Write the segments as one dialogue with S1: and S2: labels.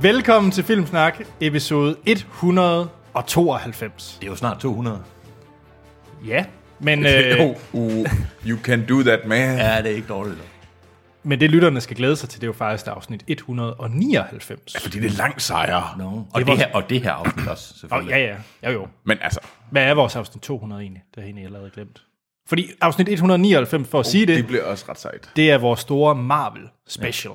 S1: Velkommen til Filmsnak, episode 192.
S2: Det er jo snart 200.
S1: Ja, men, øh,
S3: Uh, you can do that, man. Ja.
S2: Ja, det er ikke dårligt.
S1: men det lytterne skal glæde sig til, det er jo faktisk afsnit 199.
S3: Fordi det er langt sejere.
S2: No.
S3: No.
S2: Og,
S1: Det
S2: det
S1: var-
S2: her, og det her afsnit også,
S1: Og,
S2: selvfølgelig.
S1: ja, ja, ja jo.
S3: Men altså,
S1: Hvad er vores afsnit 200 egentlig? Det har jeg egentlig allerede glemt. Fordi afsnit 199, for at sige det,
S3: Oh, det bliver også ret sejt.
S1: det er vores store Marvel special.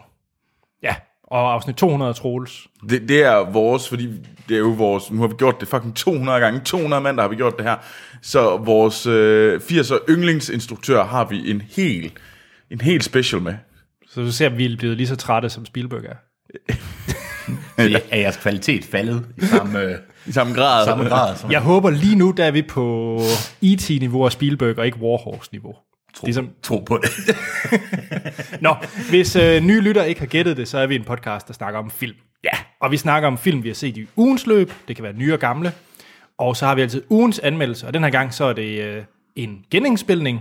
S1: Ja, og afsnit 200 er Troels.
S3: Det, det er vores, fordi det er jo vores, nu har vi gjort det fucking 200 gange, 200 mand, der har vi gjort det her. Så vores øh, 80'er yndlingsinstruktør har vi en hel, en hel special med.
S1: Så du ser, at vi er blevet lige så trætte, som Spielberg er.
S2: Ja. Er jeres kvalitet faldet i samme, øh,
S3: I samme grad.
S2: samme grad? Som
S1: Jeg håber lige nu, der er vi på E.T.-niveau og Spielberg, og ikke Warhorse-niveau. Ligesom,
S2: tro på det.
S1: Nå, hvis øh, nye lytter ikke har gættet det, så er vi en podcast, der snakker om film.
S3: Ja.
S1: Og vi snakker om film, vi har set i ugens løb. Det kan være nye og gamle. Og så har vi altid ugens anmeldelse, og den her gang så er det øh, en genindspilning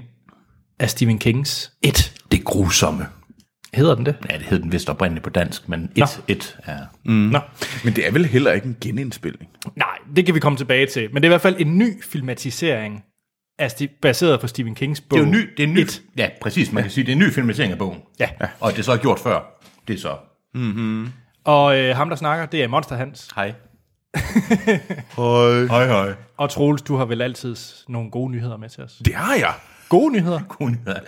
S1: af Stephen Kings Et.
S2: Det grusomme.
S1: Hedder den det?
S2: Ja, det hed den vist oprindeligt på dansk, men et, et er...
S1: Mm. Nå.
S3: Men det er vel heller ikke en genindspilning.
S1: Nej, det kan vi komme tilbage til. Men det er i hvert fald en ny filmatisering, af Sti- baseret på Stephen Kings bog.
S2: Det er jo ny, det er ny,
S1: Et.
S2: ja, præcis, man kan sige, det er en ny filmatisering af bogen.
S1: Ja.
S2: Og det er så gjort før. Det er så...
S1: Og øh, ham, der snakker, det er Monster Hans.
S2: Hej.
S3: Høj.
S2: Hej, hej.
S1: Og Troels, du har vel altid nogle gode nyheder med til os.
S3: Det har jeg.
S1: Gode nyheder?
S2: Gode nyheder.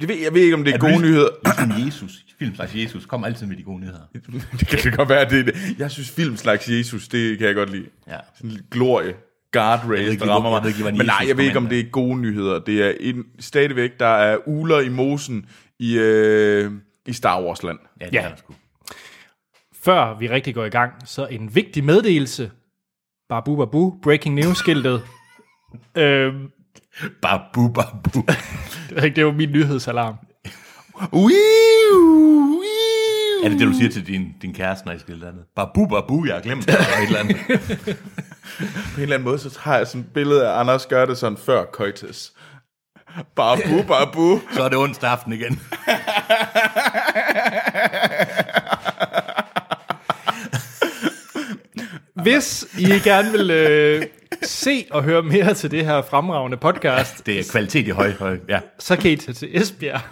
S3: Jeg ved, jeg ved ikke, om det er,
S2: Er
S3: gode
S2: du-
S3: nyheder.
S2: Ligesom Jesus. Film slags Jesus. Kom altid med de gode nyheder.
S3: det kan det godt være, det er det. Jeg synes, film slags Jesus, det kan jeg godt lide.
S2: Ja.
S3: Sådan en lille glorie. Guardrail,
S2: ikke
S3: der
S2: lige,
S3: rammer
S2: hvor- jeg
S3: mig.
S2: ved ikke lige, hvordan
S3: Men nej,
S2: Jesus
S3: jeg ved
S2: kom
S3: ikke, om
S2: ind
S3: det er gode nyheder. Det er en, stadigvæk, der er uler i mosen i, øh, i Star Wars-land.
S2: Ja, det
S1: Ja.
S2: er der sgu.
S1: Før vi rigtig går i gang, så en vigtig meddelelse. Babu babu, breaking news-skiltet. øhm,
S2: Babu, babu.
S1: det var ikke- det var min nyhedsalarm.
S2: Er det det, du siger til din, din kæreste, når I skal et eller andet? Babu, babu, jeg har glemt det, eller et eller andet.
S3: På en eller anden måde, så har jeg sådan et billede af Anders gør det sådan før Coitus. Babu, babu.
S2: Så er det onsdag aften igen.
S1: Hvis I gerne vil øh, se og høre mere til det her fremragende podcast,
S2: Det er kvalitet i høj, høj. Ja.
S1: så kan I tage til Esbjerg.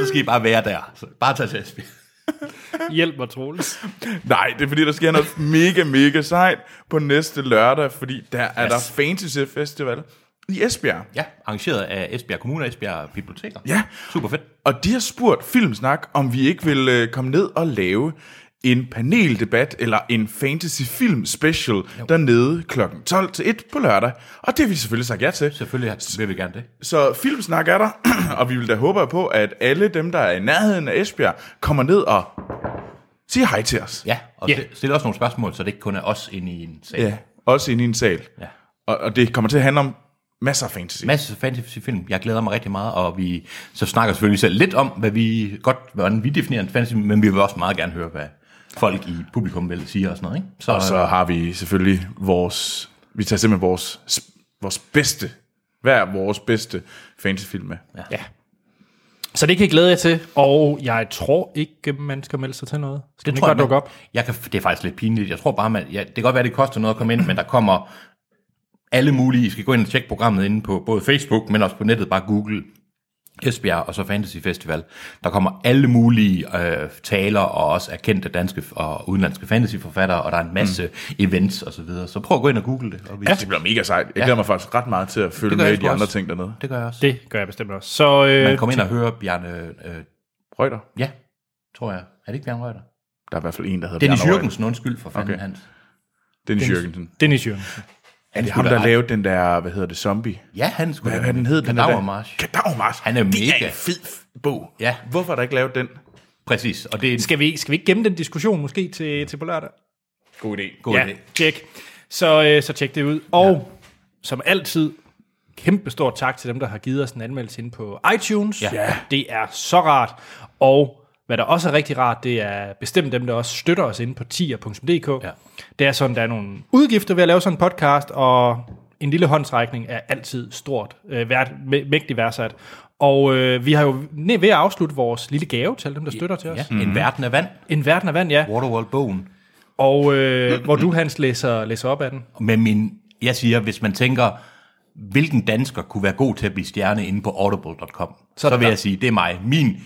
S2: Så skal I bare være der. Så bare tage til Esbjerg.
S1: Hjælp mig, Troels.
S3: Nej, det er fordi, der sker noget mega, mega sejt på næste lørdag, fordi der er
S2: Yes.
S3: yes. der Fantasy Festival i Esbjerg.
S2: Ja, arrangeret af Esbjerg Kommune og Esbjerg Biblioteker.
S3: Ja.
S2: Super fedt.
S3: Og de har spurgt Filmsnak, om vi ikke vil øh, komme ned og lave en paneldebat eller en fantasy film special jo. dernede kl. 12 til 1 på lørdag. Og det har vi selvfølgelig sagt ja til.
S2: Selvfølgelig vil vi gerne det.
S3: Så Filmsnak er der, og vi vil da håbe på, at alle dem, der er i nærheden af Esbjerg, kommer ned og siger hej til os.
S2: Ja, og
S1: Ja.
S2: yeah. stille også nogle spørgsmål, så det ikke kun er os inde i en sag.
S3: ja. Også inde i en sal.
S2: Ja.
S3: Og, og det kommer til at handle om masser af fantasy.
S2: Masse fantasyfilm. Jeg glæder mig rigtig meget, og vi så snakker selvfølgelig selv lidt om, hvad vi godt, hvordan vi definerer en fantasy, men vi vil også meget gerne høre, hvad folk i publikum vil sige og sådan noget. Ikke? Så,
S3: Og så har vi selvfølgelig vores... Vi tager simpelthen vores, vores bedste, hver vores bedste fantasyfilm med. Ja.
S1: Ja. Så det kan I glæde jer til, og jeg tror ikke, man skal melde sig til noget. Skal det man
S2: tror
S1: godt
S2: jeg,
S1: dukke op?
S2: Jeg kan, det er faktisk lidt pinligt. Jeg tror bare, man, ja, det kan godt være, det koster noget at komme ind, men der kommer alle mulige. I skal gå ind og tjekke programmet inde på både Facebook, men også på nettet. Bare Google Esbjerg og så Fantasy Festival. Der kommer alle mulige øh, taler og også erkendte danske og udenlandske fantasyforfattere, og der er en masse mm. events og så videre. Så prøv at gå ind og google det. Og vi,
S3: Det bliver mega sejt. Jeg glæder mig faktisk ret meget til at
S2: gør
S3: følge med i
S2: jeg
S3: de
S2: sgu
S3: andre
S2: også.
S3: ting dernede.
S2: Det gør jeg også.
S1: Det gør jeg bestemt også. Så
S2: Man
S1: øh,
S2: kommer ind og hører Bjarne... Øh,
S3: Røgter.
S2: ja, tror jeg. Er det ikke Bjarne Røgter?
S3: Der er i hvert fald en, der hedder
S2: Dennis
S3: Bjarne Reuter.
S2: Jørgensen, undskyld for fanden okay.
S3: Okay.
S2: hans.
S3: Dennis Jørgensen.
S1: Dennis Jørgen.
S2: Han
S3: Det er ham, der lavede den der, hvad hedder det, zombie?
S2: Ja, han skulle
S3: Hvad, hvad den hed? Den der-
S2: Kadavermarch.
S3: Kadavermarch.
S2: Han er
S3: Det er
S2: mega.
S3: en fed f- bog.
S2: Ja.
S3: Hvorfor er der ikke lavet den?
S2: Præcis, og det er en
S1: Skal vi, skal vi ikke gemme den diskussion måske til, til på lørdag?
S3: God idé.
S2: god
S1: ja,
S2: idé.
S1: tjek. Så, øh, så tjek det ud. Og ja. som altid, kæmpe stor tak til dem, der har givet os en anmeldelse inde på iTunes.
S2: Ja.
S1: Ja. Det er så rart. Og hvad der også er rigtig rart, det er bestemt dem, der også støtter os inde på tier.dk.
S2: Ja.
S1: Det er sådan, der er nogle udgifter ved at lave sådan en podcast, og en lille håndsrækning er altid stort, øh, værd, mæ- mægtig værdsat. Og øh, vi har jo ne- ved at afslutte vores lille gave til alle dem, der støtter til os.
S2: Ja, en verden af vand.
S1: En verden af vand, ja.
S2: Waterworld-bogen.
S1: Og øh, hvor du, Hans, læser, læser op af den.
S2: med min, jeg siger, hvis man tænker, hvilken dansker kunne være god til at blive stjerne inde på audible.com, så, så vil jeg sige, det er mig. Min,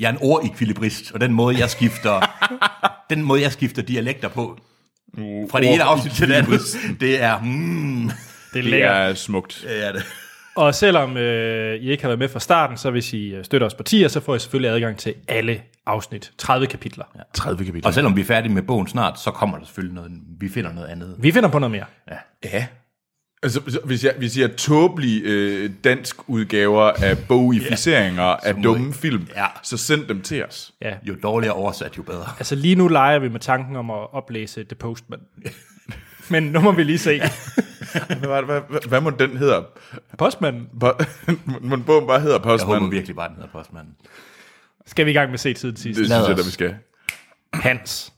S2: jeg er en ordekvilibrist, og den måde, jeg skifter, den måde, jeg skifter dialekter på, fra det ene afsnit til det andet, det er, mm,
S1: Det
S3: Det er smukt.
S2: det er det.
S1: Og selvom øh, I ikke har været med fra starten, så hvis I øh, støtter os partier, så får I selvfølgelig adgang til alle afsnit. 30 kapitler. Ja.
S3: 30 kapitler.
S2: Og selvom vi er færdige med bogen snart, så kommer der selvfølgelig noget, vi finder noget andet.
S1: Vi finder på noget mere.
S3: Ja. Altså, så hvis jeg, hvis jeg tåbelige øh, dansk udgaver af bogificeringer yeah. af dumme film,
S2: Ja.
S3: så send dem til os.
S1: Ja.
S2: Jo dårligere oversat, jo bedre.
S1: Altså lige nu leger vi med tanken om at oplæse The Postman. Men nu må vi lige se.
S3: Hvad, var det- hvad, hvad, hvad må den hedder?
S1: Postmanden.
S3: Bo- må den bogen bare hedder
S2: Jeg håber
S3: Postmanden? Det
S2: virkelig bare, den hedder postmanden.
S1: Skal vi i gang med at se tiden sidst?
S3: synes
S2: Lad
S3: jeg,
S2: os.
S3: da vi skal.
S1: Hans,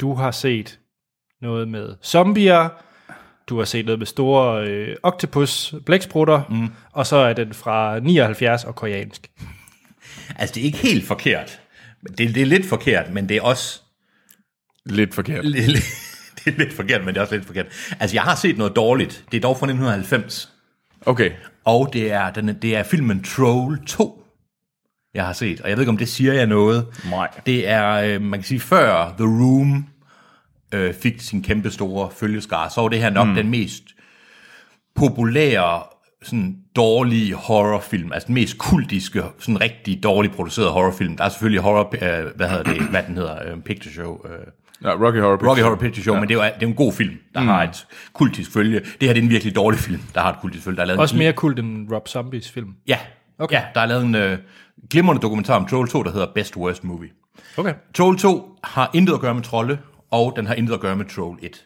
S1: du har set noget med zombier, du har set noget med store øh, octopus, blæksprutter, mm. og så er den fra 79 og koreansk.
S2: Altså, det er ikke helt forkert. Det, det er lidt forkert, men det er også
S3: Lidt forkert.
S2: Lidt- lidt- det er lidt forkert, men det er også lidt forkert. Altså, jeg har set noget dårligt. Det er dog fra 1990.
S3: Okay.
S2: Og det er, den, det er filmen Troll 2, jeg har set. Og jeg ved ikke, om det siger jeg noget.
S3: Nej.
S2: Det er, øh, man kan sige, før The Room øh, fik sin kæmpe store følgeskare, så var det her nok mm. den mest populære, sådan dårlige horrorfilm, altså den mest kultiske, sådan rigtig dårligt produceret horrorfilm. Der er selvfølgelig horror, øh, hvad hedder det, hvad den hedder, øh, Picture Show, øh,
S3: Ja, Rocky Horror Picture.
S2: Rocky Horror Picture Show, ja. men det er, jo, det er en god film, der mm. har et kultisk følge. Det her det er en virkelig dårlig film, der har et kultisk følge. Der er lavet
S1: Også
S2: en,
S1: mere kult end Rob Zombies film.
S2: Ja, okay. ja, der er lavet en øh, glimrende dokumentar om Troll 2, der hedder Best Worst Movie.
S1: Okay.
S2: Troll 2 har intet at gøre med trolde, og den har intet at gøre med Troll 1.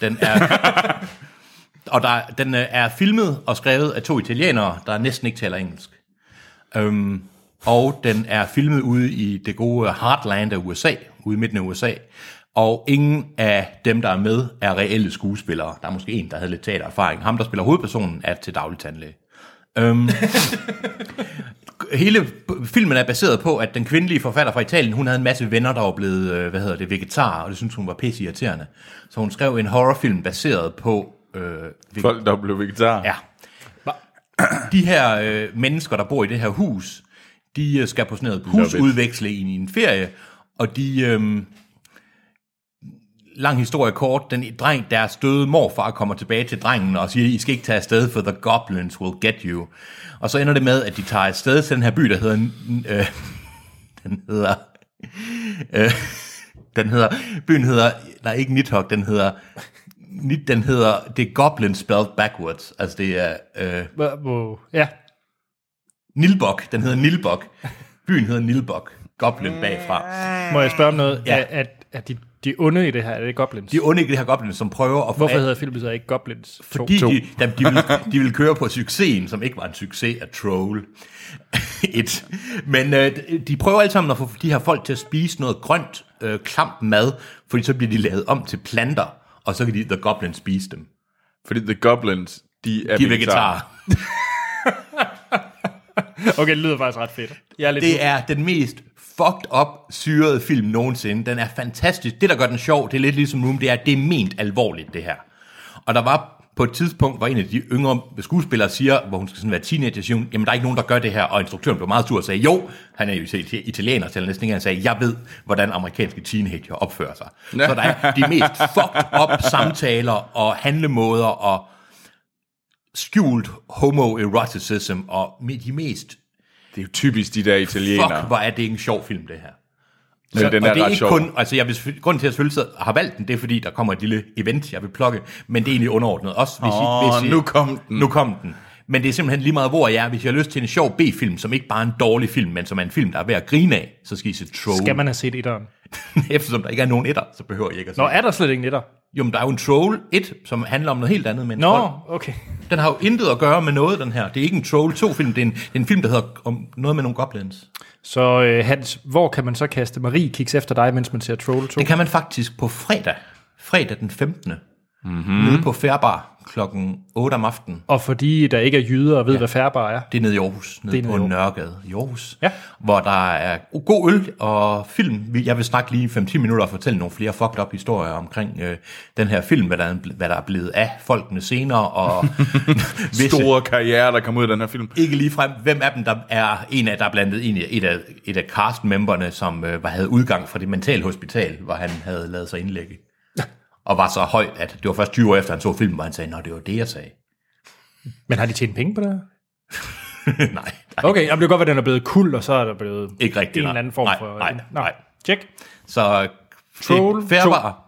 S2: Den er, og der, den øh, er filmet og skrevet af to italienere, der næsten ikke taler engelsk. Øhm, og den er filmet ude i det gode heartland af USA, ude i midten af USA. Og ingen af dem, der er med, er reelle skuespillere. Der er måske en, der havde lidt teatererfaring. Ham, der spiller hovedpersonen, er til daglig tandlæge. Øhm, hele b- filmen er baseret på, at den kvindelige forfatter fra Italien, hun havde en masse venner, der var blevet, øh, hvad hedder det, vegetar, og det syntes hun var pisse irriterende. Så hun skrev en horrorfilm baseret på... Øh, vege-
S3: Folk, der blev vegetar.
S2: Ja. De her øh, mennesker, der bor i det her hus, de øh, skal på sådan noget husudveksle i en ferie, og de... Øh, lang historie kort, den dreng, deres døde morfar kommer tilbage til drengen og siger, I skal ikke tage afsted, for the goblins will get you. Og så ender det med, at de tager afsted til den her by, der hedder... Øh, den hedder... Øh, den hedder... Byen hedder... Nej, ikke Nidhogg, den hedder... Nid- Den hedder... Det er Goblin spelled backwards. Altså det er... Øh,
S1: Hva- hvor- Ja.
S2: Nilbok. Den hedder Nilbok. Byen hedder Nilbok. Goblin bagfra.
S1: Må jeg spørge om noget? Ja.
S2: Ja.
S1: Er, er, er de, de onde i det her? Er det goblins?
S2: De er onde i det her Goblin, som prøver at... få
S1: Hvorfor hedder filmen så ikke Goblins 2?
S2: Fordi de, de, de, ville, de ville køre på succesen, som ikke var en succes af Troll 1. Men øh, de prøver alle sammen at få de her folk til at spise noget grønt, øh, klamt mad, fordi så bliver de lavet om til planter, og så kan de, The Goblin spise dem.
S3: Fordi The Goblins, de er,
S2: De er vegetarer.
S1: Okay, det lyder faktisk ret fedt. Jeg er lidt
S2: Det er den mest fucked up syrede film nogensinde. Den er fantastisk. Det, der gør den sjov, det er lidt ligesom Room, det er, at det er ment alvorligt, det her. Og der var på et tidspunkt, hvor en af de yngre skuespillere siger, hvor hun skal sådan være teenager, siger hun, jamen der er ikke nogen, der gør det her, og instruktøren blev meget sur og sagde, jo, han er jo itali- italiener, til næsten ikke, han sagde, jeg ved, hvordan amerikanske teenager opfører sig. Så der er de mest fucked up samtaler og handlemåder og skjult homoeroticism og de mest
S3: Det er jo typisk de der italienere.
S2: Fuck, hvor er det en sjov film, det her.
S3: Men den
S2: og
S3: er
S2: det er
S3: ret
S2: ikke
S3: sjov.
S2: kun, altså jeg vil, selvfølgelig- grunden til, at jeg selvfølgelig sidder- har valgt den, det er fordi, der kommer et lille event, jeg vil plukke, men det er egentlig underordnet. Også hvis I,
S3: Åh,
S2: hvis I,
S3: nu kom den.
S2: Nu kom den. Men det er simpelthen lige meget, hvor jeg er. Hvis jeg har lyst til en sjov B-film, som ikke bare er en dårlig film, men som er en film, der er værd at grine af, så skal I se Troll.
S1: Skal man have set etteren?
S2: Eftersom der ikke er nogen etter, så behøver jeg ikke at se.
S1: Nå,
S2: Nå.
S1: er der slet ikke en etter?
S2: Jo, men der er jo en Troll 1, som handler om noget helt andet, men
S1: Nå, okay.
S2: den har jo intet at gøre med noget, den her. Det er ikke en Troll 2-film, det er en, det er en film, der hedder om noget med nogle goblins.
S1: Så øh, Hans, hvor kan man så kaste Marie kiks efter dig, mens man ser Troll 2?
S2: Det kan man faktisk på fredag. Fredag den 15. mm-hmm. nede på Færbar klokken 8 om aftenen.
S1: Og fordi der ikke er jyder og ved, ja. hvad færbar er.
S2: Det er nede i Aarhus, nede
S1: Det er
S2: på
S1: nede i
S2: Nørregade i Aarhus,
S1: Ja.
S2: hvor der er god øl og film. Vi- Jeg vil snakke lige 5-10 minutter og fortælle nogle flere fucked up historier omkring øh, den her film, hvad der, er, hvad der er blevet af folkene senere, og visse-
S3: Store karriere, der kom ud af den her film.
S2: ikke lige frem, hvem af dem der er en af der er blandet en af, et af, et af cast-memberne, som øh, var, havde udgang fra det mentale hospital, hvor han havde lavet sig indlægge. Og var så høj, at det var først 20 år efter, han så filmen, hvor han sagde, nå, det var det, jeg sagde.
S1: Men har de tjent penge på det her?
S2: nej, nej,
S1: Okay, jamen, det kan godt være, at den er blevet kul, og så er der blevet
S2: ikke rigtigt.
S1: en
S2: nej.
S1: eller anden form
S2: nej,
S1: for...
S2: Nej,
S1: Nå,
S2: nej.
S1: Tjek.
S2: Så
S1: Troll
S2: Troll færbar,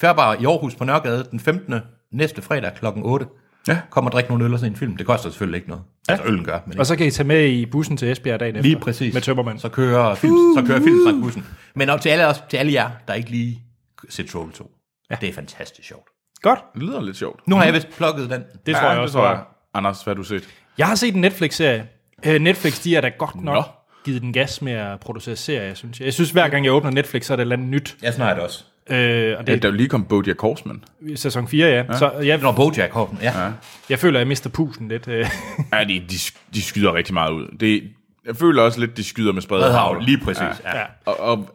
S2: færbar i Aarhus på Nørregade den 15. næste fredag klokken 8.
S3: Ja.
S2: Kom og drik nogle øl og se en film. Det koster selvfølgelig ikke noget. Ja. Altså, øllen gør, men
S1: Og så kan I tage med i bussen til Esbjerg dagen efter.
S2: Lige præcis.
S1: Med tømmermand.
S2: Så kører, film, så kører filmsnakbussen. Men op til alle, os, til alle jer, der ikke lige ser Troll 2. Ja. Det er fantastisk sjovt.
S1: Godt.
S3: Det lyder lidt sjovt.
S2: Nu har jeg vist plukket den. Det,
S1: Det tror jeg
S3: det
S1: også.
S3: tror jeg. Anders, hvad har du set?
S1: Jeg har set en Netflix-serie. Øh, Netflix, de er da godt nok
S3: Nå.
S1: givet den gas med at producere serier, synes jeg. Jeg synes, hver gang jeg åbner Netflix, så er det et eller andet nyt.
S2: jeg snakker det også.
S1: Øh, og
S3: Ja,
S1: det
S3: der er jo lige kommet Bojack Horseman.
S1: er sæson 4, ja. Så jeg,
S2: Når Bojack Horseman, ja. ja.
S1: jeg føler, jeg mister pusen lidt. øh.
S3: Ja, de, de, sk- de skyder rigtig meget ud. Det, jeg føler også lidt, de skyder med spredet
S2: Hav,
S3: havl.
S2: lige præcis. Ja.
S1: Ja.
S2: Ja.
S3: Og, og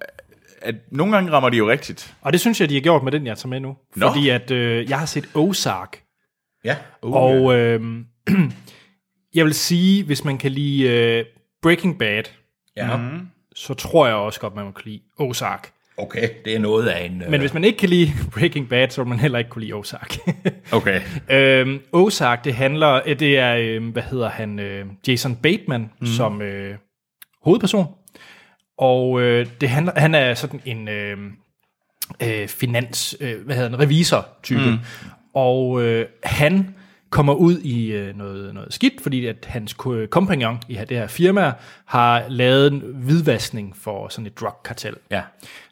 S3: at nogle gange rammer de jo rigtigt.
S1: Og det synes jeg, de har gjort med den, jeg tager med nu.
S3: Nå.
S1: Fordi at øh, jeg har set Ozark.
S2: ja. Uh.
S1: Og øh, jeg vil sige, hvis man kan lide øh, Breaking Bad,
S2: ja. Mm.
S1: så tror jeg også godt, man må kunne lide Ozark.
S2: Okay, det er noget af en...
S1: Men
S2: øh,
S1: hvis man ikke kan lide Breaking Bad, så vil man heller ikke kunne lide Ozark.
S2: Okay.
S1: øhm, Ozark, det handler, øh, det er, øhm, hvad hedder han, øh, Jason Bateman mm. som øh, hovedperson. Og øh, det handler, han er sådan en øh, øh, finans, øh, hvad hedder han, revisor-type. Mm. Og øh, han kommer ud i øh, noget, noget skidt, fordi at hans ko- kompagnon i det her firma har lavet en hvidvaskning for sådan et drugkartel.
S2: Ja.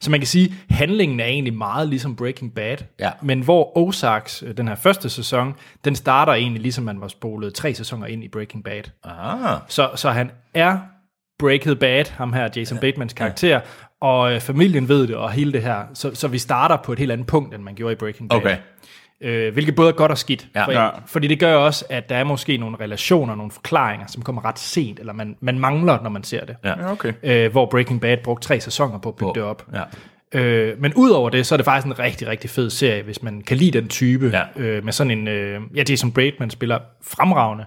S1: Så man kan sige, at handlingen er egentlig meget ligesom Breaking Bad,
S2: Ja.
S1: men hvor Ozarks, øh, den her første sæson, den starter egentlig ligesom man var spolet tre sæsoner ind i Breaking Bad.
S2: Ah.
S1: Så, så han er Breaking Bad, ham her Jason Batemans karakter, og øh, familien ved det, og hele det her. Så, så vi starter på et helt andet punkt, end man gjorde i Breaking Bad.
S2: Okay.
S1: Øh, hvilket både er godt og skidt.
S2: Ja.
S1: For,
S3: Ja.
S1: Fordi det gør også, at der er måske nogle relationer, nogle forklaringer, som kommer ret sent, eller man, man mangler, når man ser det.
S2: Ja.
S3: Ja, okay.
S1: Øh, hvor Breaking Bad brugte tre sæsoner på at bygge det op.
S2: Ja.
S1: Øh, men udover det, så er det faktisk en rigtig, rigtig fed serie, hvis man kan lide den type.
S2: Ja.
S1: Øh, med sådan en, øh, ja, Jason Bateman spiller fremragende,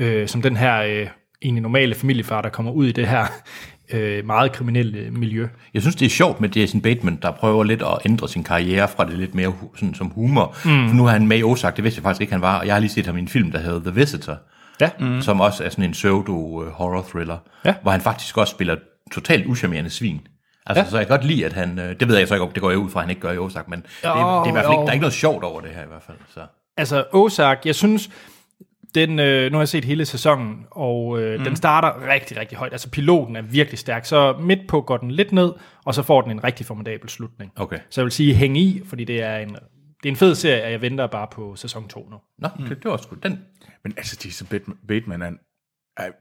S1: øh, som den her øh, egentlig normale familiefar, der kommer ud i det her øh, meget kriminelle miljø.
S2: Jeg synes, det er sjovt med Jason Bateman, der prøver lidt at ændre sin karriere fra det lidt mere hu- sådan, som humor. Mm. For nu har han med i Ozark, det vidste jeg faktisk ikke, han var. Og jeg har lige set ham i en film, der hedder The Visitor,
S1: Ja,
S2: mm. som også er sådan en pseudo-horror-thriller,
S1: Ja.
S2: hvor han faktisk også spiller totalt uschammerende svin. Altså, ja. så jeg kan godt lide, at han... øh, Det ved jeg så ikke, om det går jeg ud fra, at han ikke gør i Ozark, men det, er, det er i hvert fald ikke,
S1: jo.
S2: der er ikke noget sjovt over det her i hvert fald. Så.
S1: altså Ozark, jeg synes, den, øh, nu har jeg set hele sæsonen, og øh, mm. den starter rigtig, rigtig højt. Altså piloten er virkelig stærk, så midt på går den lidt ned, og så får den en rigtig formidabel slutning.
S2: Okay.
S1: Så jeg vil sige, hæng i, fordi det er en, det er en fed serie, og jeg venter bare på sæson 2 nu.
S2: Nå, mm. det, det, var sgu den.
S3: Men altså, Jason Bateman, Bateman han,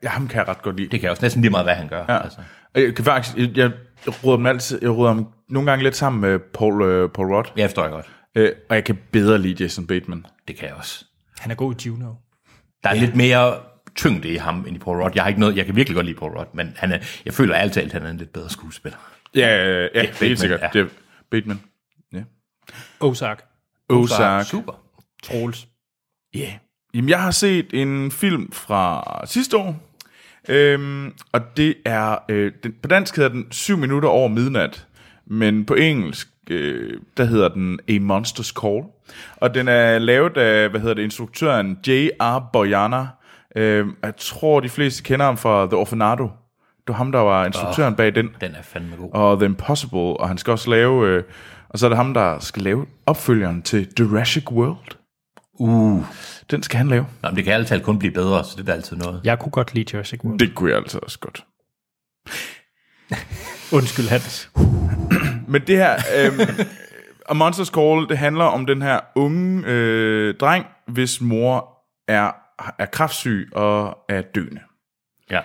S3: ja, ham kan jeg ret godt lide.
S2: Det kan jeg også næsten lige meget, hvad han gør.
S3: Ja.
S2: Altså.
S3: Og Jeg kan faktisk, jeg, jeg råder dem altid, jeg råder ham nogle gange lidt sammen med Paul, øh, Paul Rudd,
S2: Jeg forstår jeg godt.
S3: øh, og jeg kan bedre lide Jason Bateman.
S2: Det kan jeg også.
S1: Han er god i Juno.
S2: Der er ja. lidt mere tyngde i ham end i Paul Rudd. Jeg har ikke noget, jeg kan virkelig godt lide Paul Rudd, men han er, jeg føler alt alt, han er en lidt bedre skuespiller.
S3: Ja, ja, ja, ja det er
S2: Bateman,
S3: helt sikkert.
S2: ja.
S3: Ja. Det er Bateman. Ja.
S1: Ozark.
S3: Ozark.
S2: Super.
S1: Troels.
S3: Ja. Yeah. Jamen, jeg har set en film fra sidste år, øhm, og det er, øh, den, på dansk hedder den 7 minutter over midnat, men på engelsk, øh, der hedder den A Monster's Call, og den er lavet af, hvad hedder det, instruktøren J.R. Boyana. Øh, jeg tror, de fleste kender ham fra The Orphanado. Det var ham, der var instruktøren bag den
S2: Den er fandme god.
S3: og The Impossible, og han skal også lave, øh, og så er det ham, der skal lave opfølgeren til Jurassic World.
S2: Uh.
S3: Den skal han lave.
S2: Nå, men det kan alt talt kun blive bedre, så det er da altid noget.
S1: Jeg kunne godt lide Jurassic World.
S3: Det kunne jeg altså også godt.
S1: Undskyld, Hans.
S3: Men det her, øh, A Monster's Call, det handler om den her unge øh, dreng, hvis mor er, er kraftsyg og er døende.
S2: Ja.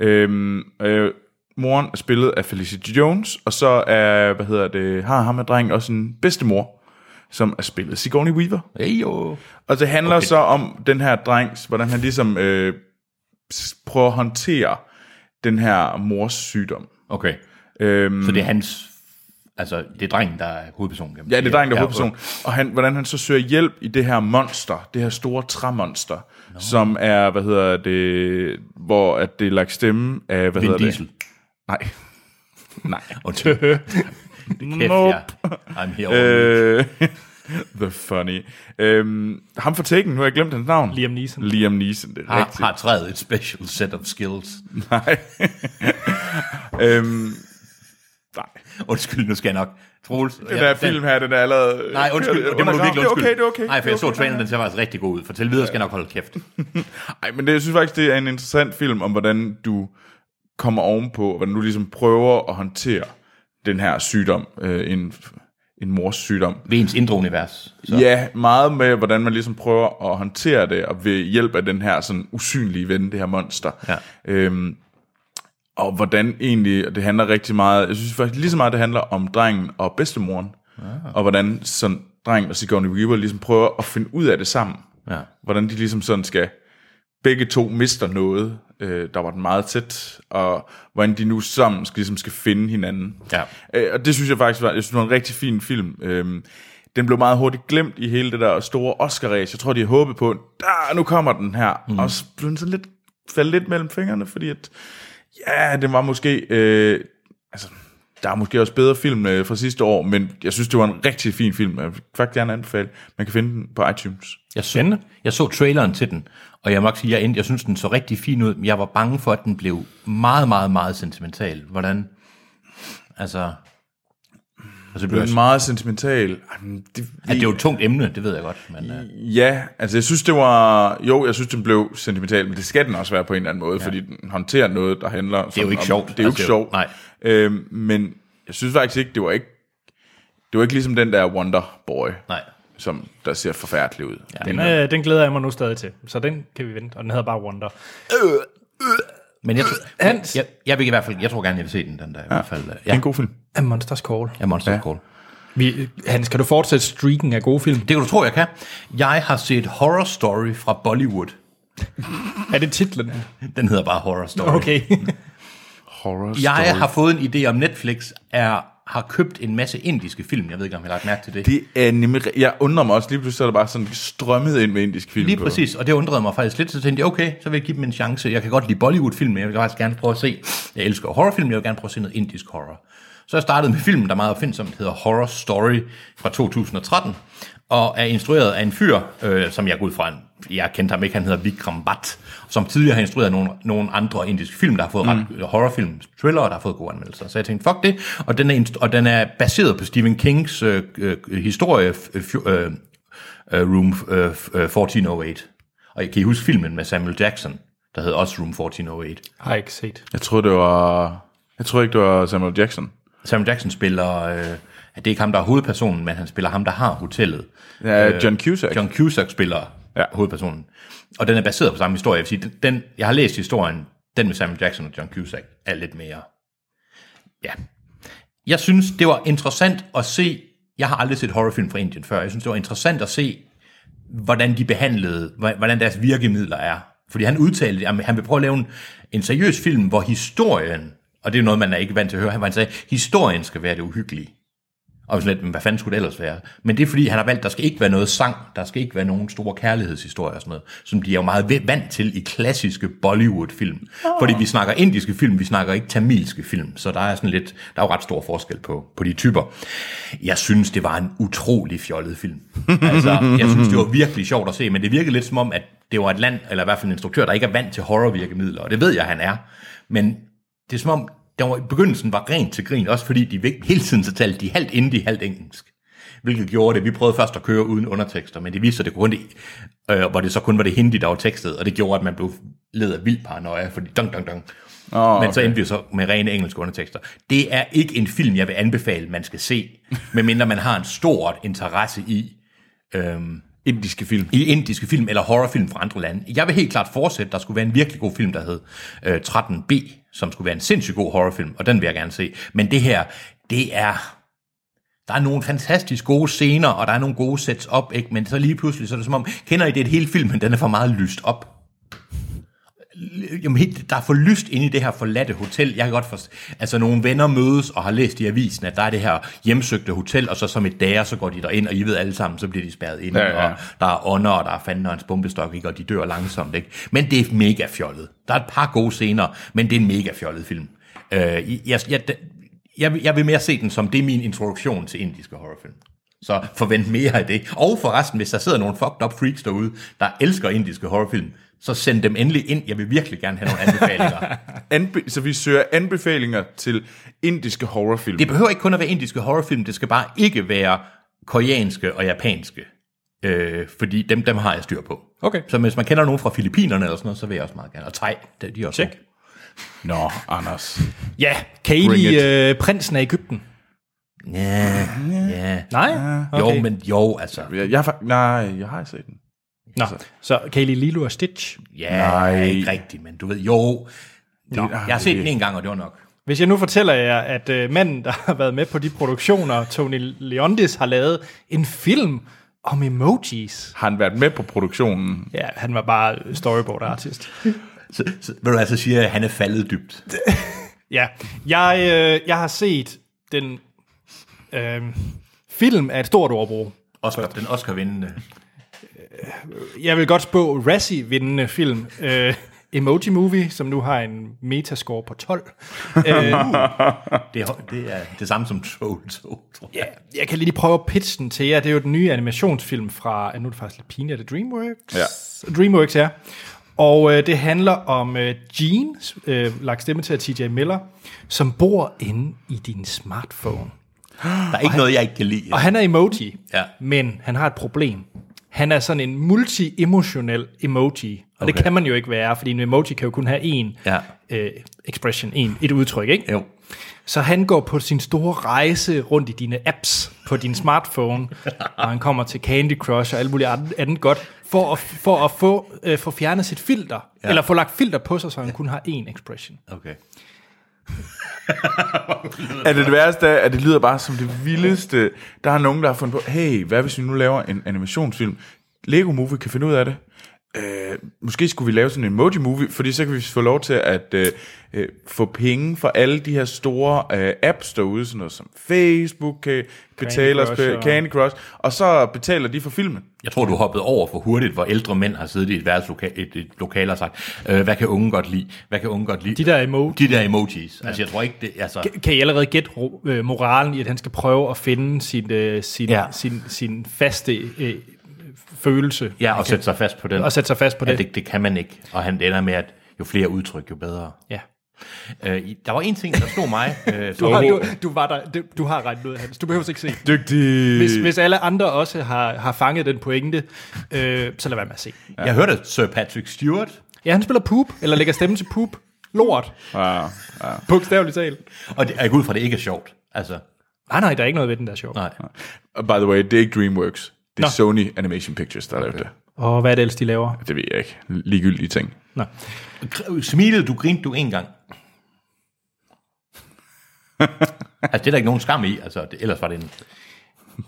S3: Øhm, øh, moren er spillet af Felicity Jones, og så er, hvad hedder det, har ham og drengen også en bedstemor, som er spillet af Sigourney Weaver.
S2: Hey, jo.
S3: Og det handler okay. så om den her drengs, hvordan han ligesom øh, s- prøver at håndtere den her mors sygdom.
S2: Okay,
S3: Øhm,
S2: så det er hans... Altså, det er drengen, der er hovedpersonen. kan man
S3: Ja, det er
S2: sige.
S3: drengen, der er hovedperson. Og han, hvordan han så søger hjælp i det her monster, det her store træmonster, no. som er, hvad hedder det, hvor at det er lagt stemme af,
S2: Vin
S3: hvad hedder
S2: Diesel.
S3: det? Nej. Nej.
S2: Og det, det kæft, nope. ja. I'm here all week.
S3: Øh, the funny. Øhm, ham for Taken, nu har jeg glemt hans navn.
S1: Liam Neeson.
S3: Liam Neeson, det er
S2: Har,
S3: rigtigt.
S2: har træet et special set of skills.
S3: Øhm, nej.
S2: Undskyld, nu skal jeg nok. Troels. Den
S3: Den der film her, den er allerede...
S2: Nej, undskyld. Det, må du virkelig
S3: Det er
S2: undskylde.
S3: okay, det er
S2: Nej,
S3: okay.
S2: for jeg
S3: det er
S2: så
S3: okay.
S2: traileren, den ser faktisk rigtig god ud. For til videre skal jeg nok holde kæft.
S3: Ej, men det, jeg synes faktisk, det er en interessant film om, hvordan du kommer ovenpå, og hvordan du ligesom prøver at håndtere den her sygdom, øh, en, en mors sygdom.
S2: Ved ens indre univers.
S3: Så. Ja, meget med, hvordan man ligesom prøver at håndtere det, og ved hjælp af den her sådan usynlige ven, det her monster.
S2: Ja.
S3: Øhm, og hvordan egentlig, og det handler rigtig meget, jeg synes faktisk lige så meget, det handler om drengen og bedstemoren,
S2: Ah.
S3: ja. og hvordan sådan drengen og Sigourney Weaver ligesom prøver at finde ud af det sammen.
S2: Ja.
S3: Hvordan de ligesom sådan skal, begge to mister noget, øh, der var den meget tæt, og hvordan de nu sammen skal, ligesom skal finde hinanden.
S2: Ja.
S3: Øh, og det synes jeg faktisk var, jeg synes, det var en rigtig fin film. Øhm, den blev meget hurtigt glemt i hele det der store Oscar-race. Jeg tror, de havde håbet på, der, nu kommer den her. Mm. Og så blev den sådan lidt, faldt lidt mellem fingrene, fordi at, ja, den var måske, øh, altså, der er måske også bedre film øh, fra sidste år, men jeg synes, det var en rigtig fin film. Jeg vil faktisk gerne anbefale, man kan finde den på iTunes.
S2: Jeg så, jeg så traileren til den, og jeg må nok sige, jeg, endte, jeg synes, den så rigtig fin ud, men jeg var bange for, at den blev meget, meget, meget sentimental. Hvordan? Altså... Altså, det, blev,
S3: Den er
S2: også-
S3: meget sentimental. Ej, men det,
S2: at det er jo et tungt emne, det ved jeg godt. Men, uh,
S3: Ja, altså jeg synes, det var... Jo, jeg synes, den blev sentimental, men det skal den også være på en eller anden måde, ja. fordi den håndterer noget, der handler... Det
S2: jo ikke sjovt.
S3: Det er jo
S2: Altså,
S3: ikke sjovt.
S2: nej.
S3: Øhm, men jeg synes faktisk ikke, det var ikke... Det var ikke ligesom den der Wonder Boy,
S2: nej.
S3: som der ser forfærdelig ud. Ja.
S1: Den, øh, den glæder jeg mig nu stadig til, så den kan vi vente, og den hedder bare Wonder.
S2: Men jeg, tror-
S1: Hans!
S2: jeg, jeg, vil i hvert fald, jeg tror gerne, jeg vil se den, den der i hvert fald. øh,
S3: Det er
S2: Ja,
S3: en god film.
S1: A Monsters Call.
S2: ja Monster ja. Call.
S1: Vi, Hans, kan du fortsætte streaken af gode film?
S2: Det kan du tro, jeg kan. Jeg har set Horror Story fra Bollywood.
S1: Er det titlen?
S2: Den hedder bare Horror Story.
S1: Okay.
S3: Horror
S2: Jeg
S3: story.
S2: har fået en idé om Netflix er, har købt en masse indiske film. Jeg ved ikke, om jeg har lagt mærke til det.
S3: Det er nemlig... Jeg undrer mig også, lige pludselig så er der bare sådan strømmet ind med indisk film.
S2: Lige
S3: på.
S2: præcis, og det undrede mig faktisk lidt, så tænkte jeg, okay, så vil jeg give dem en chance. Jeg kan godt lide Bollywood-film, men jeg vil faktisk gerne prøve at se, jeg elsker horrorfilm, jeg vil gerne prøve at se noget indisk horror. Så jeg startede med filmen, der er meget opfindsomt hedder Horror Story fra 2013, og er instrueret af en fyr, øh, som jeg går ud fra, en- jeg kendte ham ikke, han hedder Vikram Bhatt, som tidligere har instrueret nogle, nogle andre indiske film, der har fået mm. ret, horrorfilm, thriller, der har fået gode anmeldelser. Så jeg tænkte, fuck det, og den er, inst- og den er baseret på Stephen Kings øh, øh, historie, øh, fjo- øh, øh, Room øh, øh, 1408. Og kan I huske filmen med Samuel Jackson, der hedder også Room 1408?
S1: Har jeg ikke set.
S3: Jeg tror, det var... Jeg tror ikke, det var Samuel Jackson.
S2: Samuel Jackson spiller, øh, det er ikke ham, der er hovedpersonen, men han spiller ham, der har hotellet.
S3: Ja, John Cusack.
S2: Øh, John Cusack spiller ja.
S3: Ja.
S2: hovedpersonen. Og den er baseret på samme historie. Jeg, vil sige, den, den, jeg har læst historien, den med Samuel Jackson og John Cusack, er lidt mere... Ja. Jeg synes, det var interessant at se... Jeg har aldrig set horrorfilm fra Indien før. Jeg synes, det var interessant at se, hvordan de behandlede, hva- hvordan deres virkemidler er. Fordi han udtalte, at han vil prøve at lave en, en seriøs film, hvor historien, og det er jo noget, man er ikke vant til at høre, han, han sagde, historien skal være det uhyggelige. Og sådan lidt, men hvad fanden skulle det ellers være? Men det er fordi, han har valgt, der skal ikke være noget sang, der skal ikke være nogen store kærlighedshistorier og sådan noget, som de er jo meget ve- vant til i klassiske Bollywood-film. Oh. Fordi vi snakker indiske film, vi snakker ikke tamilske film, så der er sådan lidt, der er jo ret stor forskel på, på de typer. Jeg synes, det var en utrolig fjollet film. Altså, jeg synes, det var virkelig sjovt at se, men det virkede lidt som om, at det var et land, eller i hvert fald en instruktør, der ikke er vant til horrorvirkemidler, og det ved jeg, han er. Men det er som om, der var, begyndelsen var rent til grin, også fordi de vig- hele tiden så talte de halvt indie, halvt engelsk. Hvilket gjorde det. Vi prøvede først at køre uden undertekster, men det viste sig, at det kun det, øh, hvor det så kun var det hindi, der var tekstet, og det gjorde, at man blev led af vild paranoia, fordi dong, dong, dong. Oh, Men så endte vi så med rene engelske undertekster. Det er ikke en film, jeg vil anbefale, man skal se, medmindre man har en stor interesse i, øhm,
S3: Indiske film.
S2: i indiske film eller horrorfilm fra andre lande. Jeg vil helt klart fortsætte, der skulle være en virkelig god film, der hed øh, 13B, som skulle være en sindssygt god horrorfilm, og den vil jeg gerne se. Men det her, det er... Der er nogle fantastisk gode scener, og der er nogle gode sets op, ikke? men så lige pludselig, så er det som om, kender I det et helt film, men den er for meget lyst op. Jamen, helt- der er for lyst inde i det her forladte hotel. Jeg kan godt forstå, altså nogle venner mødes og har læst i avisen, at der er det her hjemsøgte hotel, og så som et dager, så går de derind, og I ved alle sammen, så bliver de spærret ind,
S3: Ja, ja.
S2: og der er ånder, og der er fanden og hans bombestok, ikke? og de dør langsomt. Ikke? Men det er mega fjollet. Der er et par gode scener, men det er en mega fjollet film. Øh, jeg, jeg, jeg, vil- jeg vil mere se den som, det er min introduktion til indiske horrorfilm. Så forvent mere af det. Og forresten, hvis der sidder nogle fucked up freaks derude, der elsker indiske horrorfilm, så send dem endelig ind. Jeg vil virkelig gerne have nogle anbefalinger.
S3: Anbe- så vi søger anbefalinger til indiske horrorfilm.
S2: Det behøver ikke kun at være indiske horrorfilm, det skal bare ikke være koreanske og japanske. Øh, fordi dem, dem har jeg styr på.
S1: Okay.
S2: Så hvis man kender nogen fra Filippinerne eller sådan noget, så vil jeg også meget gerne. Og Thai, det er de også.
S1: Check.
S2: gode.
S3: Nå, Anders.
S1: Ja, kan I
S3: Bring
S1: lide øh, prinsen af Ægypten?
S2: Ja, ja.
S1: Nej?
S2: Okay. Jo, men jo, altså.
S3: Jeg, jeg, har fak- nej, jeg har ikke set den.
S1: Nå, så kan I lide Lilo og Stitch?
S2: Ja,
S3: Nej.
S2: Nej. ikke rigtigt, men du ved, jo. Nå, jeg har set den en gang, og det var nok.
S1: Hvis jeg nu fortæller jer, at øh, manden, der har været med på de produktioner, Tony Leondis, har lavet en film om emojis.
S3: Har han været med på produktionen?
S1: Ja, han var bare storyboard-artist.
S2: Så, så, vil du altså sige, at han er faldet dybt?
S1: Ja, jeg, øh, jeg har set den øh, film af et stort ordbrug.
S2: Oscar, den Oscar-vindende.
S1: Jeg vil godt spå Razzie-vindende film. Øh, Emoji Movie, som nu har en metascore på Øh, 12.
S2: Det, er- det er det samme som Troll 2, tror jeg.
S1: Ja, jeg kan lige prøve at pitche den til jer. Det er jo den nye animationsfilm fra, nu er det faktisk lidt pinligt, er det DreamWorks? Ja. DreamWorks, ja. Og øh, det handler om øh, Gene, øh, lagt stemme til af TJ Miller, som bor inde i din smartphone.
S2: Der er ikke noget, jeg ikke kan lide.
S1: Og han er emoji,
S2: Ja.
S1: men han har et problem. Han er sådan en multi-emotionel emoji, og okay.
S2: Okay.
S1: det kan man jo ikke være, fordi en emoji kan jo kun have én
S2: Ja.
S1: øh, expression, én, et udtryk, ikke?
S2: Jo.
S1: Så han går på sin store rejse rundt i dine apps på din smartphone, og han kommer til Candy Crush og alt muligt andet andet godt, for at, for at få, øh, få fjernet sit filter, ja. eller få lagt filter på sig, så han kun har én expression.
S2: Okay.
S3: Er det det værste, af, at det lyder bare som det vildeste? Der er nogen, der har fundet på, hey, hvad hvis vi nu laver en animationsfilm? Lego Movie kan finde ud af det. Øh, måske skulle vi lave sådan en emoji movie, fordi så kan vi få lov til at øh, øh, få penge for alle de her store øh, apps derude, sådan noget som Facebook kan betale os,
S1: Crush
S3: Crush,
S1: og-
S3: Candy Crush, og så betaler de for filmen.
S2: Jeg tror, du hoppede over for hurtigt, hvor ældre mænd har siddet i et værelseslokale et, et lokale og sagt, øh, hvad kan unge godt lide? Hvad kan unge godt lide?
S1: De der emo-
S2: De der emojis. Altså, jeg tror ikke, det... Altså,
S1: Kan I allerede gætte ro- øh, moralen i, at han skal prøve at finde sin, øh, sin, ja.
S2: Ja.
S1: sin, sin faste øh, følelse,
S2: ja, og sætte sig fast på den.
S1: og sætte sig fast på
S2: ja,
S1: det?
S2: det, det kan man ikke. Og han ender med, at jo flere udtryk, jo bedre.
S1: Ja.
S2: Øh, i- der var en ting, der slog mig. Øh,
S1: Du,
S2: som-
S1: har, du, du, var der, du, du har regnet ud af Hans. Du behøver ikke se Øh. den.
S3: Dygtig!
S1: Hvis, hvis alle andre også har, har fanget den pointe, øh, så lad være med at se.
S2: Jeg hørte at Sir Patrick Stewart,
S1: Ja, han spiller poop, eller lægger stemme til poop. Lort.
S3: Ja, ja.
S1: Bogstaveligt talt.
S2: og det, jeg går ud fra, at det ikke er sjovt. Altså,
S1: Nej, nej, der er ikke noget ved den, der er sjov.
S2: nej.
S3: Og by the way, det er ikke DreamWorks. Det
S1: Nå.
S3: er Nå. Sony Animation Pictures, der har lavet det.
S1: Og hvad er det ellers, de laver?
S3: Det ved jeg ikke. Ligegyldige ting.
S1: Nå.
S2: Gr- Smilede du, grinte du en gang? altså, det er der ikke nogen skam i. Altså, det, ellers var det en...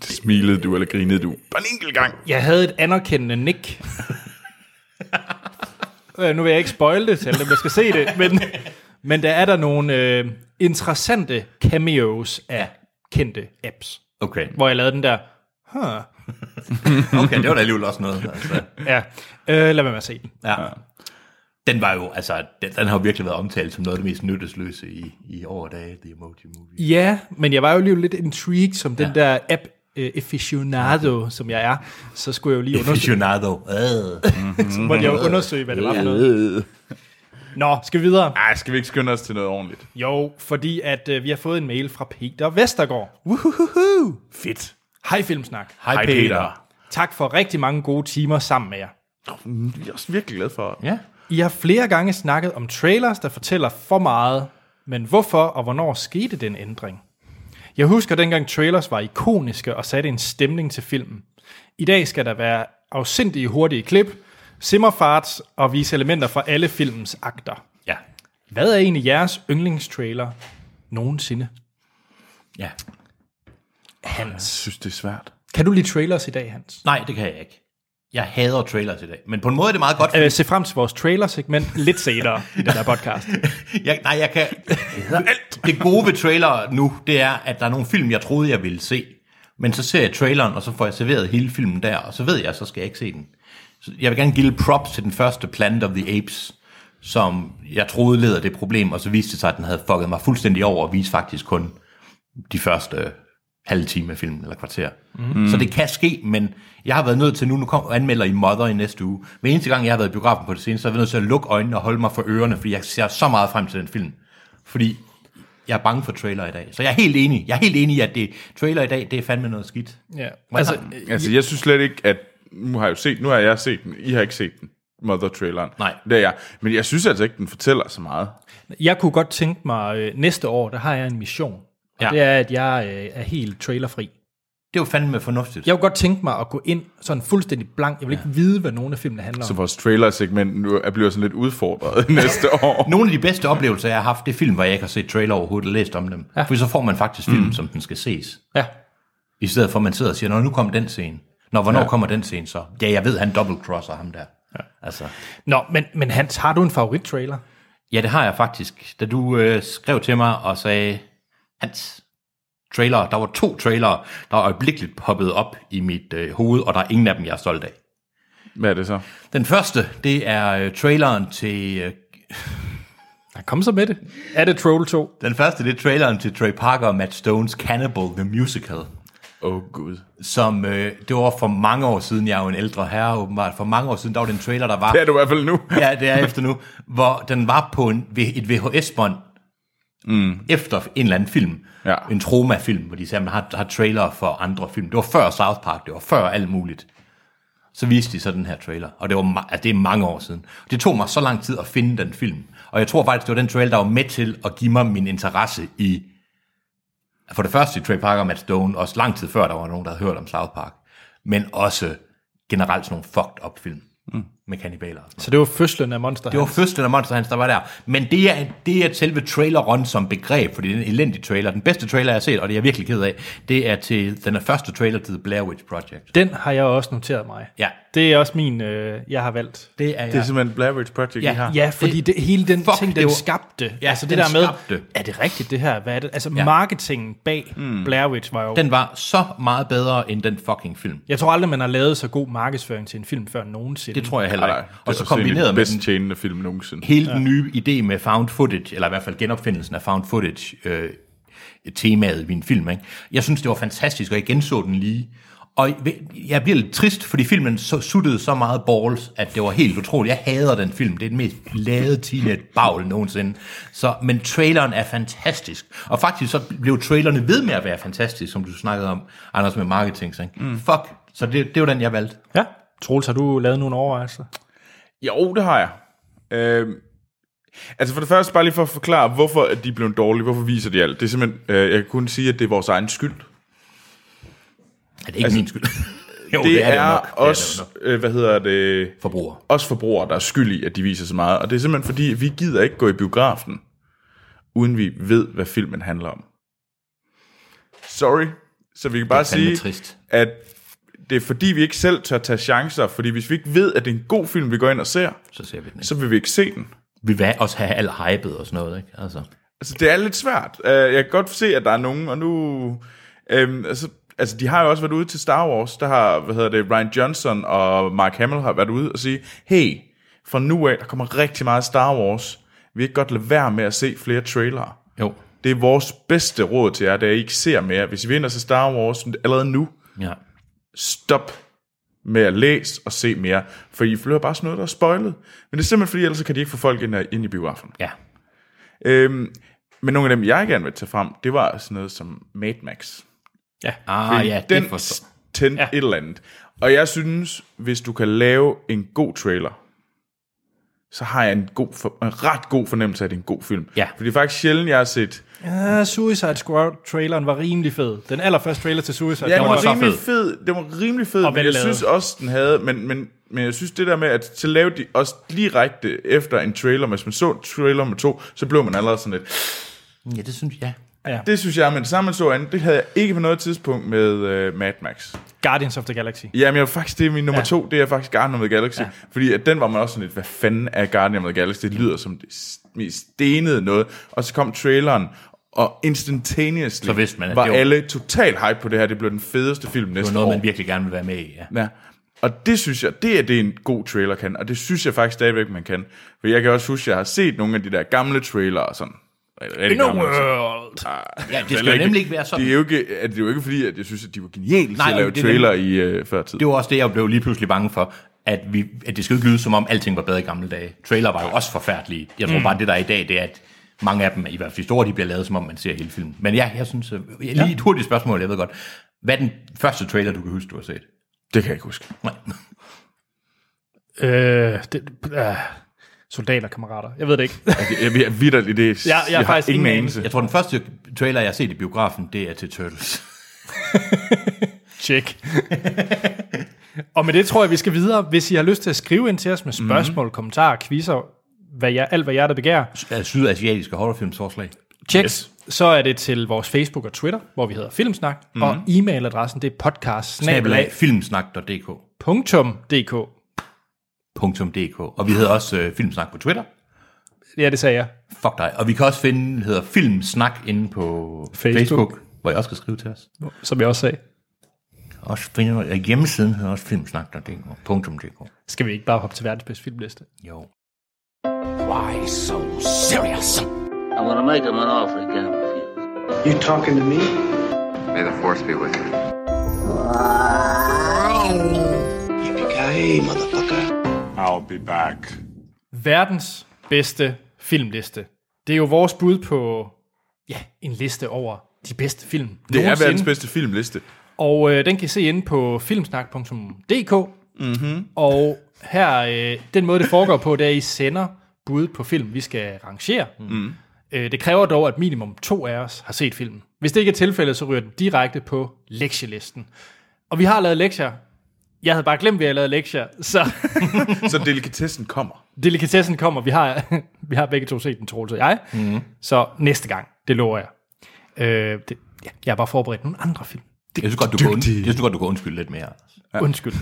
S3: Det smilede du, eller grinede du. Bare en enkelt gang.
S1: Jeg havde et anerkendende nik. øh, nu vil jeg ikke spoil det til alle dem, der skal se det, men, men der er der nogle øh, interessante cameos af kendte apps,
S2: Okay.
S1: hvor jeg lavede den der, huh,
S2: Okay, det var da alligevel også noget. Altså.
S1: ja, øh, lad være med at se den.
S2: Ja. Den var jo, altså, den, den har jo virkelig været omtalt som noget af det mest nyttesløse i, i år og dage, The Emoji Movie.
S1: Ja, men jeg var jo lige lidt intrigued som den der app øh, aficionado, som jeg er, så skulle jeg jo lige undersøge,
S2: Aficionado. Øh.
S1: så måtte jeg jo undersøge, hvad det var for noget.
S3: Øh.
S1: Nå, skal vi videre?
S3: Ej, skal vi ikke skynde os til noget ordentligt?
S1: Jo, fordi at øh, vi har fået en mail fra Peter Vestergaard.
S3: Fedt.
S1: Hej Filmsnak.
S3: Hej, Peter.
S1: Tak for rigtig mange gode timer sammen med jer.
S3: Jeg er også virkelig glad for
S2: Ja.
S1: I har flere gange snakket om trailers, der fortæller for meget, men hvorfor og hvornår skete den ændring? Jeg husker dengang trailers var ikoniske og satte en stemning til filmen. I dag skal der være afsindige hurtige klip, simmerfarts og vise elementer fra alle filmens akter.
S2: Ja.
S1: Hvad er egentlig jeres yndlingstrailer nogensinde?
S2: Ja.
S1: Hans.
S3: synes, det er svært.
S1: Kan du lide trailers i dag, Hans?
S2: Nej, det kan jeg ikke. Jeg hader trailers i dag. Men på en måde er det meget godt,
S1: Øh, se frem til vores trailer-segment lidt senere i den her podcast.
S2: Jeg, nej, jeg kan... Alt. Det gode ved trailer nu, det er, at der er nogle film, jeg troede, jeg ville se. Men så ser jeg traileren, og så får jeg serveret hele filmen der, og så ved jeg, så skal jeg ikke se den. Så jeg vil gerne give lidt props til den første Planet of the Apes, som jeg troede leder det problem, og så viste det sig, at den havde fucket mig fuldstændig over, og viste faktisk kun de første øh, halve time af filmen, eller kvarter. Mm. Så det kan ske, men jeg har været nødt til nu, nu kommer anmelder i Mother i næste uge. Hver eneste gang, jeg har været i biografen på det seneste, så har jeg været nødt til at lukke øjnene og holde mig for ørerne, fordi jeg ser så meget frem til den film. Fordi jeg er bange for trailer i dag. Så jeg er helt enig. Jeg er helt enig i, at det, trailer i dag, det er fandme noget skidt.
S1: Ja.
S2: Altså,
S1: Altså,
S3: Altså, jeg synes slet ikke, at... Nu har jeg jo set, nu har jeg set den. I har ikke set den. Mother-traileren.
S2: Nej.
S3: Det er jeg. Men jeg synes altså ikke, den fortæller så meget.
S1: jeg kunne godt tænke mig, øh, næste år, der har jeg en mission. Og
S2: Ja.
S1: ja. det er, at jeg øh, er helt trailerfri.
S2: Det er jo fandme fornuftigt.
S1: Jeg kunne godt tænke mig at gå ind sådan fuldstændig blank. Jeg vil ikke vide, hvad nogen af filmene handler om.
S3: Så vores trailer-segment nu er bliver sådan lidt udfordret næste år.
S2: Nogle af de bedste oplevelser, jeg har haft, det er film, hvor jeg ikke har set trailer overhovedet og læst om dem. Ja. For så får man faktisk film, mm. som den skal ses.
S1: Ja.
S2: I stedet for, at man sidder og siger, Nå, nu kom den scene. Nå, hvornår ja. kommer den scene så? Ja, jeg ved, han dobbeltcrosser ham der. Ja. Altså,
S1: Nå, men, men Hans, har du en favorit-trailer?
S2: ja, det har jeg faktisk. Da du øh, skrev til mig og sagde, Hans, trailer, der var to trailere, der øjeblikkeligt poppede op i mit øh, hoved, og der er ingen af dem, jeg er stolt af.
S3: Hvad er det så?
S2: Den første, det er øh, traileren til... Øh,
S1: Ja, kom så med det. Er det Troll 2?
S2: den første, det er traileren til Trey Parker og Matt Stones Cannibal The Musical.
S3: Åh, oh, Gud.
S2: som øh, det var for mange år siden, jeg er jo en ældre herre åbenbart, for mange år siden, der var den trailer, der var,
S3: Det er du i hvert fald nu.
S2: ja, det er jeg efter nu, hvor den var på en, ved- et VHS-bånd, mm. efter en eller anden film,
S3: Ja.
S2: en trauma-film, hvor de sagde, man har, har trailer for andre film. Det var før South Park, det var før alt muligt. Så viste de så den her trailer, og det, var, ma- altså, det er mange år siden. Det tog mig så lang tid at finde den film, og jeg tror faktisk, det var den trailer, der var med til at give mig min interesse i for det første i Trey Parker og Matt Stone, også lang tid før, der var nogen, der havde hørt om South Park, men også generelt sådan nogle fucked up film mm. med kannibaler. og sådan noget.
S1: Så det var fødslen af Monster
S2: Det var fødslen af Monster Hans, der var der. Men det er, det er selve traileren som begreb, fordi det er en elendig trailer. Den bedste trailer, jeg har set, og det er jeg virkelig ked af, det er til den er første trailer til The Blair Witch Project.
S1: Den har jeg også noteret mig.
S2: Ja,
S1: Det er også min, øh, jeg har valgt.
S2: det er jeg.
S3: Det er simpelthen Blair Witch Project,
S2: Ja.
S3: I har.
S1: Ja, fordi det, hele den
S2: fuck,
S1: ting, den
S2: det var-
S1: skabte.
S2: Ja,
S1: altså det
S2: den
S1: der med,
S2: skabte.
S1: er det rigtigt det her? Hvad er det? Altså ja. marketingen bag mm. Blair Witch var jo... Den.
S2: Den var så meget bedre end den fucking film.
S1: Jeg tror aldrig, man har lavet så god markedsføring til en film før nogensinde.
S2: Det tror jeg heller
S3: Nej,
S2: ikke.
S3: nej.
S2: Og så kombineret med
S3: bedst
S2: den
S3: den. tjenende film nogensinde.
S2: hele den nye idé med found footage, eller i hvert fald genopfindelsen af found footage, øh, temaet i en film. Ikke? Jeg synes, det var fantastisk, og jeg genså den lige. Og jeg bliver lidt trist, fordi filmen så, suttede så meget balls, at det var helt utroligt. Jeg hader den film. Det er den mest lade teenage bagl nogensinde. Så, men traileren er fantastisk. Og faktisk så blev trailerne ved med at være fantastisk, som du snakkede om, Anders, med marketing. Ikke? Mm. Fuck. Så det, det var den, jeg valgte.
S1: Ja. Troels, har du lavet nogle overvejelser?
S3: Jo, det har jeg. Øhm, altså for det første, bare lige for at forklare, hvorfor at de er blevet dårlige, hvorfor viser de alt. Det er simpelthen, øh, jeg kan kun sige, at det er vores egen skyld.
S2: Er det ikke altså, min skyld? jo,
S3: det,
S2: jo
S3: er,
S2: nok. det
S3: os,
S2: nok.
S3: øh, hvad hedder det,
S2: Forbruger.
S3: os forbrugere, der er skyld i, at de viser så meget. Og det er simpelthen fordi, vi gider ikke gå i biografen, uden vi ved, hvad filmen handler om. Sorry. Så vi kan bare
S2: fandme
S3: sige,
S2: trist.
S3: at det er fordi, vi ikke selv tør tage chancer. Fordi hvis vi ikke ved, at det er en god film, vi går ind og ser,
S2: Så ser vi den ikke.
S3: så vil vi ikke se den.
S2: vi vil også have alt hypet og sådan noget, ikke? Altså,
S3: Altså, det er lidt svært. Øh, jeg kan godt se, at der er nogen, og nu... Øhm, altså, altså, de har jo også været ude til Star Wars. Der har, hvad hedder det, Ryan Johnson og Mark Hamill har været ude og sige, hey, fra nu af, der kommer rigtig meget Star Wars. Vi kan godt lade være med at se flere trailere.
S2: jo.
S3: Det er vores bedste råd til jer, det er, at I ikke ser mere. Hvis I vil ind og se Star Wars allerede nu,
S2: Ja.
S3: stop med at læse og se mere. For I føler bare sådan noget, der er spoilet. Men det er simpelthen fordi, ellers så kan de ikke få folk ind, ind i biografen.
S2: ja.
S3: Øhm, men nogle af dem, jeg gerne vil tage frem, det var sådan noget som Mad Max.
S2: Ah, ja,
S3: Den
S2: det forstår
S3: tændte ja. et eller andet. Og jeg synes, hvis du kan lave en god trailer, så har jeg en, god for, en ret god fornemmelse af, at det er en god film.
S2: Ja.
S3: For det er faktisk sjældent, jeg har set...
S1: Ja, Øh, Suicide Squad-traileren var rimelig fed. Den allerførste trailer til Suicide
S3: Ja, den
S1: Squad
S2: var
S3: var,
S2: så
S3: rimelig
S2: fed.
S3: fed. Den var rimelig fed, men jeg
S1: vellavet.
S3: synes også, den havde... Men, men, men jeg synes, det der med, at så lavede de også direkte efter en trailer. Hvis man så trailer nummer to, så blev man allerede sådan lidt...
S2: Ja, det synes jeg.
S1: Ja.
S3: Det synes jeg, men det samme man så andet, det havde jeg ikke på noget tidspunkt med øh, Mad Max.
S1: Guardians of the Galaxy.
S3: Jamen, jeg, vil faktisk, det er min nummer
S1: Ja.
S3: ja. to, det er faktisk Guardian of the Galaxy.
S1: Ja.
S3: Ja. Fordi at den var man også sådan lidt, hvad fanden er Guardian of the Galaxy? Det lyder som det s- mest stenede noget. Og så kom traileren, og instantaneously
S2: Så vidste man, at
S3: var
S2: det var-
S3: alle total hype på det her. Det blev den fedeste film
S2: Det var
S3: næste
S2: noget,
S3: år.
S2: man virkelig gerne vil være med i, ja.
S3: Ja. Og det synes jeg, det er det en god trailer kan, og det synes jeg faktisk stadigvæk, man kan. For jeg kan også huske, at jeg har set nogle af de der gamle trailere og sådan. Rigtig gamle, altså.
S2: Ja, Ah, det skal
S3: Heller
S2: jo nemlig ikke være sådan.
S3: Det er jo ikke, at det er jo ikke fordi, at jeg synes, at de var geniale til
S2: Nej,
S3: at lave
S2: det er
S3: trailer i øh, før tid.
S2: Det var også det, jeg blev lige pludselig bange for, at, vi, at det skal jo ikke lyde som om, alting var bedre i gamle dage. Trailer var jo også forfærdelige. Jeg tror mm. bare, det der er i dag, det er, at mange af dem, i hvert fald de store, de bliver lavet, som om man ser hele filmen. Men ja, jeg synes, øh, lige et hurtigt spørgsmål, jeg ved godt. Hvad er den første trailer, du kan huske, du har set?
S3: Det kan jeg ikke huske.
S2: Nej.
S1: Øh, det, øh, soldater, kammerater. Jeg ved det ikke.
S3: Jeg, jeg, jeg vidderligt, det er,
S1: jeg har faktisk ingen anelse.
S2: Jeg tror, den første trailer, jeg har set i biografen, det er til Turtles.
S1: Check. og med det tror jeg, vi skal videre. Hvis I har lyst til at skrive ind til os med spørgsmål, mm. kommentarer, quizzer, hvad jeg, alt hvad jeg der begærer,
S2: Af Sydasiatiske horrorfilmsforslag.
S1: check. Yes. Så er det til vores Facebook og Twitter, hvor vi hedder Filmsnak,
S3: Mhm.
S1: mm. og e-mailadressen det er podcast
S2: Snabelag filmsnak.dk.
S1: .dk.
S2: .dk. Og vi hedder også øh, Filmsnak på Twitter.
S1: Ja, det sagde jeg.
S2: Fuck dig. Og vi kan også finde, den hedder Filmsnak inde på
S1: Facebook.
S2: Facebook, Facebook hvor jeg også kan skrive til os.
S1: Som jeg også sagde.
S2: Også finder, og hjemmesiden hedder også filmsnak.dk.
S1: Skal vi ikke bare hoppe til verdens bedste filmliste?
S2: Jo.
S4: Why so serious?
S5: I'm gonna make him an offer again with you.
S6: You talking to me?
S7: May the force be with you.
S6: Yippee-ki-yay, motherfucker.
S8: I'll be back.
S1: Verdens bedste filmliste. Det er jo vores bud på ja, en liste over de bedste film.
S3: Det er
S1: nogensinde.
S3: verdens bedste filmliste.
S1: Og øh, den kan I se inde på filmsnak.dk. Mm-hmm. Og her, øh, den måde det foregår på, det er, at I sender bud på film, vi skal rangere. Mm. Øh, det kræver dog, at minimum to af os har set filmen. Hvis det ikke er tilfældet, så ryger den direkte på lektielisten. Og vi har lavet lektier. Jeg havde bare glemt, at vi havde lavet lektier, så
S3: Så delikatessen kommer.
S1: delikatessen kommer. Vi har, vi har begge to set den, Troels og jeg. Mm. Så næste gang, det lover jeg. Øh, det, ja, jeg har bare forberedt nogle andre film.
S2: Jeg synes godt, du kan, und- jeg synes godt, du kan undskylde lidt mere.
S1: Ja. Undskyld.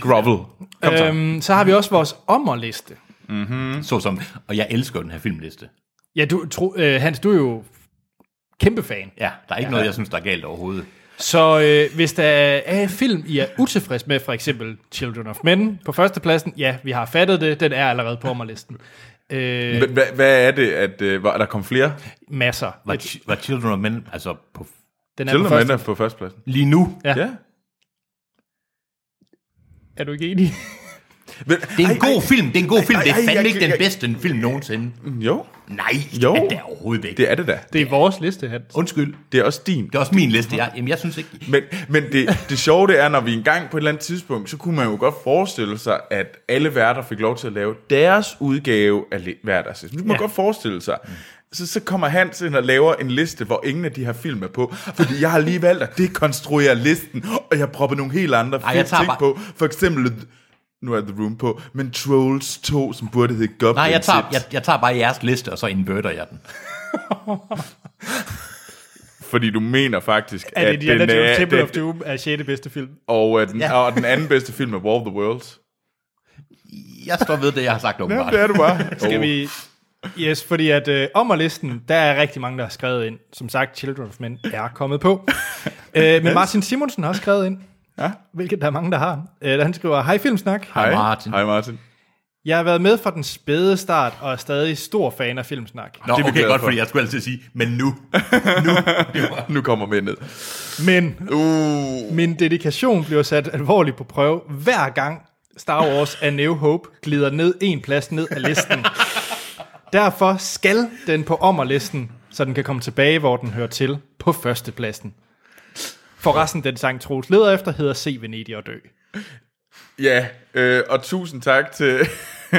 S3: Grovel. Kom så.
S1: Øhm, så har vi også vores ommerliste.
S3: Øhm.
S2: Så som, og jeg elsker den her filmliste.
S1: Ja, du, tro, øh, Hans, du er jo kæmpe fan.
S2: Ja, der er ikke ja. noget, jeg synes, der er galt overhovedet.
S1: Så øh, hvis der er en film, I er utilfreds med, for eksempel Children of Men på førstepladsen, ja, vi har fattet det, den er allerede på ommerlisten. Øh,
S3: Hva- hva- Hvad er det, at øh, var- er der kom flere?
S1: masser.
S2: Var, chi- var Children of Men, altså på,
S1: Den er på
S3: Children of
S1: første.
S3: Men er på førstepladsen.
S2: lige nu,
S1: Ja.
S3: Ja.
S1: Er du ikke enig?
S3: Men,
S2: det er en ej, god ej, film, det er en god film,
S3: Ej,
S2: det er
S3: ej,
S2: fandme
S3: jeg-
S2: ikke den
S3: jeg-
S2: bedste film nogensinde.
S3: Jo,
S2: Nej,
S3: Jo.
S2: det er det overhovedet ikke.
S3: det er det da.
S1: Det er vores liste, Hans.
S2: Undskyld,
S3: Det er også din.
S2: det er også min liste. Jeg, jamen, jeg synes ikke,
S3: Men, men det, det sjove det er, når vi engang på et eller andet tidspunkt, så kunne man jo godt forestille sig, at alle værter fik lov til at lave deres udgave af le- hverdags. Nu kan man
S1: Ja.
S3: ja. godt forestille sig. Så, så kommer Hans ind og laver en liste, hvor ingen af de her film er på. Fordi jeg har lige valgt at dekonstruere listen, og jeg propper nogle helt andre
S2: Ej,
S3: Ej,
S2: jeg
S3: ting
S2: tager
S3: bare...
S2: bare-
S3: på. For eksempel, nu er The Room på, men Trolls 2, som burde hedde Goblin
S2: Nej, jeg tager, jeg,
S3: Shit,
S2: jeg tager bare jeres liste, og så inverter jeg den.
S3: Fordi du mener faktisk,
S1: Er
S3: at
S1: det Indiana
S3: den
S1: Jones
S3: er,
S1: Temple of
S3: den,
S1: Doom er 6. bedste film?
S3: og, øh, den, ja. og den anden bedste film er War of the Worlds.
S2: Jeg står ved det, jeg har sagt åbenbart.
S3: Det er du bare.
S1: Skal vi... Yes, fordi at øh, ommerlisten, der er rigtig mange, der har skrevet ind. Som sagt, Children of Men er kommet på. øh, men Martin Simonsen har også skrevet ind,
S3: Ja.
S1: hvilket der er mange, der har. Øh, han skriver, hej Filmsnak.
S2: Hej, Martin.
S3: Hej Martin.
S1: Jeg har været med fra den spæde start, og er stadig stor fan af Filmsnak.
S2: Nå,
S3: Det er vi
S2: okay,
S3: glade
S2: godt,
S3: for.
S2: fordi jeg skulle altid sige, men nu.
S3: Nu kommer vi ned.
S1: Men
S3: Uh.
S1: min dedikation bliver sat alvorligt på prøve, hver gang Star Wars A New Hope glider ned en plads ned af listen. Derfor skal den på ommerlisten, så den kan komme tilbage, hvor den hører til, på førstepladsen. Forresten, den sang Troels leder efter, hedder Se Venedig og Dø.
S3: Ja, øh, og tusind tak til,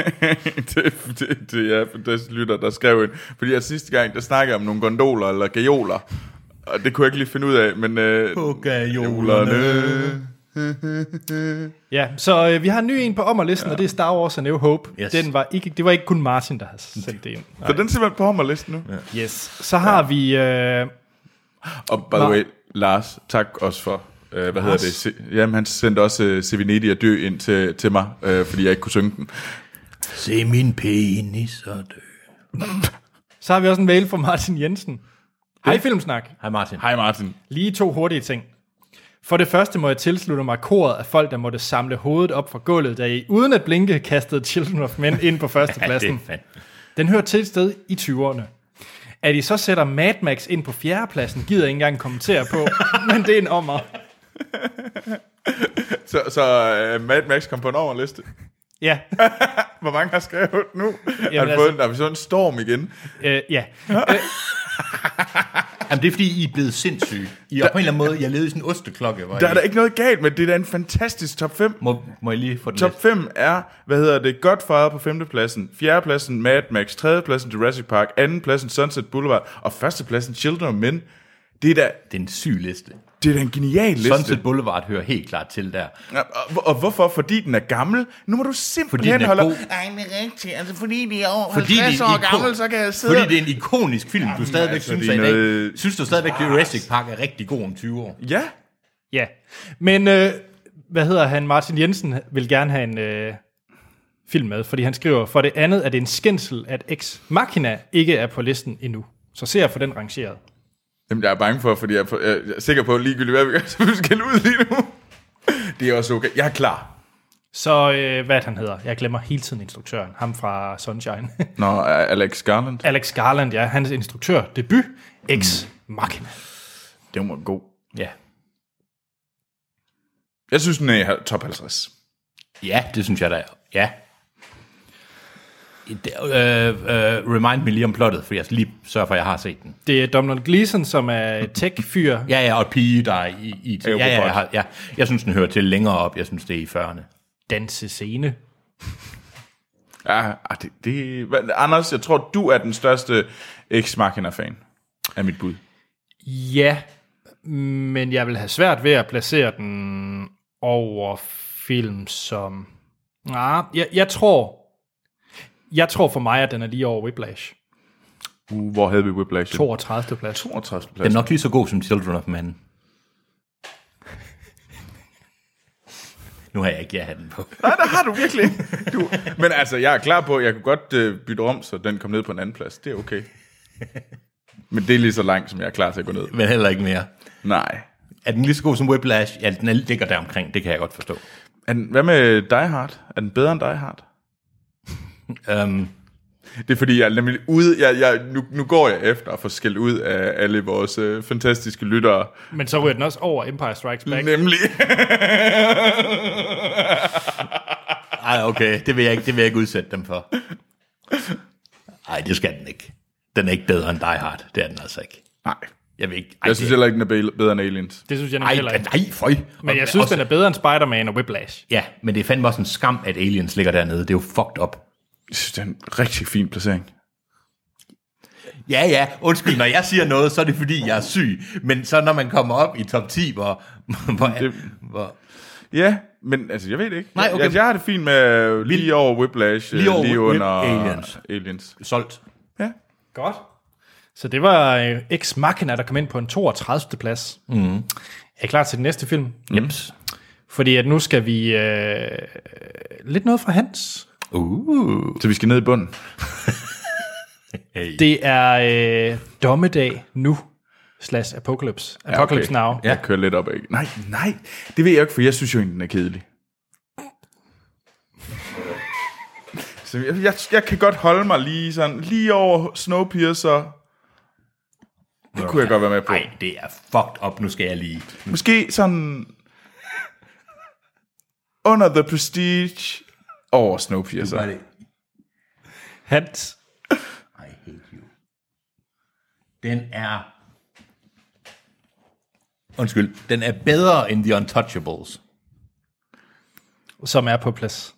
S3: til, til, til ja, for des lytter, der skrev ind. Fordi jeg sidste gang, der snakkede jeg om nogle gondoler eller gajoler. Og det kunne jeg ikke lige finde ud af, men... Øh,
S1: Ja, så øh, vi har en ny en på ommerlisten, ja. og det er Star Wars A New Hope.
S2: Yes.
S1: Den var ikke, det var ikke kun Martin, der har sendt det ind.
S3: Så den er simpelthen på mig listen nu. Ja.
S1: Yes. Så har ja. vi øh,
S3: Og by the way, Lars, tak også for, øh, hvad hedder det? Se, jamen, han sendte også øh, Sevinedi at dø ind til, til mig, øh, fordi jeg ikke kunne synge den.
S2: Se min penis og dø.
S1: Så har vi også en mail fra Martin Jensen. Hej Filmsnak.
S2: Hej Martin.
S3: Hej Martin.
S1: Lige to hurtige ting. For det første må jeg tilslutte mig koret af folk, der måtte samle hovedet op fra gulvet, da I uden at blinke kastede Children of Men ind på
S2: Ja, det er
S1: førstepladsen.
S2: fandme.
S1: Den hører til et sted i 20'erne. At I så sætter Mad Max ind på fjerdepladsen, gider jeg ikke engang kommentere på, men det er en ommer.
S3: Så, så øh, Mad Max kom på en overliste.
S1: Ja,
S3: Hvor mange har skrevet nu? Jamen, har
S1: altså-
S3: vi fået en, har vi så en storm igen?
S1: øh, ja.
S2: Jamen, det er fordi, I er blevet sindssyge. I er på en eller anden måde, jeg levede i sådan en osteklokke. Hvor
S3: Der er
S2: I-
S3: da ikke noget galt med det. Det er da en fantastisk top 5.
S2: Må, må jeg lige få den
S3: Top 5 er, hvad hedder det, Godfather på 5. pladsen, 4. pladsen Mad Max, 3. pladsen Jurassic Park, 2. pladsen Sunset Boulevard og 1. pladsen Children of Men. Det er da,
S2: Det er en syg liste. liste.
S3: det er da en genial liste.
S2: Sunset Boulevard hører helt klart til der.
S3: Ja, Og, og hvorfor? Fordi den er gammel? Nu må du
S2: Fordi
S3: simpelthen
S2: den er
S3: holde...
S2: god.
S3: Nej, men rigtigt. Altså, fordi de er over
S2: Fordi det er en
S3: 50 år
S2: ikon-
S3: gammel, så kan jeg sidde...
S2: Fordi det er en ikonisk film, du stadigvæk
S3: altså,
S2: synes,
S3: det er
S2: at i dag-
S3: noget- Ah.
S2: synes du stadigvæk, at Jurassic Park er rigtig god om 20 år.
S3: Ja,
S1: ja. Men, øh, hvad hedder han, Martin Jensen vil gerne have en øh, film med, fordi han skriver, for det andet er det en skændsel, at Ex Machina ikke er på listen endnu. Så ser jeg for den rangeret.
S3: Jamen, jeg er bange for, fordi jeg er, for- jeg er sikker på, at ligegyldigt hvad vi gør, så vi skal ud lige nu. Det er også okay. Jeg er klar.
S1: Så, øh, hvad er det, han hedder? Jeg glemmer hele tiden instruktøren. Ham fra Sunshine.
S3: Nå, Alex Garland.
S1: Alex Garland, ja. Hans instruktør. Debut. Ex Machina.
S3: Det var god.
S2: Ja.
S3: Jeg synes, den er i top 50.
S2: Ja, det synes jeg da. Ja. Det, øh, øh, remind me lige om plottet, for jeg skal lige sørge for, at jeg har set den.
S1: Det er Donald Gleason, som er tech-fyr.
S2: Ja, ja, og pige, der er i, i ja, ja,
S3: robot.
S2: jeg, har- ja. jeg synes, den hører til længere op. Jeg synes, det er i 40'erne.
S1: Dansescene.
S3: Ja, ah, det, det, hvad- Anders, jeg tror, du er den største ex machina fan af mit bud.
S1: Ja, men jeg vil have svært ved at placere den over film som... Nej, jeg, jeg tror... Jeg tror for mig, at den er lige over Whiplash.
S3: Uh, hvor havde vi Whiplash?
S1: 32. plads.
S3: 62. plads.
S2: Den er nok lige så god som Children of Man. Nu har jeg ikke ja-hatten på.
S3: Nej, der har du virkelig ikke. du. Men altså, jeg er klar på, at jeg kunne godt øh, bytte om, så den kom ned på en anden plads. Det er okay. Men det er lige så langt, som jeg er klar til at gå ned.
S2: Men heller ikke mere.
S3: Nej.
S2: Er den lige så god som Whiplash? Ja, den er, ligger der omkring. Det kan jeg godt forstå.
S3: Er den, hvad med Die Hard? Er den bedre end Die Hard?
S2: Um,
S3: Det er fordi, jeg er nemlig ude, jeg, jeg, nu, nu går jeg efter at få skældt ud af alle vores øh, fantastiske lyttere.
S1: Men så ryger den også over Empire Strikes Back.
S3: Nemlig.
S2: ej, okay. Det vil, jeg ikke, det vil jeg ikke udsætte dem for. Ej, det skal den ikke. Den er ikke bedre end Die Hard. Det er den altså ikke.
S3: Nej.
S2: Jeg vil ikke. Ej,
S3: Jeg synes heller ikke, den er bedre end Aliens.
S1: Det synes jeg nemlig
S2: ej,
S1: heller
S2: ej,
S1: ikke.
S2: nej, føj.
S1: Men jeg synes, den er bedre end Spider-Man og Whiplash.
S2: Ja, men det er fandme også en skam, at Aliens ligger dernede. Det er jo fucked up.
S3: Jeg synes, det er en rigtig fin placering.
S2: Ja, ja, undskyld, når jeg siger noget, så er det fordi, jeg er syg. Men så når man kommer op i top 10, hvor... hvor, det, hvor
S3: Ja, men altså, jeg ved det ikke.
S2: Nej, okay.
S3: jeg, jeg har det fint med øh, lige over Whiplash, øh,
S2: Lige over
S3: lige
S2: Whip-
S3: under
S2: Aliens.
S3: Aliens.
S2: solgt.
S3: Ja.
S1: Godt. Så det var øh, Ex Machina, der kom ind på en 32. plads. Mm. Er I klar til den næste film?
S2: Jeps.
S1: Fordi at nu skal vi øh, lidt noget fra Hans.
S2: Uh.
S3: Så vi skal ned i bunden.
S1: Det er øh, Dommedag Nu slash Apocalypse. Apocalypse ja, okay. Now.
S3: Ja. Jeg kører lidt op ad. Nej, nej. Det ved jeg ikke, for jeg synes jo egentlig, den er kedelig. Så jeg, jeg, jeg kan godt holde mig lige sådan, lige over Snowpiercer. Det kunne jeg godt være med på.
S2: Nej, det er fucked up, nu skal jeg lige.
S3: Måske sådan under The Prestige over Snowpiercer.
S2: det.
S1: Hans.
S2: I hate you. Den er... Undskyld, den er bedre end The Untouchables.
S1: Som er på plads.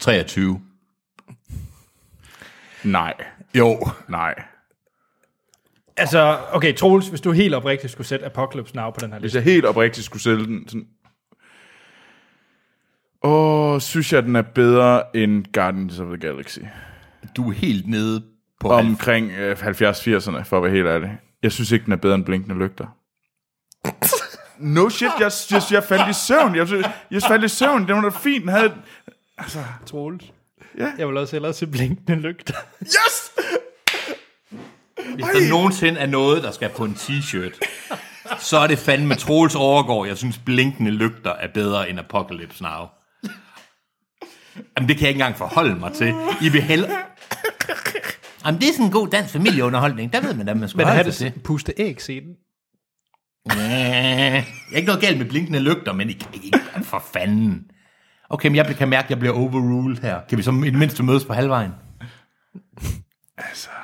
S2: 23.
S3: Nej,
S2: Jo.
S3: nej.
S1: Altså, okay, Troels, hvis du helt oprigtigt skulle sætte Apocalypse Now på den her
S3: Hvis
S1: liste.
S3: jeg helt oprigtigt skulle sælge den, sådan... Åh, synes jeg, den er bedre end Guardians of the Galaxy.
S2: Du er helt nede på... halv-
S3: omkring øh, 70-80'erne, for at være helt ærlig. Jeg synes ikke, den er bedre end Blinkende Lygter. No shit, jeg, jeg, jeg faldt i søvn. Jeg, jeg faldt i søvn. Den var da fint. Den havde...
S1: Troels. Ja. Jeg vil også hellere se blinkende lygter.
S3: Yes!
S2: Hvis der nogensinde er noget, der skal på en t-shirt, så er det fandme Troels Overgaard. Jeg synes, blinkende lygter er bedre end Apocalypse Now. Jamen, det kan jeg ikke engang forholde mig til. I vil hellere... Jamen, det er sådan en god dansk familieunderholdning. Der ved man, at man skal
S1: Men
S2: holde
S1: have
S2: sig til.
S1: det puste æg scenen.
S2: Jeg er ikke noget galt med blinkende lygter, men I kan ikke for fanden. Okay, men jeg kan mærke, at jeg bliver overruled her. Kan vi så i det mindste mødes på halvvejen?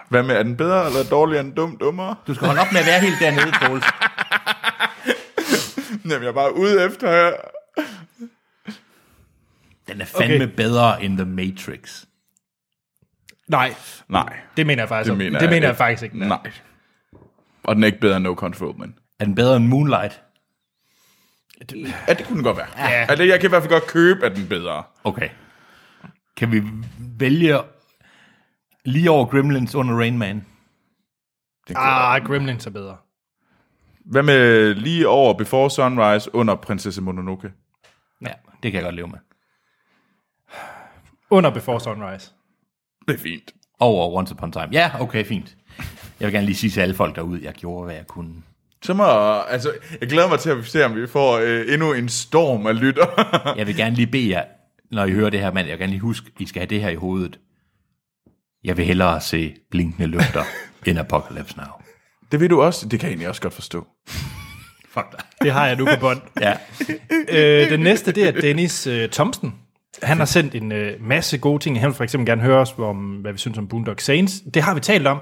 S3: Hvad med, er den bedre eller dårligere end dum dummere?
S2: Du skal holde op med at være helt dernede, Troels.
S3: Jamen, jeg er bare ude efter her.
S2: Den er fandme okay. bedre end The Matrix.
S1: Nej,
S3: Nej,
S1: det mener jeg faktisk
S3: det
S1: ikke.
S3: mener,
S1: det mener jeg,
S3: ikke.
S1: faktisk ikke. den er.
S3: Nej. Og den er ikke bedre end No Country for Old Men.
S2: Er den bedre end Moonlight?
S3: Ja, det kunne den godt være. Ja. Altså, jeg kan i hvert fald godt købe, at den er bedre.
S2: Okay. Kan vi vælge lige over Gremlins under Rain Man?
S1: Ah, Gremlins er bedre.
S3: Hvad med lige over Before Sunrise under Prinsesse Mononoke?
S2: Ja, det kan jeg godt leve med.
S1: Under Before Sunrise.
S3: Det er fint.
S2: Over Once Upon a Time. Ja, okay, fint. Jeg vil gerne lige sige til alle folk derude, jeg gjorde, hvad jeg kunne.
S3: Så må, altså, jeg glæder mig til at se, om vi får øh, endnu en storm af lytter.
S2: Jeg vil gerne lige bede jer, når I hører det her, mand, jeg vil gerne lige huske, I skal have det her i hovedet. Jeg vil hellere se blinkende lygter end Apocalypse Now.
S3: det ved du også. Det kan jeg egentlig også godt forstå.
S2: Fuck dig.
S1: Det har jeg nu på bånd.
S2: Ja.
S1: øh, den næste, det er Dennis øh, Thomsen. Han har sendt en øh, masse gode ting. Han vil for eksempel gerne høre os om, hvad vi synes om Boondock Saints. Det har vi talt om.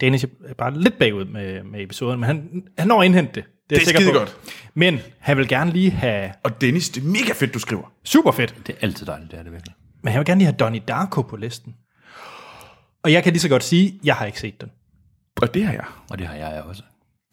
S1: Dennis er bare lidt bagud med, med episoden, men han, han når at indhente det. Det er, jeg
S3: Det er
S1: sikker på.
S3: skidegodt.
S1: Men han vil gerne lige have...
S3: Og Dennis, det er mega fedt, du skriver.
S1: Super fedt.
S2: Det er altid dejligt, det er det virkelig.
S1: Men han vil gerne lige have Donnie Darko på listen. Og jeg kan lige så godt sige, jeg har ikke set den.
S3: Og det har jeg.
S2: Og det har jeg også.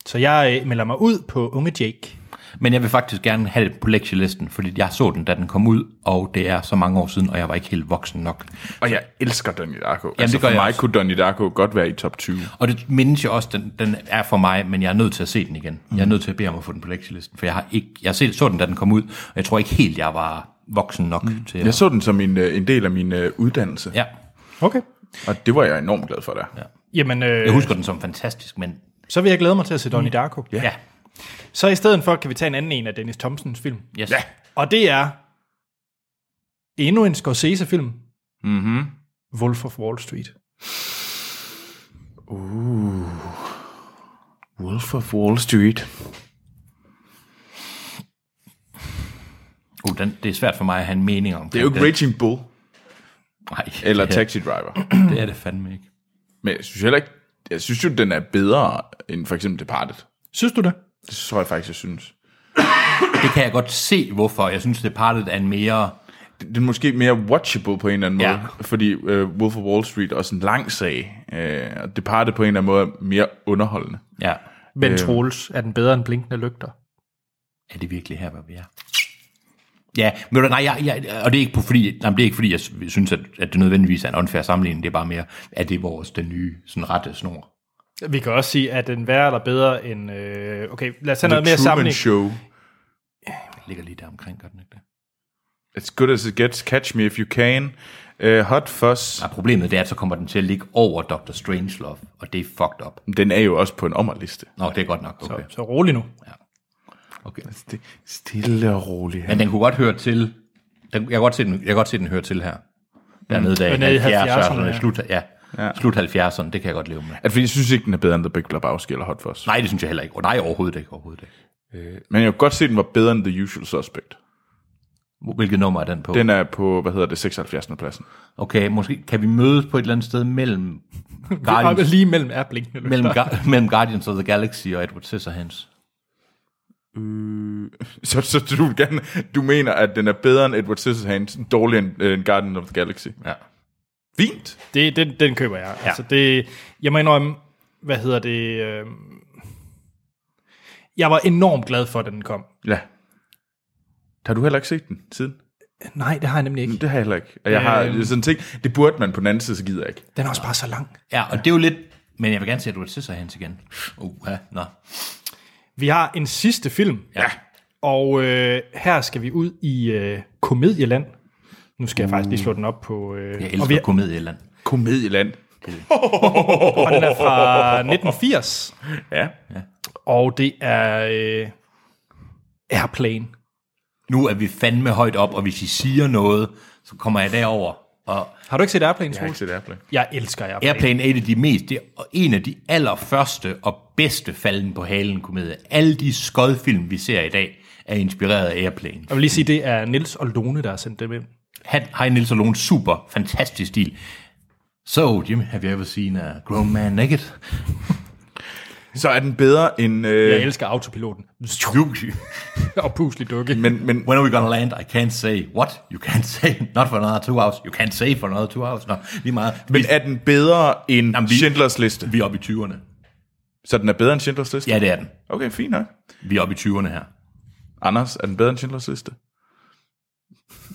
S1: Så jeg øh, melder mig ud på Unge Jake.
S2: Men jeg vil faktisk gerne have det på lektielisten, fordi jeg så den, da den kom ud, og det er så mange år siden, og jeg var ikke helt voksen nok.
S3: Og jeg elsker Donnie Darko. Jamen,
S2: det gør
S3: for
S2: jeg
S3: mig
S2: også.
S3: kunne Donnie Darko godt være i top 20.
S2: Og det mindes jeg også, den, den er for mig, men jeg er nødt til at se den igen. Jeg er nødt til at bede om at få den på lektielisten, for jeg har ikke, jeg set, så den, da den kom ud, og jeg tror ikke helt, jeg var voksen nok mm. til
S3: Jeg
S2: at...
S3: så den som en, øh, en del af min øh, uddannelse, ja.
S2: Ja,
S1: Okay.
S3: og det var jeg enormt glad for der. Ja.
S1: Jamen,
S2: jeg
S1: øh,
S2: husker den som fantastisk, men
S1: så vil jeg glæde mig til at se Donnie Darko.
S2: ja, ja
S1: Så i stedet for kan vi tage en anden en af Dennis Thompsons film.
S2: yes. ja.
S1: Og det er endnu en Scorsese-film. Mm-hmm. Wolf of Wall Street.
S3: Wolf of Wall Street.
S2: Uh, den, det er svært for mig at have en mening om.
S3: Det er jo ikke
S2: den.
S3: Raging Bull
S2: Nej,
S3: eller
S2: det, er-
S3: Taxi Driver.
S2: det er det fandme ikke.
S3: Men jeg synes heller ikke, jeg synes jo, den er bedre end for eksempel Departed.
S1: Synes du det?
S3: Det tror jeg faktisk, jeg synes.
S2: Det kan jeg godt se, hvorfor. Jeg synes, det partet er en mere...
S3: Den er måske mere watchable på en eller anden måde,
S2: Ja.
S3: fordi øh, Wolf of Wall Street er også en lang sag, øh, og Departed på en eller anden måde er mere underholdende.
S2: Ja,
S1: Men øh. Troels, er den bedre end Blinkende Lygter?
S2: er det virkelig her, hvor vi er? Ja, men ved du, nej, jeg, jeg, og det er ikke, på, fordi, nej, men det er ikke fordi, jeg synes, at, at det nødvendigvis er en unfair sammenligning. Det er bare mere, at det er vores, den nye sådan rette snor.
S1: Vi kan også sige, at den værre eller bedre end... Øh, okay, lad os tage noget mere
S3: Truman
S1: sammenligning.
S3: Show.
S2: Den ligger lige der omkring, gør den ikke det?
S3: As good as it gets, catch me if you can. Uh, hot Fuzz.
S2: Nej, problemet det er, at så kommer den til at ligge over Dr. Strangelove, og det er fucked up.
S3: Den er jo også på en ommerliste.
S2: Nå, det er godt nok. Okay.
S1: Så rolig nu.
S2: okay.
S3: Sti- Stille og roligt.
S2: Men den kunne godt høre til... Den, jeg, kan godt se, den, jeg kan godt se, den hører til her. Dernede der
S1: Den er i
S2: i 70'erne.
S1: 70'erne,
S2: ja.
S1: ja.
S2: Slut, ja. ja. Slut 70'erne, det kan jeg godt leve med.
S3: At, fordi jeg synes ikke, den er bedre end The Big Lebowski eller Hot Fuzz.
S2: Nej, det synes jeg heller ikke. Oh, nej, overhovedet ikke. Overhovedet ikke.
S3: Men jeg kan godt se, at den var bedre end The Usual Suspect.
S2: Hvilket nummer er den på?
S3: Den er på, hvad hedder det, 76. pladsen.
S2: Okay, måske kan vi mødes på et eller andet sted mellem
S1: Oppe
S2: Guardians,
S1: lige mellem er Blinkende Lygter.
S2: mellem, Gu- mellem Guardians of the Galaxy og Edward Scissorhands.
S3: Øh, Så, så du, vil gerne, du mener, at den er bedre end Edward Scissorhands, dårligere end, øh, end Guardian of the Galaxy.
S2: Ja.
S3: Fint.
S1: Det, den, den køber jeg. Ja. Altså det, jeg må indrømme, hvad hedder det... Øh, jeg var enormt glad for, at den kom.
S3: Ja. Har du heller ikke set den siden?
S1: Nej, det har jeg nemlig ikke.
S3: Det har Øhm. jeg heller ikke. Og jeg har sådan ting, det burde man på den anden side, så gider jeg ikke.
S1: Den er også bare så lang.
S2: ja, og det er jo lidt Men jeg vil gerne se Edward Scissorhands igen. Uh, ja, nå.
S1: Vi har en sidste film,
S2: Ja.
S1: og øh, her skal vi ud i øh, komedieland. Nu skal jeg faktisk lige slå den op på... Øh,
S2: Jeg
S1: og, vi,
S2: elsker komedieland.
S3: Komedieland.
S1: og den er fra 1980,
S3: Ja.
S1: og det er øh, Airplane.
S2: Nu er vi fandme højt op, og hvis I siger noget, så kommer jeg derover. Og
S1: Har du ikke set Airplane,
S3: Jeg har ikke
S1: Troels?
S3: set Airplane.
S1: Jeg elsker Airplane.
S2: Airplane er et af de mest, det er en af de allerførste og bedste falden på halen komedier. Alle de skodfilm, vi ser i dag, er inspireret af Airplane.
S1: Jeg vil lige sige, det er Nils og Lone, der har sendt dem ind.
S2: Han har en Niels Alone super fantastisk stil. So, Jim, have you ever seen a grown man naked?
S3: Så er den bedre end...
S1: Jeg
S3: Øh,
S1: elsker autopiloten.
S2: You-
S1: og puslig dukke.
S3: men, men
S2: When are we gonna land? I can't say. What? You can't say. Not for another two hours. You can't say for another two hours. Nå, lige meget.
S3: Men er den bedre end
S2: Jamen,
S3: Jamen,
S2: vi-
S3: Schindlers Liste?
S2: Vi er oppe i 20'erne.
S3: Så den er bedre end Schindlers Liste?
S2: Ja, det er den.
S3: Okay, fint nok.
S2: Vi er oppe i 20'erne her.
S3: Anders, er den bedre end Schindlers Liste?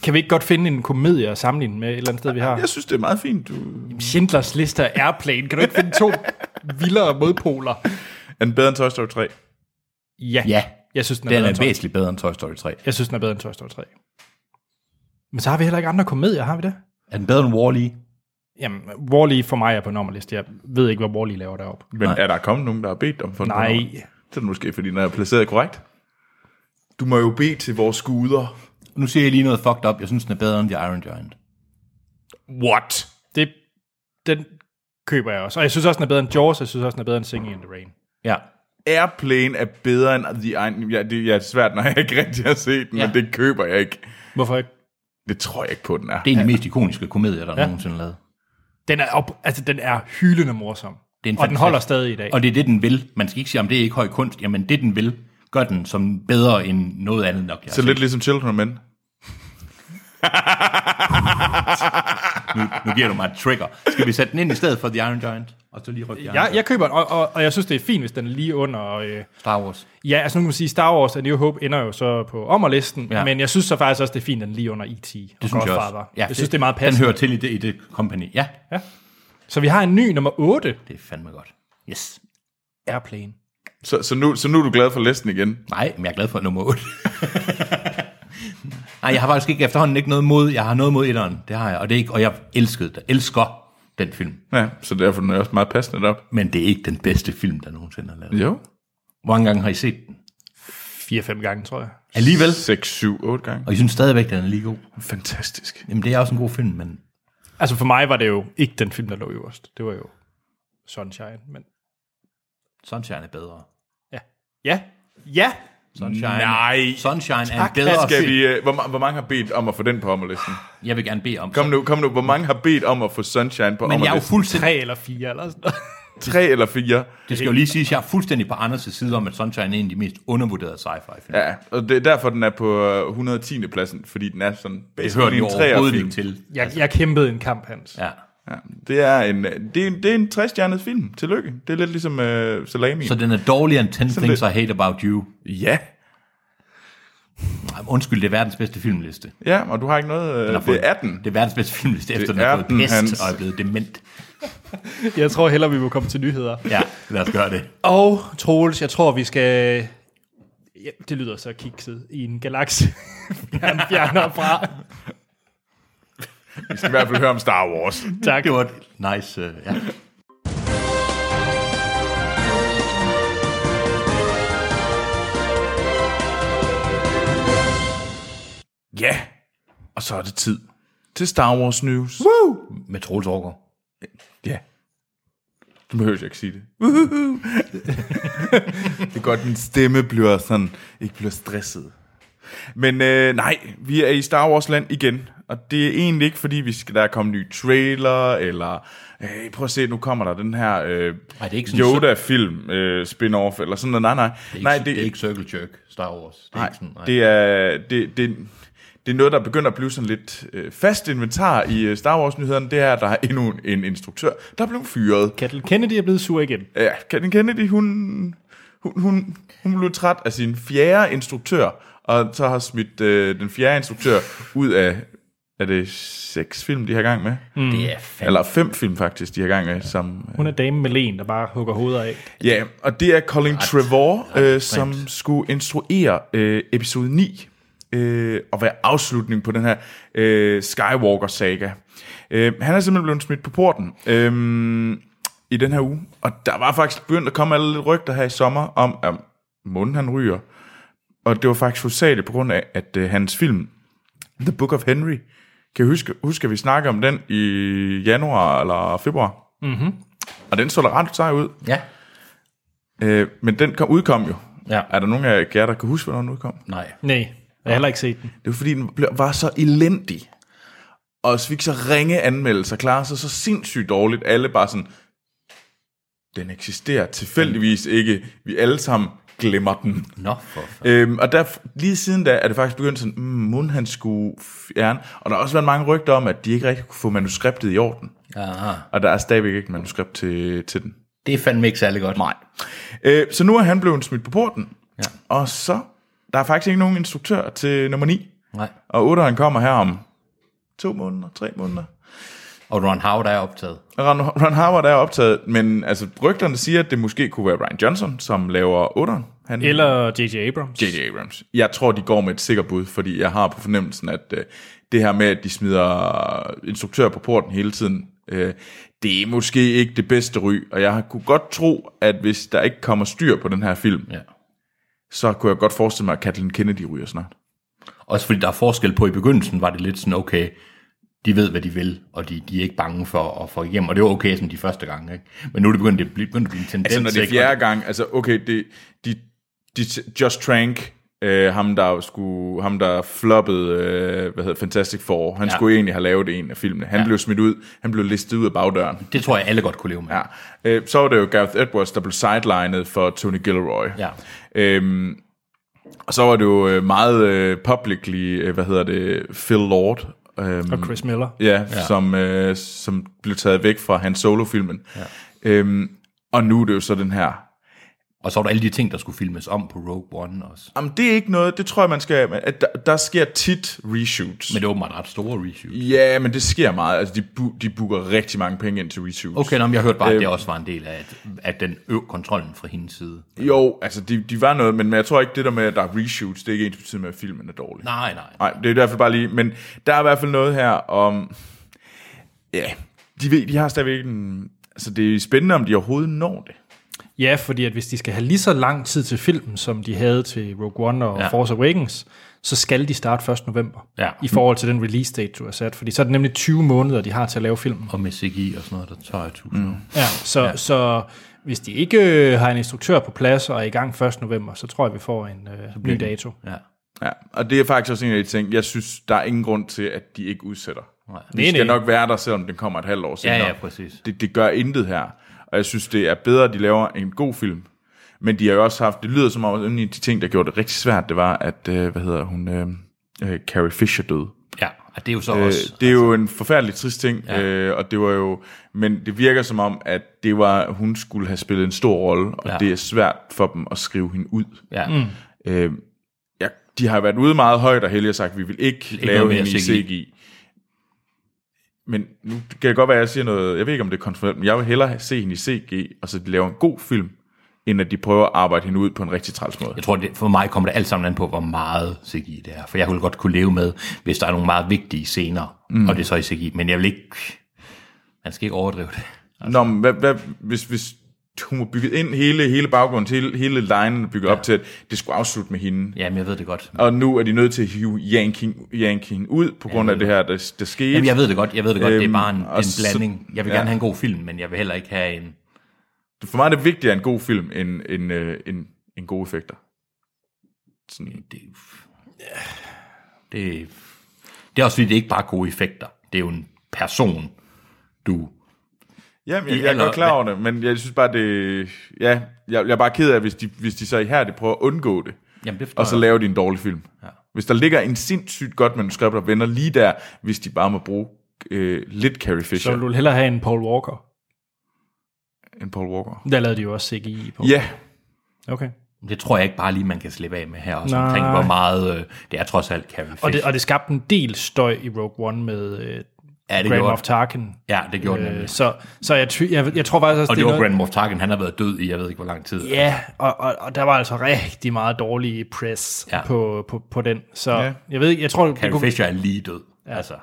S1: Kan vi ikke godt finde en komedie at sammenligne med et eller andet sted, vi har?
S3: Jeg synes, det er meget fint. Du...
S1: Schindlers Liste og Airplane. Kan du ikke finde to vildere modpoler?
S3: Er den bedre end Toy Story 3?
S1: Ja.
S2: Ja,
S1: Jeg synes, den er,
S2: den
S1: bedre
S2: er
S1: end Toy-
S2: væsentligt bedre end Toy Story 3.
S1: Jeg synes, den er bedre end Toy Story 3. Men så har vi heller ikke andre komedier, har vi det?
S2: Er den bedre end Wall-E?
S1: Jamen, Wall-E for mig er på en nummerliste. Jeg ved ikke, hvad Wall-E laver deroppe.
S3: Men Nej. er der kommet nogen, der har bedt om for
S1: Nej.
S3: Den nummer? det er det måske, fordi den er placeret korrekt. Du må jo bede til vores skuder.
S2: Nu siger jeg lige noget fucked up. Jeg synes, den er bedre end The Iron Giant.
S3: What?
S1: Det, den køber jeg også. Og jeg synes også, den er bedre end Jaws. Jeg synes også, den er bedre end Singing in the Rain.
S2: Ja.
S3: Airplane er bedre end The Iron... Ja, det er svært, når jeg ikke rigtig har set den,
S1: Ja.
S3: ja. men det køber jeg ikke.
S1: Hvorfor ikke?
S3: Det tror jeg ikke på, den er.
S2: Det er en af de mest ikoniske komedier, der ja.
S1: Ja.
S2: nogensinde er lavet.
S1: Den er, op, altså, den er hylende morsom.
S2: Det er en
S1: og den
S2: fantastisk-
S1: holder stadig i dag.
S2: Og det er det, den vil. Man skal ikke sige, om det er ikke høj kunst. Jamen, det den vil, gør den som bedre end noget andet nok. Jeg
S3: Så lidt ligesom Children of Men.
S2: Nu giver du mig et trigger. Skal vi sætte den ind i stedet for The Iron Giant? Og så lige rykke The Iron
S1: Jeg,
S2: Giant.
S1: jeg køber den, og, og, og jeg synes, det er fint, hvis den er lige under... Øh,
S2: Star Wars.
S1: ja, altså nu kan man sige, Star Wars og New Hope ender jo så på ommerlisten,
S2: Ja.
S1: ja. men jeg synes så faktisk også, det er fint, at den er lige under E E.T.
S2: Det synes jeg også.
S1: Ja, jeg synes, det, det er meget
S2: Den
S1: passende.
S2: hører til i det, i det company. Ja,
S1: Så vi har en ny nummer 8,
S2: det er fandme godt. Yes.
S1: Airplane.
S3: Så, så, nu, så nu er du glad for listen igen.
S2: Nej, men jeg er glad for nummer 8. Nej, jeg har faktisk ikke efterhånden ikke noget mod. Jeg har noget mod etteren. Det har jeg. Og, det er ikke, og jeg elskede det. elsker den film.
S3: Ja, så derfor den er også meget passende op.
S2: Men det er ikke den bedste film, der nogensinde er lavet.
S3: Jo.
S2: Hvor mange gange har I set den?
S1: 4-5 gange, tror jeg.
S2: Alligevel.
S3: 6, 7, 8 gange.
S2: Og jeg synes stadigvæk, den er lige god.
S3: Fantastisk.
S2: Jamen, det er også en god film, men
S1: Altså for mig var det jo ikke den film, der lå øverst. Det var jo Sunshine, men...
S2: Sunshine er bedre.
S1: Ja. Ja. Ja.
S2: Sunshine,
S3: Nej.
S2: Sunshine er en
S1: Tak,
S2: bedre
S3: Skal
S2: film.
S3: vi, øh, hvor, ma- hvor mange har bedt om at få den på ommerlisten?
S2: Jeg vil gerne bede om
S3: Kom nu, kom nu. Hvor mange har bedt om at få Sunshine på
S2: Men jeg er jo
S3: ommerlisten?
S2: fuldstændig...
S1: Tre eller fire eller sådan noget.
S3: Tre eller fire?
S2: Det skal jo lige siges, jeg er fuldstændig på Anders' side om, at Sunshine er en af de mest undervurderede sci-fi film.
S3: Ja, og det er derfor, den er på øh, 110. pladsen, fordi den er sådan...
S2: det hører
S3: basically
S2: de
S3: en treerfilm.
S2: overhovedet ikke til.
S1: Jeg, jeg kæmpede en kamp, Hans.
S2: Ja.
S3: Ja, det er en, øh, det er, en- det er en 60-stjernet film. Tillykke. Det er lidt ligesom øh, Salami.
S2: Så den er dårligere end 10 Things I
S3: lidt-
S2: Hate About You.
S3: Ja.
S2: Ej, Undskyld, det er verdens bedste filmliste. Den
S3: Ja, og du har ikke noget...
S2: har
S3: Øh,
S2: fået-
S3: det er 18.
S2: Det er verdens bedste filmliste, efter
S3: Det
S2: den har
S3: er
S2: fået
S3: den,
S2: pest
S3: Hans.
S2: og er blevet dement.
S1: Jeg tror hellere, vi må komme til nyheder.
S2: Ja, lad os gøre det.
S1: Og Troels, jeg tror, vi skal... Ja, det lyder så kikset i en galakse. Han fjerner fra.
S3: Vi skal i hvert fald høre om Star Wars.
S1: Tak.
S2: Det var et nice... Uh, ja.
S3: Ja, og så er det tid til Star Wars News.
S2: Med Troels Aargaard.
S3: Ja. Du behøver jo ikke sige det. det er godt, min stemme bliver sådan, ikke bliver stresset. Men øh, nej, vi er i Star Wars land igen. Og det er egentlig ikke, fordi vi skal, der er kommet nye trailer, eller øh, prøv at se, nu kommer der den her øh,
S2: Ej, det er ikke sådan-
S3: Yoda-film øh, spin-off, eller sådan noget. Nej, nej.
S2: Det er,
S3: nej,
S2: ikke, det, det er ikke Circle Jerk Star Wars. Det er
S3: Nej,
S2: ikke sådan, nej. Det,
S3: det er, det, det, det er noget, der begynder at blive sådan lidt øh, fast inventar i øh, Star Wars-nyhederne. Det er, at der er endnu en- en instruktør, der er blevet fyret.
S1: Kathleen Kennedy er blevet sur igen.
S3: Ja, Kathleen Kennedy, hun, hun, hun, hun blev træt af sin fjerde instruktør, og så har smidt øh, den fjerde instruktør ud af er det seks film, de har gang med? Mm.
S2: Det er fandme.
S3: Eller fem film faktisk, de har gang med. Som, øh,
S1: Hun er dame med len, der bare hugger hoveder af.
S3: ja, og det er Colin Trevor, øh, som skulle instruere øh, episode 9 øh, og være afslutning på den her øh, Skywalker-saga. Øh, han er simpelthen blevet smidt på porten øh, i den her uge, og der var faktisk begyndt at komme alle lidt rygter her i sommer om, at munden han ryger. Og det var faktisk hovedsageligt på grund af, at øh, hans film, The Book of Henry. Kan I huske, huske, at vi snakkede om den i januar eller februar? Mm-hmm. Og den så da ret sej ud.
S2: Ja.
S3: Øh, men den kom, udkom jo.
S2: Ja.
S3: Er der nogen af jer, der kan huske, hvornår den udkom?
S2: Nej.
S1: Nej, jeg har heller ikke set den.
S3: Det var fordi, den blev- var så elendig. Og så fik så ringe anmeldelser, klarer sig så sindssygt dårligt. Alle bare sådan, den eksisterer tilfældigvis ikke. Vi alle sammen glemmer den.
S2: Nå, for fanden.
S3: Øhm, og der, lige siden da er det faktisk begyndt sådan, mm, Mund han skulle fjerne. Og der har også været mange rygter om, at de ikke rigtig kunne få manuskriptet i orden.
S2: Aha.
S3: Og der er stadigvæk ikke manuskript til, til den.
S2: Det er fandme ikke særlig godt. Nej.
S3: Øh, så nu er han blevet smidt på porten.
S2: Ja.
S3: Og så, der er faktisk ikke nogen instruktør til nummer 9.
S2: Nej.
S3: Og 8'eren kommer her om to måneder, tre måneder.
S2: Og Ron Howard er optaget.
S3: Ron, Ron Howard er optaget, men altså, rygterne siger, at det måske kunne være Ryan Johnson, som laver 8'eren. Han,
S1: Eller J.J. Abrams.
S3: J.J. Abrams. Jeg tror, de går med et sikkert bud, fordi jeg har på fornemmelsen, at øh, det her med, at de smider instruktører på porten hele tiden, øh, det er måske ikke det bedste ry, og jeg kunne godt tro, at hvis der ikke kommer styr på den her film,
S2: Ja.
S3: så kunne jeg godt forestille mig, at Kathleen Kennedy ryger snart.
S2: Også fordi der er forskel på, i begyndelsen var det lidt sådan, okay, de ved, hvad de vil, og de, de er ikke bange for at få igennem. Og det var okay sådan de første gange, ikke? Men nu er det begyndt at blive, begyndt at blive en tendens.
S3: Altså, når det er
S2: ikke?
S3: fjerde gang, altså okay, det, de, de, Just Trank, øh, ham der skulle, ham der floppede, øh, hvad hedder Fantastic Four, han ja.
S2: Ja.
S3: skulle egentlig have lavet en af filmene. Han ja. blev smidt ud, han blev listet ud af bagdøren.
S2: Det tror jeg, alle godt kunne leve med.
S3: Ja. Øh, så var det jo Gareth Edwards, der blev sidelined for Tony Gilroy.
S2: Ja.
S3: Øhm, og så var det jo øh, meget øh, publicly, øh, hvad hedder det, Phil Lord, øhm,
S1: Og Chris Miller.
S3: ja, ja. Som, øh, som blev taget væk fra hans solofilmen. Ja. Øhm, og nu er det jo så den her.
S2: Og så var der alle de ting, der skulle filmes om på Rogue One også.
S3: Jamen, det er ikke noget, det tror jeg, man skal... At der, der sker tit reshoots.
S2: Men det var åbenbart ret store reshoots.
S3: Ja, men det sker meget. Altså, de, bu- de booker rigtig mange penge ind til reshoots.
S2: Okay, nå, men jeg hørte bare, at
S3: Øhm.
S2: det også var en del af, at, at den øv kontrollen fra hendes side.
S3: Jo, altså, de, de var noget, men men jeg tror ikke, det der med, at der er reshoots, det er ikke ens betydning med, at filmen er dårlig.
S2: Nej, nej.
S3: Nej, det er i hvert fald bare lige, men der er i hvert fald noget her om, ja, de, ved, de har stadigvæk en, altså det er spændende, om de overhovedet når det.
S1: Ja, fordi at hvis de skal have lige så lang tid til filmen, som de havde til Rogue One og ja.
S2: Ja.
S1: Force Awakens, så skal de starte 1. november,
S2: Ja.
S1: i forhold til den release date, du har sat. Fordi så er det nemlig 20 måneder, de har til at lave filmen.
S2: Og med CGI og sådan noget, der tager jeg tusind mm.
S1: Ja, så, ja. så hvis de ikke øh, har en instruktør på plads og er i gang 1. november, så tror jeg, vi får en øh, ny dato.
S2: Ja.
S3: Ja, og det er faktisk også en af de ting, jeg synes, der er ingen grund til, at de ikke udsætter.
S2: Nej.
S3: De skal
S1: nej.
S3: nok være der, selvom den kommer et halvt år senere.
S2: ja, ja, præcis.
S3: Det, det gør intet her, og jeg synes, det er bedre, at de laver en god film. Men de har jo også haft, det lyder som om, at en af de ting, der gjorde det rigtig svært, det var, at, øh, hvad hedder hun, øh, øh, Carrie Fisher døde.
S2: Ja, og det er jo så
S3: Øh,
S2: også... altså-
S3: det er jo en forfærdelig trist ting, ja. øh, og det var jo, men det virker som om, at det var, hun skulle have spillet en stor rolle, og ja.
S2: Ja.
S3: det er svært for dem at skrive hende ud.
S2: Ja. Mm.
S3: Øh, ja, de har været ude meget højt og heldig og sagt, at vi vil ikke, ikke lave
S2: noget mere
S3: hende i
S2: CGI.
S3: CGI. Men nu kan det godt være, at jeg siger noget, jeg ved ikke, om det er kontroversielt, men jeg vil hellere se hende i CG, og så de laver en god film, end at de prøver at arbejde hende ud på en rigtig træls måde.
S2: Jeg tror, det, for mig kommer det alt sammen an på, hvor meget CGI det er. For jeg ville godt kunne leve med, hvis der er nogle meget vigtige scener, mm. og det er så i CGI. Men jeg vil ikke... Man skal ikke overdrive det.
S3: Nå, men hvad, hvad, hvis, hvis hun var bygget ind hele, hele baggrunden, hele, hele linen bygget ja. op til, at det skulle afslutte med hende.
S2: Jamen, jeg ved det godt.
S3: Og nu er de nødt til at hive Yanking, Yanking ud, på grund af det her, der, der skete.
S2: Jamen, jeg ved det godt, jeg ved det godt. det er bare en,
S3: Øhm, og
S2: en
S3: så-
S2: blanding. Jeg vil
S3: ja.
S2: gerne have en god film, men jeg vil heller ikke have en...
S3: For mig er det vigtigere en god film, end, end, øh, end, end gode effekter. Sådan.
S2: Det, det, det er også fordi, det er ikke bare gode effekter. Det er jo en person, du...
S3: Jamen,
S2: I
S3: jeg, jeg er
S2: aller-
S3: godt klar over det, men jeg synes bare, det... Ja, jeg, jeg er bare ked af, hvis de, hvis de så i her det prøver at undgå det,
S2: Jamen, det forstår
S3: og så
S2: jeg.
S3: laver de en dårlig film. Ja. Hvis der ligger en sindssygt godt manuskript, der vender lige der, hvis de bare må bruge øh, lidt Carrie
S1: Så
S3: Fisher
S1: vil du hellere have en Paul Walker.
S3: end Paul Walker.
S1: Der lavede de jo også CGI på.
S3: Ja,
S1: Okay.
S2: Det tror jeg ikke bare lige, man kan slippe af med her også
S1: Nej.
S2: omkring, hvor meget øh, det er trods alt Carrie Fisher.
S1: Og det, og det skabte en del støj i Rogue One med øh,
S2: ja, det
S1: Grand
S2: gjorde
S1: Moff
S2: det.
S1: Tarkin.
S2: Ja, det gjorde øh,
S1: Øh, så så jeg, ty- jeg, jeg tror faktisk også,
S2: Og det
S1: det er
S2: var
S1: noget...
S2: Grand Moff Tarkin, han har været død i, jeg ved ikke hvor lang tid.
S1: Ja, og, og, og der var altså rigtig meget dårlig press
S2: Ja.
S1: ja. på, på, på den. Så
S3: Ja.
S1: ja. jeg ved ikke, jeg tror, det
S2: Carrie
S1: kunne, jeg,
S2: Fisher er lige død. Ja. Altså,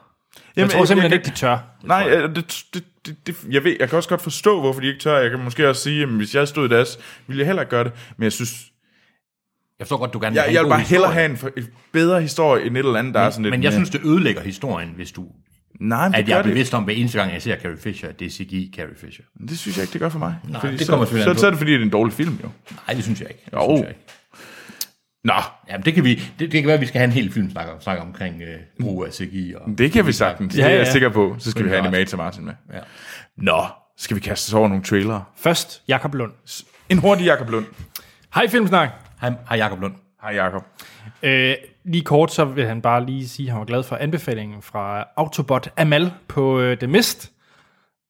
S1: jeg tror simpelthen
S3: jeg-
S1: ikke, de tør.
S3: Nej, øh, det, det, det, det, jeg, ved, jeg kan også godt forstå, hvorfor de ikke tør. Jeg kan måske også sige, at hvis jeg stod i deres, ville jeg heller ikke gøre det. Men jeg synes,
S2: jeg forstår godt, du gerne vil
S3: jeg,
S2: have
S3: jeg
S2: en
S3: vil
S2: god
S3: bare hellere
S2: historie,
S3: have en, for- en bedre historie end et eller andet, der er sådan lidt...
S2: Men jeg
S3: mere-
S2: synes, det ødelægger historien, hvis du...
S3: nej, men det
S2: At jeg
S3: gør
S2: er
S3: det.
S2: bevidst om, hver eneste gang, jeg ser Carrie Fisher, at det er CGI Carrie Fisher.
S3: Det synes jeg ikke, det gør for mig. Nej,
S2: det kommer
S3: så,
S2: selvfølgelig an på.
S3: så, så er det, fordi det er en dårlig film, jo.
S2: Nej, det synes jeg ikke. Det
S3: Jo.
S2: synes jeg ikke.
S3: Nå,
S2: Jamen, det kan, vi, det, det kan være, at vi skal have en hel film snakke, om- snakke omkring øh, brug af CGI. Og,
S3: det kan vi sagtens. Ja, det er
S1: Ja,
S3: jeg
S1: ja.
S3: sikker på. Så skal vi have
S2: klart.
S3: Animator Martin med.
S2: ja.
S3: Nå, skal vi kaste os over nogle trailere?
S1: Først, Jakob Lund.
S3: En hurtig Jakob Lund.
S1: Hej Filmsnak.
S2: Hej, hej Jacob Lund.
S3: Hej Jakob.
S1: Øh, lige kort, så vil han bare lige sige, at han var glad for anbefalingen fra Autobot Amal på øh, The Mist.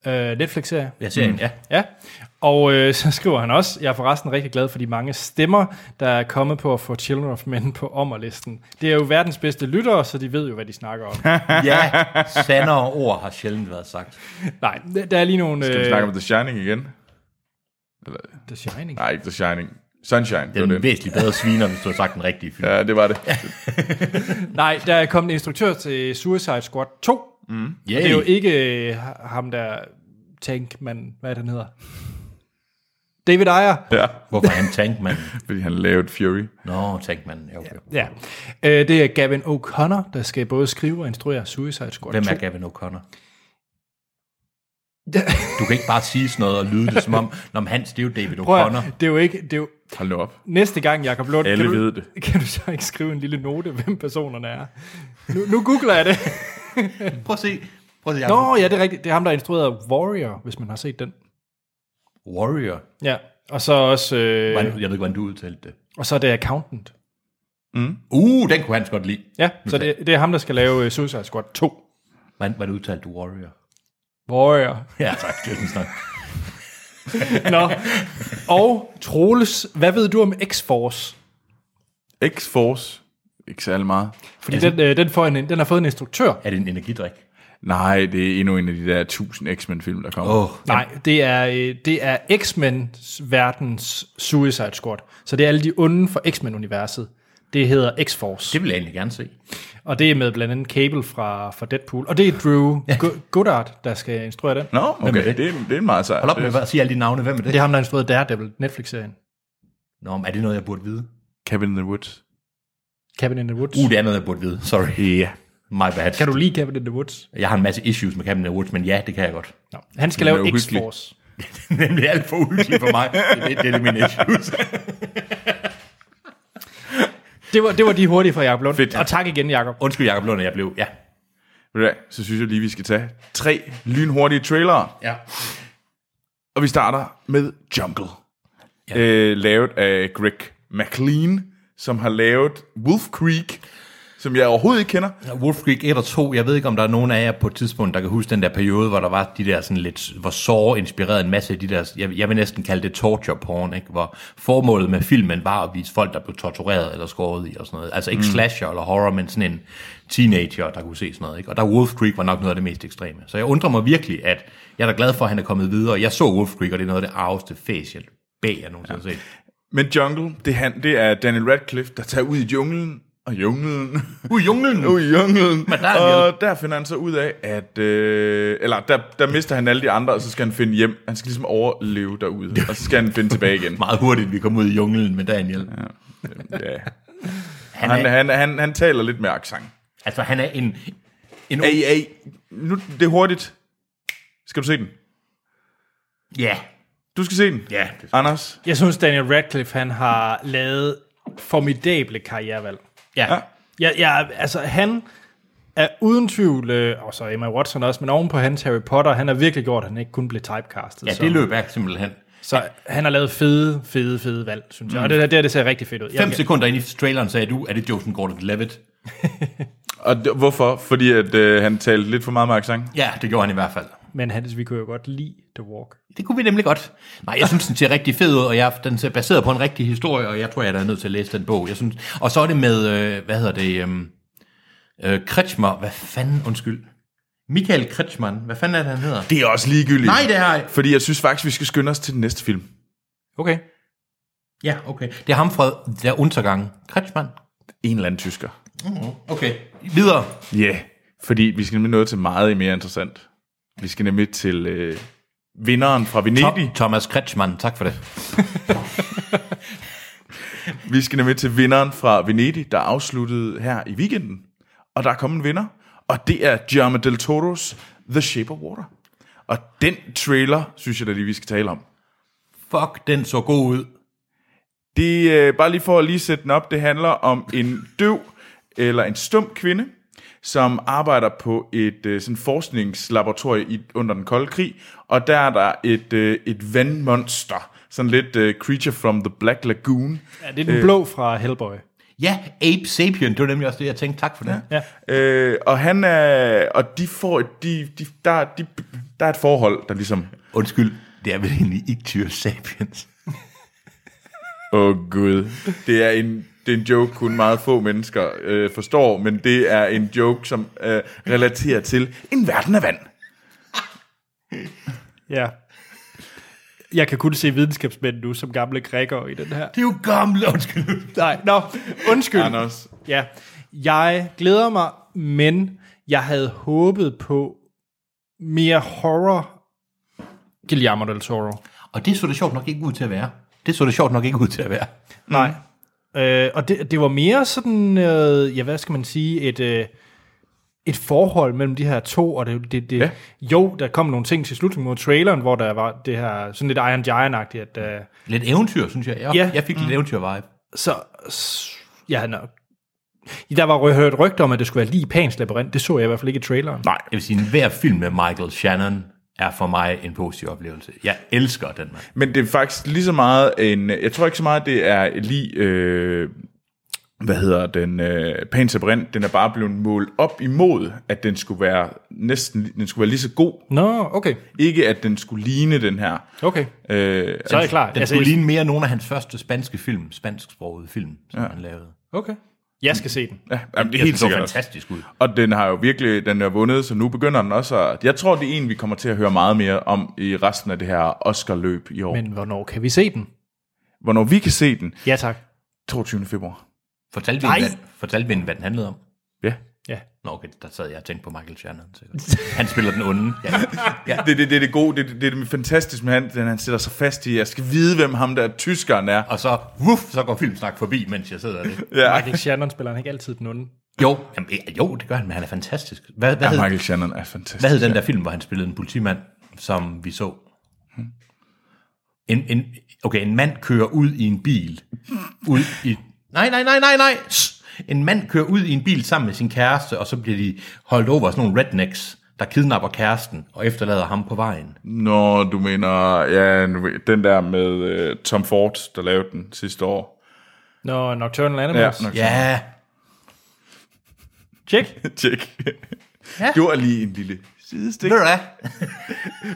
S1: Øh, Netflix-serie.
S2: Jeg ser mm. en, ja.
S1: Ja, og øh, så skriver han også, jeg er forresten rigtig glad for de mange stemmer, der er kommet på at få Children of Men på ommerlisten. Det er jo verdens bedste lyttere, så de ved jo, hvad de snakker om.
S2: Ja, sandere ord har sjældent været sagt.
S1: Nej, der er lige nogle...
S3: Skal vi
S1: øh,
S3: snakke om The Shining igen?
S1: The Shining.
S3: Nej, ikke The Shining. Sunshine, det
S2: Den er
S3: var det.
S2: væsentligt bedre sviner, hvis du har sagt den rigtige film.
S3: Ja, det var det.
S1: Nej, der er kommet en instruktør til Suicide Squad 2.
S2: Ja,
S1: Det er jo ikke øh, ham, der... Tænk, man, hvad er det, han hedder? David Ayer.
S3: Ja,
S2: Hvorfor er han tankmanden?
S3: fordi han lavede Fury.
S2: Nå, tankmanden. Ja, okay.
S1: Ja. Øh, det er Gavin O'Connor, der skal både skrive og instruere Suicide Squad
S2: Hvem
S1: 2.
S2: er Gavin O'Connor? Du kan ikke bare sige sådan noget og lyde det som om, når Hans, det er jo David
S1: Prøv at,
S2: O'Connor.
S1: høre, det er jo ikke... Det er jo,
S3: Hold nu op.
S1: Næste gang, Jacob Lund,
S3: Alle
S1: kan, du,
S3: ved det.
S1: kan du så ikke skrive en lille note, hvem personerne er? Nu, nu googler jeg det.
S2: Prøv at se. Prøv at se.
S1: Nå, ja, det er rigtigt. Det er ham, der instruerede Warrior, hvis man har set den.
S2: Warrior.
S1: Ja, og så også,
S2: Hvordan-
S1: øh,
S2: Jeg ved ikke, hvordan du udtalte det.
S1: og så er det Accountant.
S2: Uh, den kunne Hans godt lide.
S1: Ja, så det, det er ham, der skal lave øh, Suicide Squad 2.
S2: Hvordan, hvordan udtalte du Warrior?
S1: Warrior.
S2: Ja, tak. Det er sådan snak.
S1: Nå. Og Troels, hvad ved du om X-Force?
S3: X-Force. Ikke særlig meget.
S1: Fordi den, øh, den, får en, den har fået en instruktør.
S2: Er det en energidrik?
S3: Nej, det er endnu en af de der 1000 X-Men-film, der kommer.
S2: Åh, oh,
S1: Nej, det er, øh, det er X-Men-verdens Suicide Squad. Så det er alle de onde for X-Men-universet. Det hedder X-Force.
S2: det vil jeg egentlig gerne se.
S1: Og det er med blandt andet Cable fra, fra Deadpool. Og det er Drew Go- Goddard, der skal instruere den.
S3: Nå,
S2: Hvem er
S3: okay.
S2: det?
S3: Det? Det, er, det er en meget sej.
S2: Hold op med at sige alle de navne. Hvem er det?
S1: Det er ham, der har instrueret Daredevil, Netflix-serien.
S2: Nå, men er det noget, jeg burde vide?
S3: Cabin in the Woods.
S1: Cabin in the Woods.
S2: Uh, det er noget, jeg burde vide. Sorry.
S3: Ja.
S2: My bad.
S1: Kan du lide Cabin in the Woods?
S2: Jeg har en masse issues med Captain Woods, men ja, det kan jeg godt.
S1: No. Han skal
S3: Den er
S1: lave
S3: uhyggelig.
S1: X-Force.
S2: Nemlig alt for uhyggeligt for mig. Det, det, det er mine issues.
S1: Det var, det var de hurtige fra Jacob Lund. Fedt. Og tak igen, Jacob.
S2: Undskyld, Jacob Lund, at jeg blev... Ja.
S3: Ved du hvad, Så synes jeg lige, vi skal tage tre lynhurtige trailere.
S2: ja.
S3: Og vi starter med Jungle. Ja. Øh, lavet af Greg McLean, som har lavet Wolf Creek, som jeg overhovedet ikke kender.
S2: Wolf Creek 1 og 2, jeg ved ikke, om der er nogen af jer på et tidspunkt, der kan huske den der periode, hvor der var de der sådan lidt, hvor Saw inspirerede en masse af de der, jeg, jeg vil næsten kalde det torture porn, ikke? hvor formålet med filmen var at vise folk, der blev tortureret eller skåret i og sådan noget. Altså ikke mm. slasher eller horror, men sådan en teenager, der kunne se sådan noget. Ikke? Og der Wolf Creek var nok noget af det mest ekstreme. Så jeg undrer mig virkelig, at jeg er da glad for, at han er kommet videre. Jeg så Wolf Creek, og det er noget af det arveste facial bag, jeg nogensinde har set.
S3: Men Jungle, det er, han, det er Daniel Radcliffe, der tager ud i junglen. Og junglen.
S2: Ud i junglen!
S3: ud i junglen.
S2: der er en
S3: og der finder han så ud af, at... Øh, eller der, der mister han alle de andre, og så skal han finde hjem. Han skal ligesom overleve derude, og så skal han finde tilbage igen.
S2: Meget hurtigt, vi kom ud i junglen med Daniel. Ja.
S3: Ja.
S2: Han,
S3: Han,
S2: er,
S3: han, han, han taler lidt med accent.
S2: altså, han er en... en ung-
S3: Ey, ey. Nu, det er hurtigt. Skal du se den?
S2: Ja.
S3: Du skal se den.
S2: Ja.
S3: Anders,
S1: Jeg synes, Daniel Radcliffe han har lavet formidable karrierevalg.
S2: Ja. ja.
S1: Jeg, jeg, altså, han er uden tvivl, øh, og så Emma Watson også, men ovenpå hans Harry Potter, han har virkelig gjort, at han ikke kun blev typecastet.
S2: Ja,
S1: som-
S2: det løb jeg simpelthen.
S1: Så han har lavet fede, fede, fede valg, synes jeg. Og det, der, det, her, det ser rigtig fedt ud.
S2: Mm. Fem
S1: Jeg,
S2: sekunder ind i traileren sagde du, er det Joseph Gordon-Levitt?
S3: Og d- hvorfor? Fordi at øh, han talte lidt for meget med accent?
S2: Ja, det gjorde han i hvert fald.
S1: Men Hans, vi kunne jo godt lide The Walk.
S2: Det kunne vi nemlig godt. Nej, jeg synes, den ser rigtig fed ud, og jeg, den er baseret på en rigtig historie, og jeg tror, jeg er nødt til at læse den bog. Jeg synes, og så er det med, øh, hvad hedder det, øh, øh, Kretschmer, hvad fanden, undskyld. Michael Kretschmann, hvad fanden er det, han hedder?
S3: Det er også ligegyldigt.
S2: Nej, det er
S3: Fordi jeg synes faktisk, vi skal skynde os til den næste film.
S1: Okay.
S2: Ja, okay. Det er ham fra Der Untergang. Kretschmann.
S3: En eller anden tysker.
S2: Okay, videre.
S3: Ja, yeah, fordi vi skal nemlig nå til meget mere interessant. Vi skal nemlig til øh, vinderen fra Venedig.
S2: Tom, Thomas Kretschmann, tak for det.
S3: Vi skal nemlig til vinderen fra Venedig, der afsluttede her i weekenden. Og der er kommet en vinder, og det er Guillermo del Toro's The Shape of Water. Og den trailer, synes jeg da lige, vi skal tale om.
S2: Fuck, den så god ud.
S3: Det er øh, bare lige for at lige sætte den op. Det handler om en døv eller en stum kvinde, som arbejder på et øh, sådan forskningslaboratorium i, under den kolde krig, og der er der et, øh, et vandmonster, sådan lidt øh, Creature from the Black Lagoon,
S1: Ja, det er den øh. blå fra Hellboy.
S2: Ja, Ape Sapien, det var nemlig også det, jeg tænkte. Tak for det. Ja.
S3: Øh, og han er, og de får, de, de, der, de, der er et forhold, der ligesom,
S2: Undskyld, det er vel egentlig Ictyr Sapiens.
S3: åh oh gud, det er en, det er en joke, kun meget få mennesker øh, forstår, men det er en joke, som øh, relaterer til en verden af vand.
S1: Ja. Jeg kan kun se videnskabsmænd nu som gamle grækere i den her.
S2: Det er jo gammel, undskyld.
S1: Nej, nå, undskyld.
S3: Anders.
S1: Ja, jeg glæder mig, men jeg havde håbet på mere horror Guillermo del Toro.
S2: Og det så det sjovt nok ikke ud til at være. Det så det sjovt nok ikke ud til at være.
S1: Nej. Øh, og det, det var mere sådan, øh, ja, hvad skal man sige, et, øh, et forhold mellem de her to, og det, det, det ja. jo, der kom nogle ting til slutningen mod traileren, hvor der var det her, sådan lidt Iron Giant-agtigt, at, øh,
S2: Lidt eventyr, synes jeg. Jeg,
S1: Ja.
S2: jeg fik lidt eventyr-vibe.
S1: så, s- jeg havde nok, der var rø- hørt rygter om, at det skulle være lige Pans labyrint, det så jeg i hvert fald ikke i traileren.
S2: Nej. Jeg vil sige, hver film med Michael Shannon er for mig en positiv oplevelse. Jeg elsker den mand.
S3: Men det er faktisk lige så meget en, jeg tror ikke så meget, det er lige, øh, hvad hedder den, øh, Pans Labyrinth, den er bare blevet målt op imod, at den skulle være næsten, den skulle være lige så god,
S1: Nå, okay,
S3: ikke at den skulle ligne den her.
S1: okay,
S3: Øh,
S1: så er jeg klar.
S2: Den altså, skulle ligne mere nogle af hans første spanske film, spansksprogede film, som ja. han lavede.
S1: Okay, jeg skal se den.
S3: ja, jamen, det er
S2: Jeg synes,
S3: helt
S2: det så
S3: sikkert. også.
S2: fantastisk ud.
S3: Og den har jo virkelig, den er vundet, så nu begynder den også at, jeg tror, det er en, vi kommer til at høre meget mere om i resten af det her Oscar-løb i år. Men.
S1: Men hvornår kan vi se den?
S3: Hvornår vi kan se den,
S1: Ja, tak.
S3: 22. februar.
S2: Fortalte vi, hende, hvad, fortalte vi hende, hvad den handlede om?
S3: Ja.
S1: Ja.
S2: Nå, okay, der sad jeg og tænkte på Michael Shannon. Sikkert. Han spiller den onde. Ja. ja.
S3: Det, det, det er det gode, det, det, det er det fantastiske med han, den han sætter sig fast i, jeg skal vide, hvem ham der tyskeren er.
S2: Og så, wuff, så går filmsnak forbi, mens jeg sidder der.
S3: Ja.
S1: Michael Shannon spiller han ikke altid den onde.
S2: Jo, jamen, ja, jo, det gør han, men han er fantastisk. Hvad, hvad,
S3: Ja,
S2: hed,
S3: Michael Shannon er fantastisk.
S2: hvad hed den der film, hvor han spillede en politimand, som vi så? En, en, okay, en mand kører ud i en bil. Ud i... Nej, nej, nej, nej, nej! Shh! En mand kører ud i en bil sammen med sin kæreste, og så bliver de holdt over af sådan nogle rednecks, der kidnapper kæresten og efterlader ham på vejen.
S3: Nå, du mener, ja, nu ved- den der med uh, Tom Ford, der lavede den sidste år.
S1: Nå, Nocturnal
S3: Ja,
S1: Animals. Ja,
S3: nok.
S2: Ja,
S1: Tjek.
S3: Tjek. Ja. Gjorde lige en lille sidestik.
S2: ved du hvad?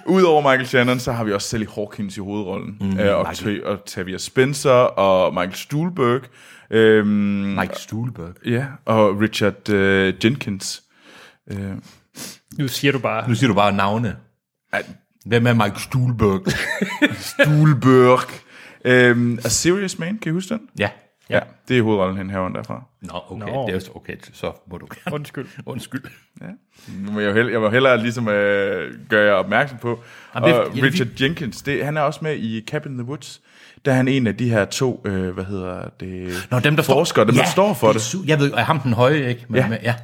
S3: Udover Michael Shannon, så har vi også Sally Hawkins i hovedrollen. Mm, øh, og, T- og Tavia Spencer og Michael Stuhlberg. Øhm,
S2: Mike Stuhlberg.
S3: ja, og Richard øh, Jenkins.
S1: Nu siger du bare.
S2: Nu siger du bare navne.
S3: Ej,
S2: Hvem er Mike Stuhlberg?
S3: Stuhlberg. øhm, A Serious Man, kan I huske den?
S2: ja.
S3: Ja. ja det er hovedrollen, hende herunder derfra.
S2: Nå, okay.
S1: Nå.
S2: Det er jo okay, så må du gerne.
S1: Undskyld.
S2: Undskyld.
S3: Nu må jeg, jo hellere, jeg må hellere ligesom øh, gøre jer opmærksom på.
S2: Jamen,
S3: Jamen,
S2: det er-
S3: og
S2: ja, det er
S3: Richard Jenkins, det, han er også med i Cabin in the Woods. Der er han en af de her to, øh, hvad hedder det,
S2: Nå, dem, der
S3: forskere,
S2: står,
S3: dem der står for
S2: er
S3: det.
S2: Su- jeg ved, er ham den høje, ikke? Men,
S3: Ja.
S2: Men, ja.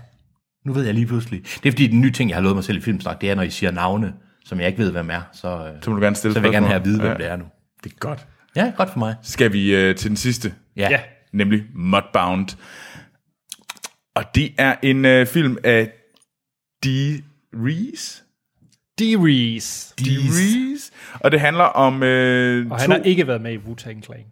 S2: Nu ved jeg lige pludselig. Det er fordi, den nye ting, jeg har lovet mig selv i filmsnak, det er, når I siger navne, som jeg ikke ved, hvem er, så, øh,
S3: Så må du gerne stille
S2: så vil jeg gerne
S3: spørgsmål.
S2: have at vide, hvem
S3: Ja.
S2: det er nu.
S1: Det er godt.
S2: Ja, godt for mig.
S3: Skal vi øh, til den sidste,
S2: Ja.
S1: Ja.
S2: ja.
S3: nemlig Mudbound. Og det er en øh, film af D. Reese.
S1: D-Reese.
S3: D. Reese. Og det handler om øh,
S1: Og
S3: to...
S1: han har ikke været med i Wu-Tang Clan.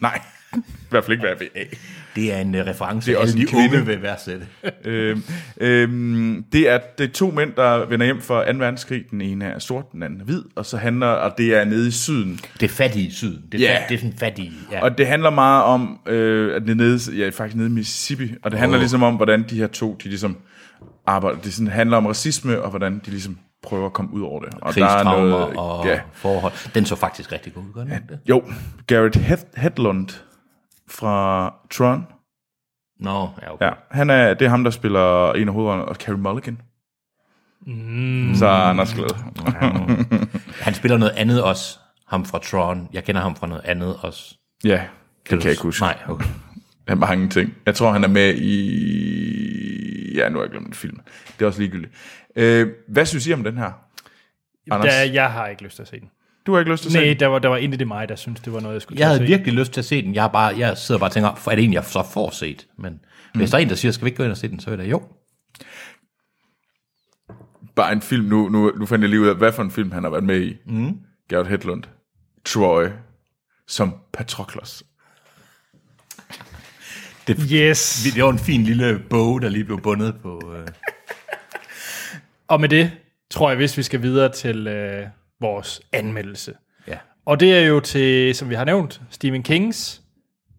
S3: Nej. I hvert fald ikke, hvad jeg vil af.
S2: Det er en uh, reference,
S3: Det er også
S2: alle
S3: en
S2: de
S3: kvinde.
S2: unge vil værdsætte.
S3: øhm, øhm, det, er, det er to mænd, der vender hjem fra 2. verdenskrig. Den ene er sort, den anden er hvid, og så handler, og det er nede i syden.
S2: Det er fattige syden. Det er,
S3: Ja.
S2: yeah. det er sådan fattige. Ja.
S3: Og det handler meget om, øh, at det er nede, ja, faktisk nede i Mississippi, og det handler oh. ligesom om, hvordan de her to, de ligesom arbejder. Det sådan, handler om racisme, og hvordan de ligesom prøver at komme ud over det. Og
S2: krigstraumer og
S3: Ja,
S2: forhold. Den så faktisk rigtig god ud, gør den ikke det?
S3: jo, Garrett Hed- Hedlund fra Tron.
S2: Nå, ja, okay.
S3: Ja, han er, det er ham, der spiller en af hovedrollerne, og Carey Mulligan. Mm. Så er Anders glad.
S2: Han spiller noget andet også, ham fra Tron. Jeg kender ham fra noget andet også.
S3: ja, det kan
S2: du-
S3: jeg ikke huske.
S2: Nej, okay.
S3: af mange ting. Jeg tror, han er med i... Ja, nu har jeg glemt film. Det er også ligegyldigt. Øh, hvad synes I om den her? Anders,
S1: Der, jeg har ikke lyst til at se den.
S3: du har ikke lyst til at se
S1: Nej,
S3: den?
S1: der var, der var intet i mig, der syntes, det var noget, jeg skulle
S2: Jeg havde
S1: til at se.
S2: virkelig lyst til at se den. Jeg, er bare, jeg sidder bare og tænker, er det en, jeg så får set? Men mm. hvis der er en, der siger, skal vi ikke gå ind og se den, så er det jo.
S3: Bare en film. Nu, nu, nu fandt jeg lige ud af, hvad for en film han har været med i. Mm. Gerrit Hedlund. Troy. Som Patroklos.
S1: Yes.
S2: Det var en fin lille bog, der lige blev bundet på... Øh...
S1: Og med det tror jeg, hvis vi skal videre til øh, vores anmeldelse.
S2: Ja.
S1: Og det er jo til, som vi har nævnt, Stephen Kings,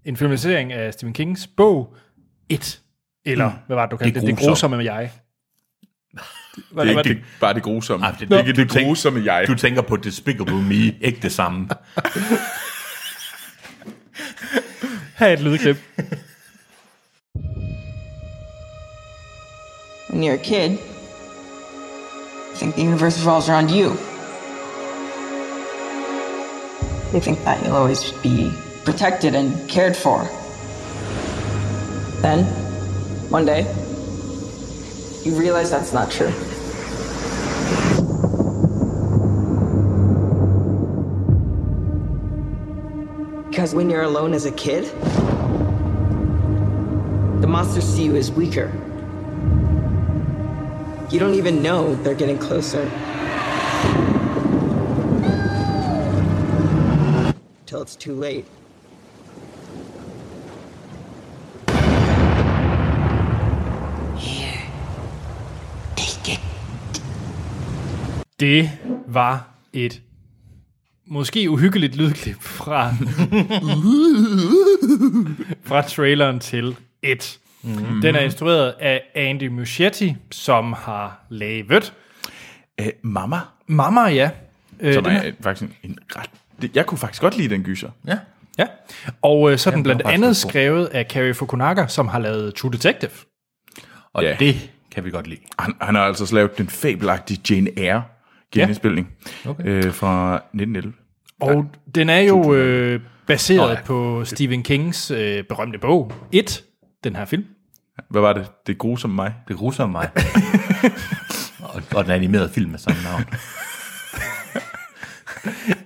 S1: en filmatisering af Stephen Kings bog 1. Eller mm. hvad var det, du kaldte det? Det
S2: grusomme.
S1: grusomme med jeg. Hvad
S3: Det er
S1: var
S3: ikke det, bare det grusomme.
S2: Ej,
S3: det,
S2: det-
S3: det er ikke
S2: du
S3: det
S2: tænker-
S3: grusomme jeg.
S2: Du tænker på Despicable Me, ikke det samme.
S1: Her er et lydklip.
S9: When you're a kid, you think the universe revolves around you. You think that you'll always be protected and cared for. Then, one day, you realize that's not true. Because when you're alone as a kid, the monsters see you as weaker. You don't even know they're getting closer. Till it's too late.
S1: Det var et måske uhyggeligt lydklip fra, fra traileren til 1. Mm. Den er instrueret af Andy Muschietti, som har lavet
S3: Øh, mamma.
S1: Mamma, ja. Øh,
S3: Som
S1: den
S3: er
S1: her-
S3: faktisk en, en ret... Det, jeg kunne faktisk godt lide den gyser.
S2: ja.
S1: Ja, og øh, så er den blandt
S2: var faktisk
S1: andet
S2: ret god.
S1: skrevet af Cary Fukunaga, som har lavet True Detective.
S2: Og
S3: Ja.
S2: yeah. det kan vi godt lide.
S3: Han, han har altså også lavet den fabelagtige Jane Eyre genindspilning okay. øh, fra 1911.
S1: Og den er jo øh, baseret på Stephen Kings øh, berømte bog, 1, den her film.
S3: Hvad var det? Det grusomme mig.
S2: Det gruser mig. og, og den animerede film med samme navn.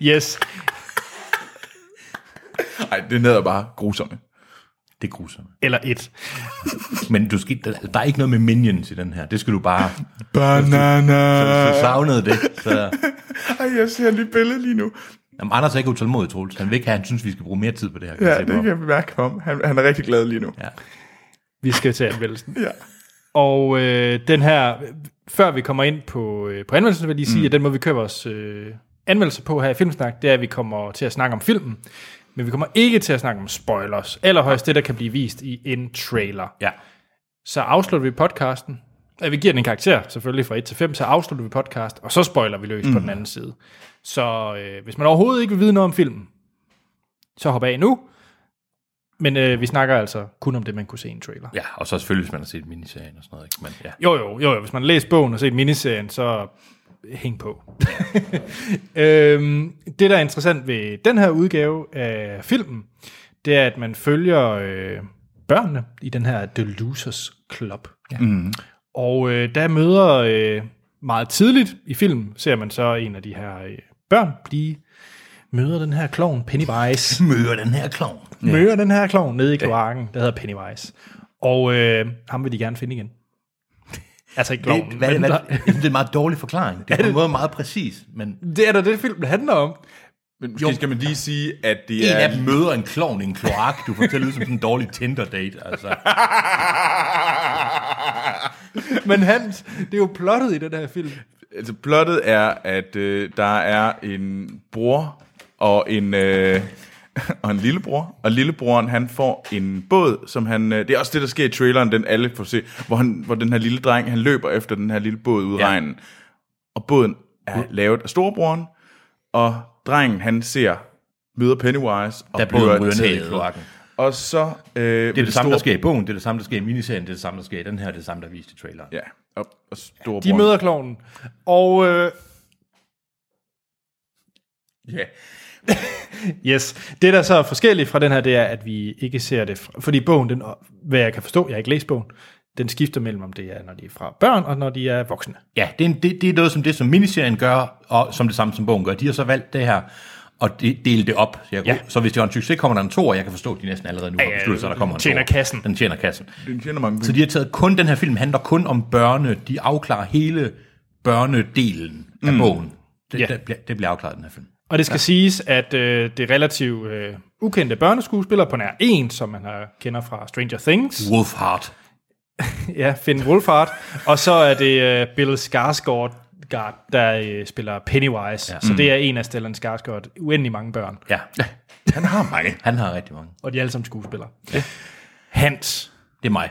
S1: Yes.
S3: Nej, det hedder bare grusomme.
S2: Det gruser mig.
S1: Eller 1.
S2: Men du skal, der, der er ikke noget med Minions i den her. Det skal du bare...
S3: Banana.
S2: Hvis du savnede det, så...
S3: Ej, jeg ser et nyt billede lige nu.
S2: Jamen, Anders er ikke utålmodig, Troels. Han vil ikke have, han synes, vi skal bruge mere tid på det her. Kan
S3: Ja,
S2: jeg se
S3: det
S2: på ham.
S3: kan jeg mærke på ham. Han, han er rigtig glad lige nu.
S2: Ja.
S1: Vi skal til anmeldelsen.
S3: Ja.
S1: Og øh, den her, før vi kommer ind på, øh, på anmeldelsen, vil jeg lige sige, mm. at den måde, vi kører vores øh, anmeldelse på her i Filmsnak, det er, at vi kommer til at snakke om filmen, men vi kommer ikke til at snakke om spoilers, allerhøjst det, der kan blive vist i en trailer.
S2: ja.
S1: så afslutter vi podcasten. Ja, vi giver den en karakter, selvfølgelig fra 1 til 5, så afslutter vi podcast, og så spoiler vi løs mm. på den anden side. Så øh, hvis man overhovedet ikke vil vide noget om filmen, så hop af nu. Men øh, vi snakker altså kun om det, man kunne se i en trailer.
S2: ja, og så selvfølgelig, hvis man har set miniserien og sådan noget. Ikke? Men, ja.
S1: Jo, jo, jo, jo. Hvis man læser bogen og set miniserien, så hæng på. øhm, det, der er interessant ved den her udgave af filmen, det er, at man følger øh, børnene i den her The Losers Club. Ja. Mm. Og øh, der møder øh, meget tidligt i filmen, ser man så en af de her øh, børn blive møder den her klovn Pennywise
S2: Møder den her klovn.
S1: møder den her klovn nede i kloakken, der hedder Pennywise. Og øh, ham vil de gerne finde igen. Altså ikke klovnen.
S2: Det, hvad,
S1: men
S2: hvad,
S1: der-
S2: jeg synes, det er en meget dårlig forklaring. Det er på en måde meget præcis, men
S1: det er da det, filmen handler om.
S3: Men måske jo.
S2: Jo.
S3: skal man lige sige, at det
S2: En
S3: er...
S2: af dem møder en klovn i en kloak. Du får til at lyde som sådan en dårlig Tinder-date. Altså.
S1: Men Hans, det er jo plottet i den her film.
S3: altså, plottet er, at øh, der er en bror og en... Øh, og en lillebror, og lillebroren han får en båd, som han, øh, det er også det, der sker i traileren, den alle får se, hvor, han, hvor den her lille dreng, han løber efter den her lille båd ud i
S2: Ja.
S3: regnen, og båden er lavet af storebroren, og drengen han ser, møder Pennywise, og
S2: Da båden
S3: bliver
S2: ryger ned i
S3: taget.
S2: kloakken.
S3: Og så... Øh, det
S2: Det er det samme, der sker i bogen, det er det samme, der sker i miniserien, det er det samme, der sker i den her, det er det samme, der er vist i traileren.
S3: Ja, og, og storebroren...
S1: De møder klovnen. Og øh,
S3: Ja.
S1: yes, det der så er forskelligt fra den her, det er, at vi ikke ser det. Fra, fordi bogen, den, hvad jeg kan forstå, jeg har ikke læst bogen, den skifter mellem, om det er, når de er fra børn, og når de er voksne.
S2: Ja, det er, en- det, det er noget som det, som miniserien gør, og som det samme som bogen gør. De har så valgt det her, og de, dele det op. Så, jeg, ja.
S1: Ja.
S2: så hvis det var en succes, kommer der en to, og jeg kan forstå, at de næsten allerede nu har besluttet sig, at der kommer en
S1: tjener
S2: toer.
S1: kassen.
S2: Den tjener kassen.
S3: Den tjener mange
S2: Så de har taget kun, den her film handler kun om børne. De afklarer hele børnedelen af mm. bogen.
S1: Ja.
S2: Det, ja. det, bliver- det bliver afklaret i den her film.
S1: Og det skal ja. siges, at øh, det relativt øh, ukendte børneskuespiller på nær en, som man har, kender fra Stranger Things,
S2: Wolfheart.
S1: ja, Finn Wolfhard, og så er det øh, Bill Skarsgård, Gard, der øh, spiller Pennywise. Ja. Mm. Så det er en af Stellan Skarsgård. Uendelig mange børn,
S2: Ja,
S3: Han har mange.
S2: han har rigtig mange.
S1: og de er alle sammen skuespillere. Ja. Hans,
S2: Det er mig.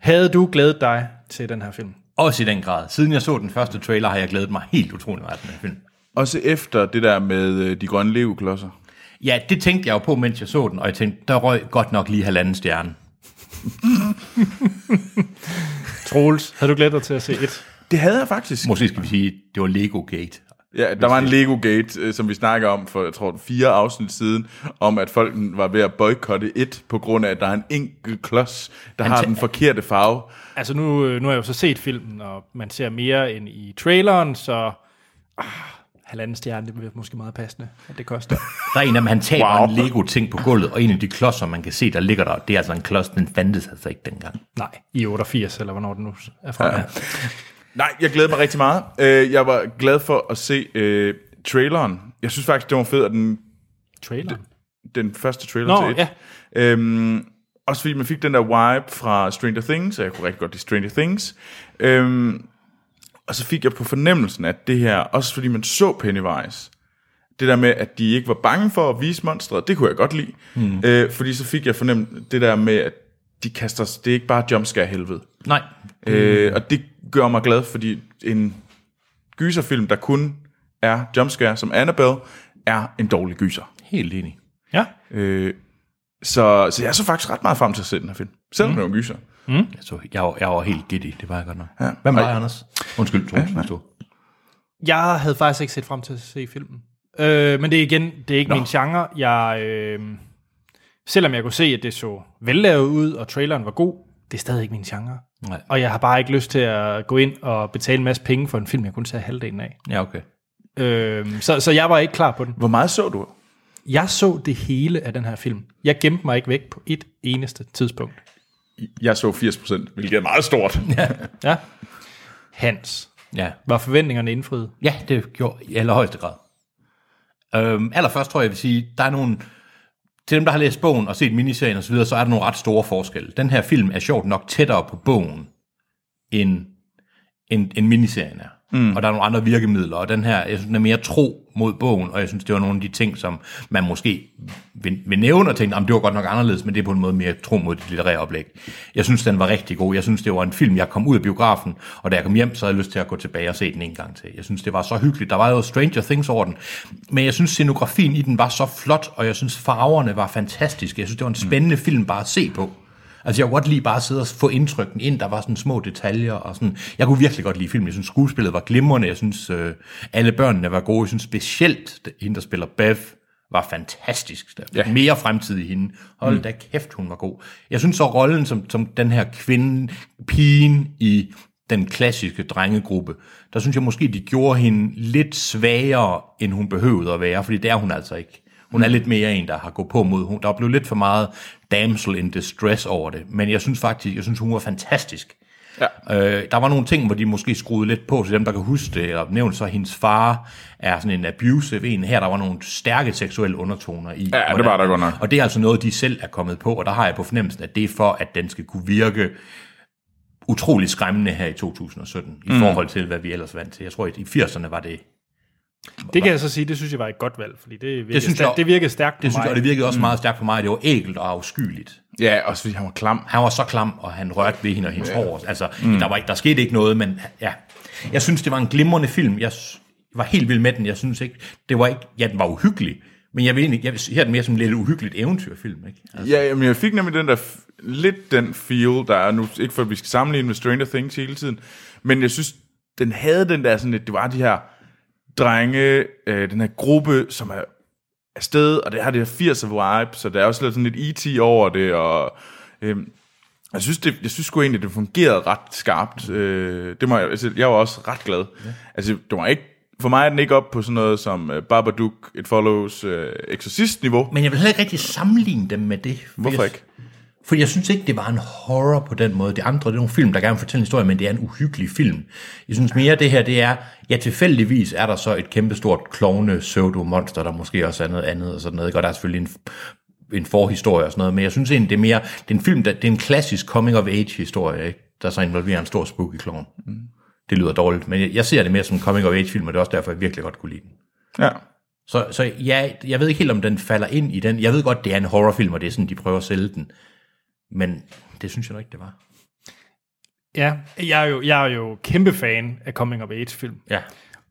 S1: havde du glædet dig til den her film?
S2: Også i den grad. Siden jeg så den første trailer, har jeg glædet mig helt utrolig meget til den her film.
S3: Også efter det der med øh, de grønne leveklodser.
S2: Ja, det tænkte jeg jo på, mens jeg så den, og jeg tænkte, der røg godt nok lige halvanden stjerne.
S1: Troels, havde du glædet dig til at se et?
S3: Det havde jeg faktisk.
S2: Måske skal vi sige, det var Lego Gate.
S3: Ja, der var en Lego Gate, øh, som vi snakker om for, jeg tror, fire afsnit siden, om at folk var ved at boykotte et, på grund af, at der er en enkelt klods, der har
S2: tæ-
S3: den forkerte farve.
S1: Altså nu, øh, nu har jeg jo så set filmen, og man ser mere end i traileren, så ah, halvanden stjerne, det bliver måske meget passende, at det koster.
S2: Der er en af dem, han taber
S3: Wow.
S2: wow. en Lego-ting på gulvet, og en af de klodser, man kan se, der ligger der, det er altså en klods, den fandtes altså ikke dengang.
S1: Nej, i 88, eller hvornår den nu er fra. Ja.
S3: Nej, jeg glæder mig rigtig meget. Øh, Jeg var glad for at se øh, traileren. Jeg synes faktisk, det var fedt, at den,
S1: Traileren?
S3: den første trailer
S1: Nå,
S3: til et.
S1: ja.
S3: Øhm, også fordi man fik den der vibe fra Stranger Things, og jeg kunne rigtig godt lide Stranger Things. Øhm, og så fik jeg på fornemmelsen, at det her, også fordi man så Pennywise, det der med, at de ikke var bange for at vise monstret, det kunne jeg godt lide. Mm. Øh, fordi så fik jeg fornemt det der med, at de kaster, os- det er ikke bare jumpscare helvede.
S2: Nej,
S3: Mm. Øh, og det gør mig glad, fordi en gyserfilm, der kun er jumpscare som Annabelle, er en dårlig gyser.
S2: helt enig.
S1: ja.
S3: Øh, så, så jeg så faktisk ret meget frem til at se den her film. Selvom mm. det var en gyser.
S2: Jeg, så, Altså, jeg, var, jeg var helt giddy, det var jeg godt nok. Ja.
S3: Hvad
S2: Hvem
S3: med
S2: var
S3: dig,
S2: jeg, Anders? Undskyld, Troels, hvis du.
S1: Jeg havde faktisk ikke set frem til at se filmen. Øh, men det er igen, det er ikke Nå. min genre. Jeg, øh, selvom jeg kunne se, at det så vellavet ud, og traileren var god, det er stadig ikke min genre.
S2: Nej.
S1: Og jeg har bare ikke lyst til at gå ind og betale en masse penge for en film, jeg kun ser halvdelen af.
S2: Ja, okay.
S1: Øh, så, så jeg var ikke klar på den.
S3: Hvor meget så du?
S1: Jeg så det hele af den her film. Jeg gemte mig ikke væk på et eneste tidspunkt.
S3: Jeg så 80%, hvilket er meget stort.
S1: Ja. Hans,
S2: Ja,
S1: var forventningerne indfriet?
S2: Ja, det gjorde i allerhøjeste grad. Øhm, allerførst tror jeg, jeg vil sige, der er nogle... Til dem, der har læst bogen og set miniserien osv., så er der nogle ret store forskelle. Den her film er sjovt nok tættere på bogen, end, end, end miniserien er. Mm. Og der er nogle andre virkemidler, og den her, jeg synes, den er mere tro mod bogen, og jeg synes, det var nogle af de ting, som man måske vil, vil nævne og tænke, "Jamen, det var godt nok anderledes, men det er på en måde mere tro mod det litterære oplæg. Jeg synes, den var rigtig god. Jeg synes, det var en film, jeg kom ud af biografen, og da jeg kom hjem, så havde jeg lyst til at gå tilbage og se den en gang til. Jeg synes, det var så hyggeligt. Der var jo Stranger Things over den, men jeg synes, scenografien i den var så flot, og jeg synes, farverne var fantastiske. Jeg synes, det var en spændende mm. film bare at se på. Altså, jeg kunne godt lige bare sidde og få indtrykken ind. Der var sådan små detaljer og sådan. Jeg kunne virkelig godt lide filmen. Jeg synes, skuespillet var glimrende. Jeg synes, øh, alle børnene var gode. Jeg synes specielt, at hende, der spiller Bev, var fantastisk. Der ja. Mere fremtid i hende. Hold da kæft, hun var god. Jeg synes så, rollen som, som den her kvinde, pigen i den klassiske drengegruppe, der synes jeg måske, de gjorde hende lidt svagere, end hun behøvede at være, fordi det er hun altså ikke. Hun er lidt mere en, der har gået på mod. Hun, der er blevet lidt for meget damsel in distress over det, men jeg synes faktisk, jeg synes, hun var fantastisk. Ja. Øh, der var nogle ting, hvor de måske skruede lidt på til dem, der kan huske det, eller nævnte så, at hendes far er sådan en abusive en. Her der var nogle stærke seksuelle undertoner i.
S3: Ja, det var der godt nok.
S2: Og det er altså noget, de selv er kommet på, og der har jeg på fornemmelsen, at det er for, at den skal kunne virke utrolig skræmmende her i 2017,
S3: Mm.
S2: i forhold til, hvad vi ellers vant til. Jeg tror, at i 80'erne var det
S1: Det kan jeg så sige, det synes jeg var et godt valg, fordi det virkede, det
S2: synes
S1: synes
S2: jeg-
S1: stærkt, det virkede stærkt på
S2: Det synes jeg,
S1: mig.
S2: og det virkede også meget stærkt på mig, at det var ægelt og afskyeligt.
S3: Ja, også fordi han var klam.
S2: Han var så klam, og han rørte ved hende og hendes hår. Altså, mm. der, var ikke, der skete ikke noget, men ja. Jeg synes, det var en glimrende film. Jeg s- var helt vild med den. Jeg synes ikke, det var ikke, ja, den var uhyggelig, men jeg vil egentlig, jeg vil se den mere som en lidt uhyggeligt eventyrfilm, ikke? Altså,
S3: Ja, men jeg fik nemlig den der, f- lidt den feel, der er nu, ikke for at vi skal sammenligne med Stranger Things hele tiden, men jeg synes, den havde den der sådan lidt, det var de her drenge, øh, den her gruppe, som er afsted, og det har det her 80'er vibe, så der er også lidt sådan lidt E.T. over det, og øh, jeg synes, det, jeg synes sgu egentlig, det fungerede ret skarpt. Øh, det må jeg, altså, jeg var også ret glad. Ja. Altså, det var ikke, for mig er den ikke op på sådan noget som øh, Babadook, It Follows, øh, Exorcist-niveau.
S2: men jeg vil heller ikke rigtig sammenligne dem med det. for
S3: Hvorfor
S2: jeg,
S3: ikke?
S2: For jeg synes ikke, det var en horror på den måde. Det andre, det er nogle film, der gerne vil fortælle en historie, men det er en uhyggelig film. Jeg synes mere, det her, det er, ja, tilfældigvis er der så et kæmpestort klovne pseudo-monster, der måske også er noget andet og sådan noget. ikke? Og der er selvfølgelig en, en forhistorie og sådan noget, men jeg synes egentlig, det er mere, det er en film, der, det er en klassisk coming-of-age-historie, ikke? der så involverer en stor spooky klovn. Mm. Det lyder dårligt, men jeg, jeg ser det mere som en coming-of-age-film, og det er også derfor, jeg virkelig godt kunne lide den.
S3: Ja.
S2: Så, så ja, jeg ved ikke helt, om den falder ind i den. Jeg ved godt, det er en horrorfilm, og det er sådan, de prøver at sælge den. Men det synes jeg nok ikke, det var.
S1: Ja, jeg er jo, jeg er jo kæmpe fan af Coming of Age-film.
S2: Ja.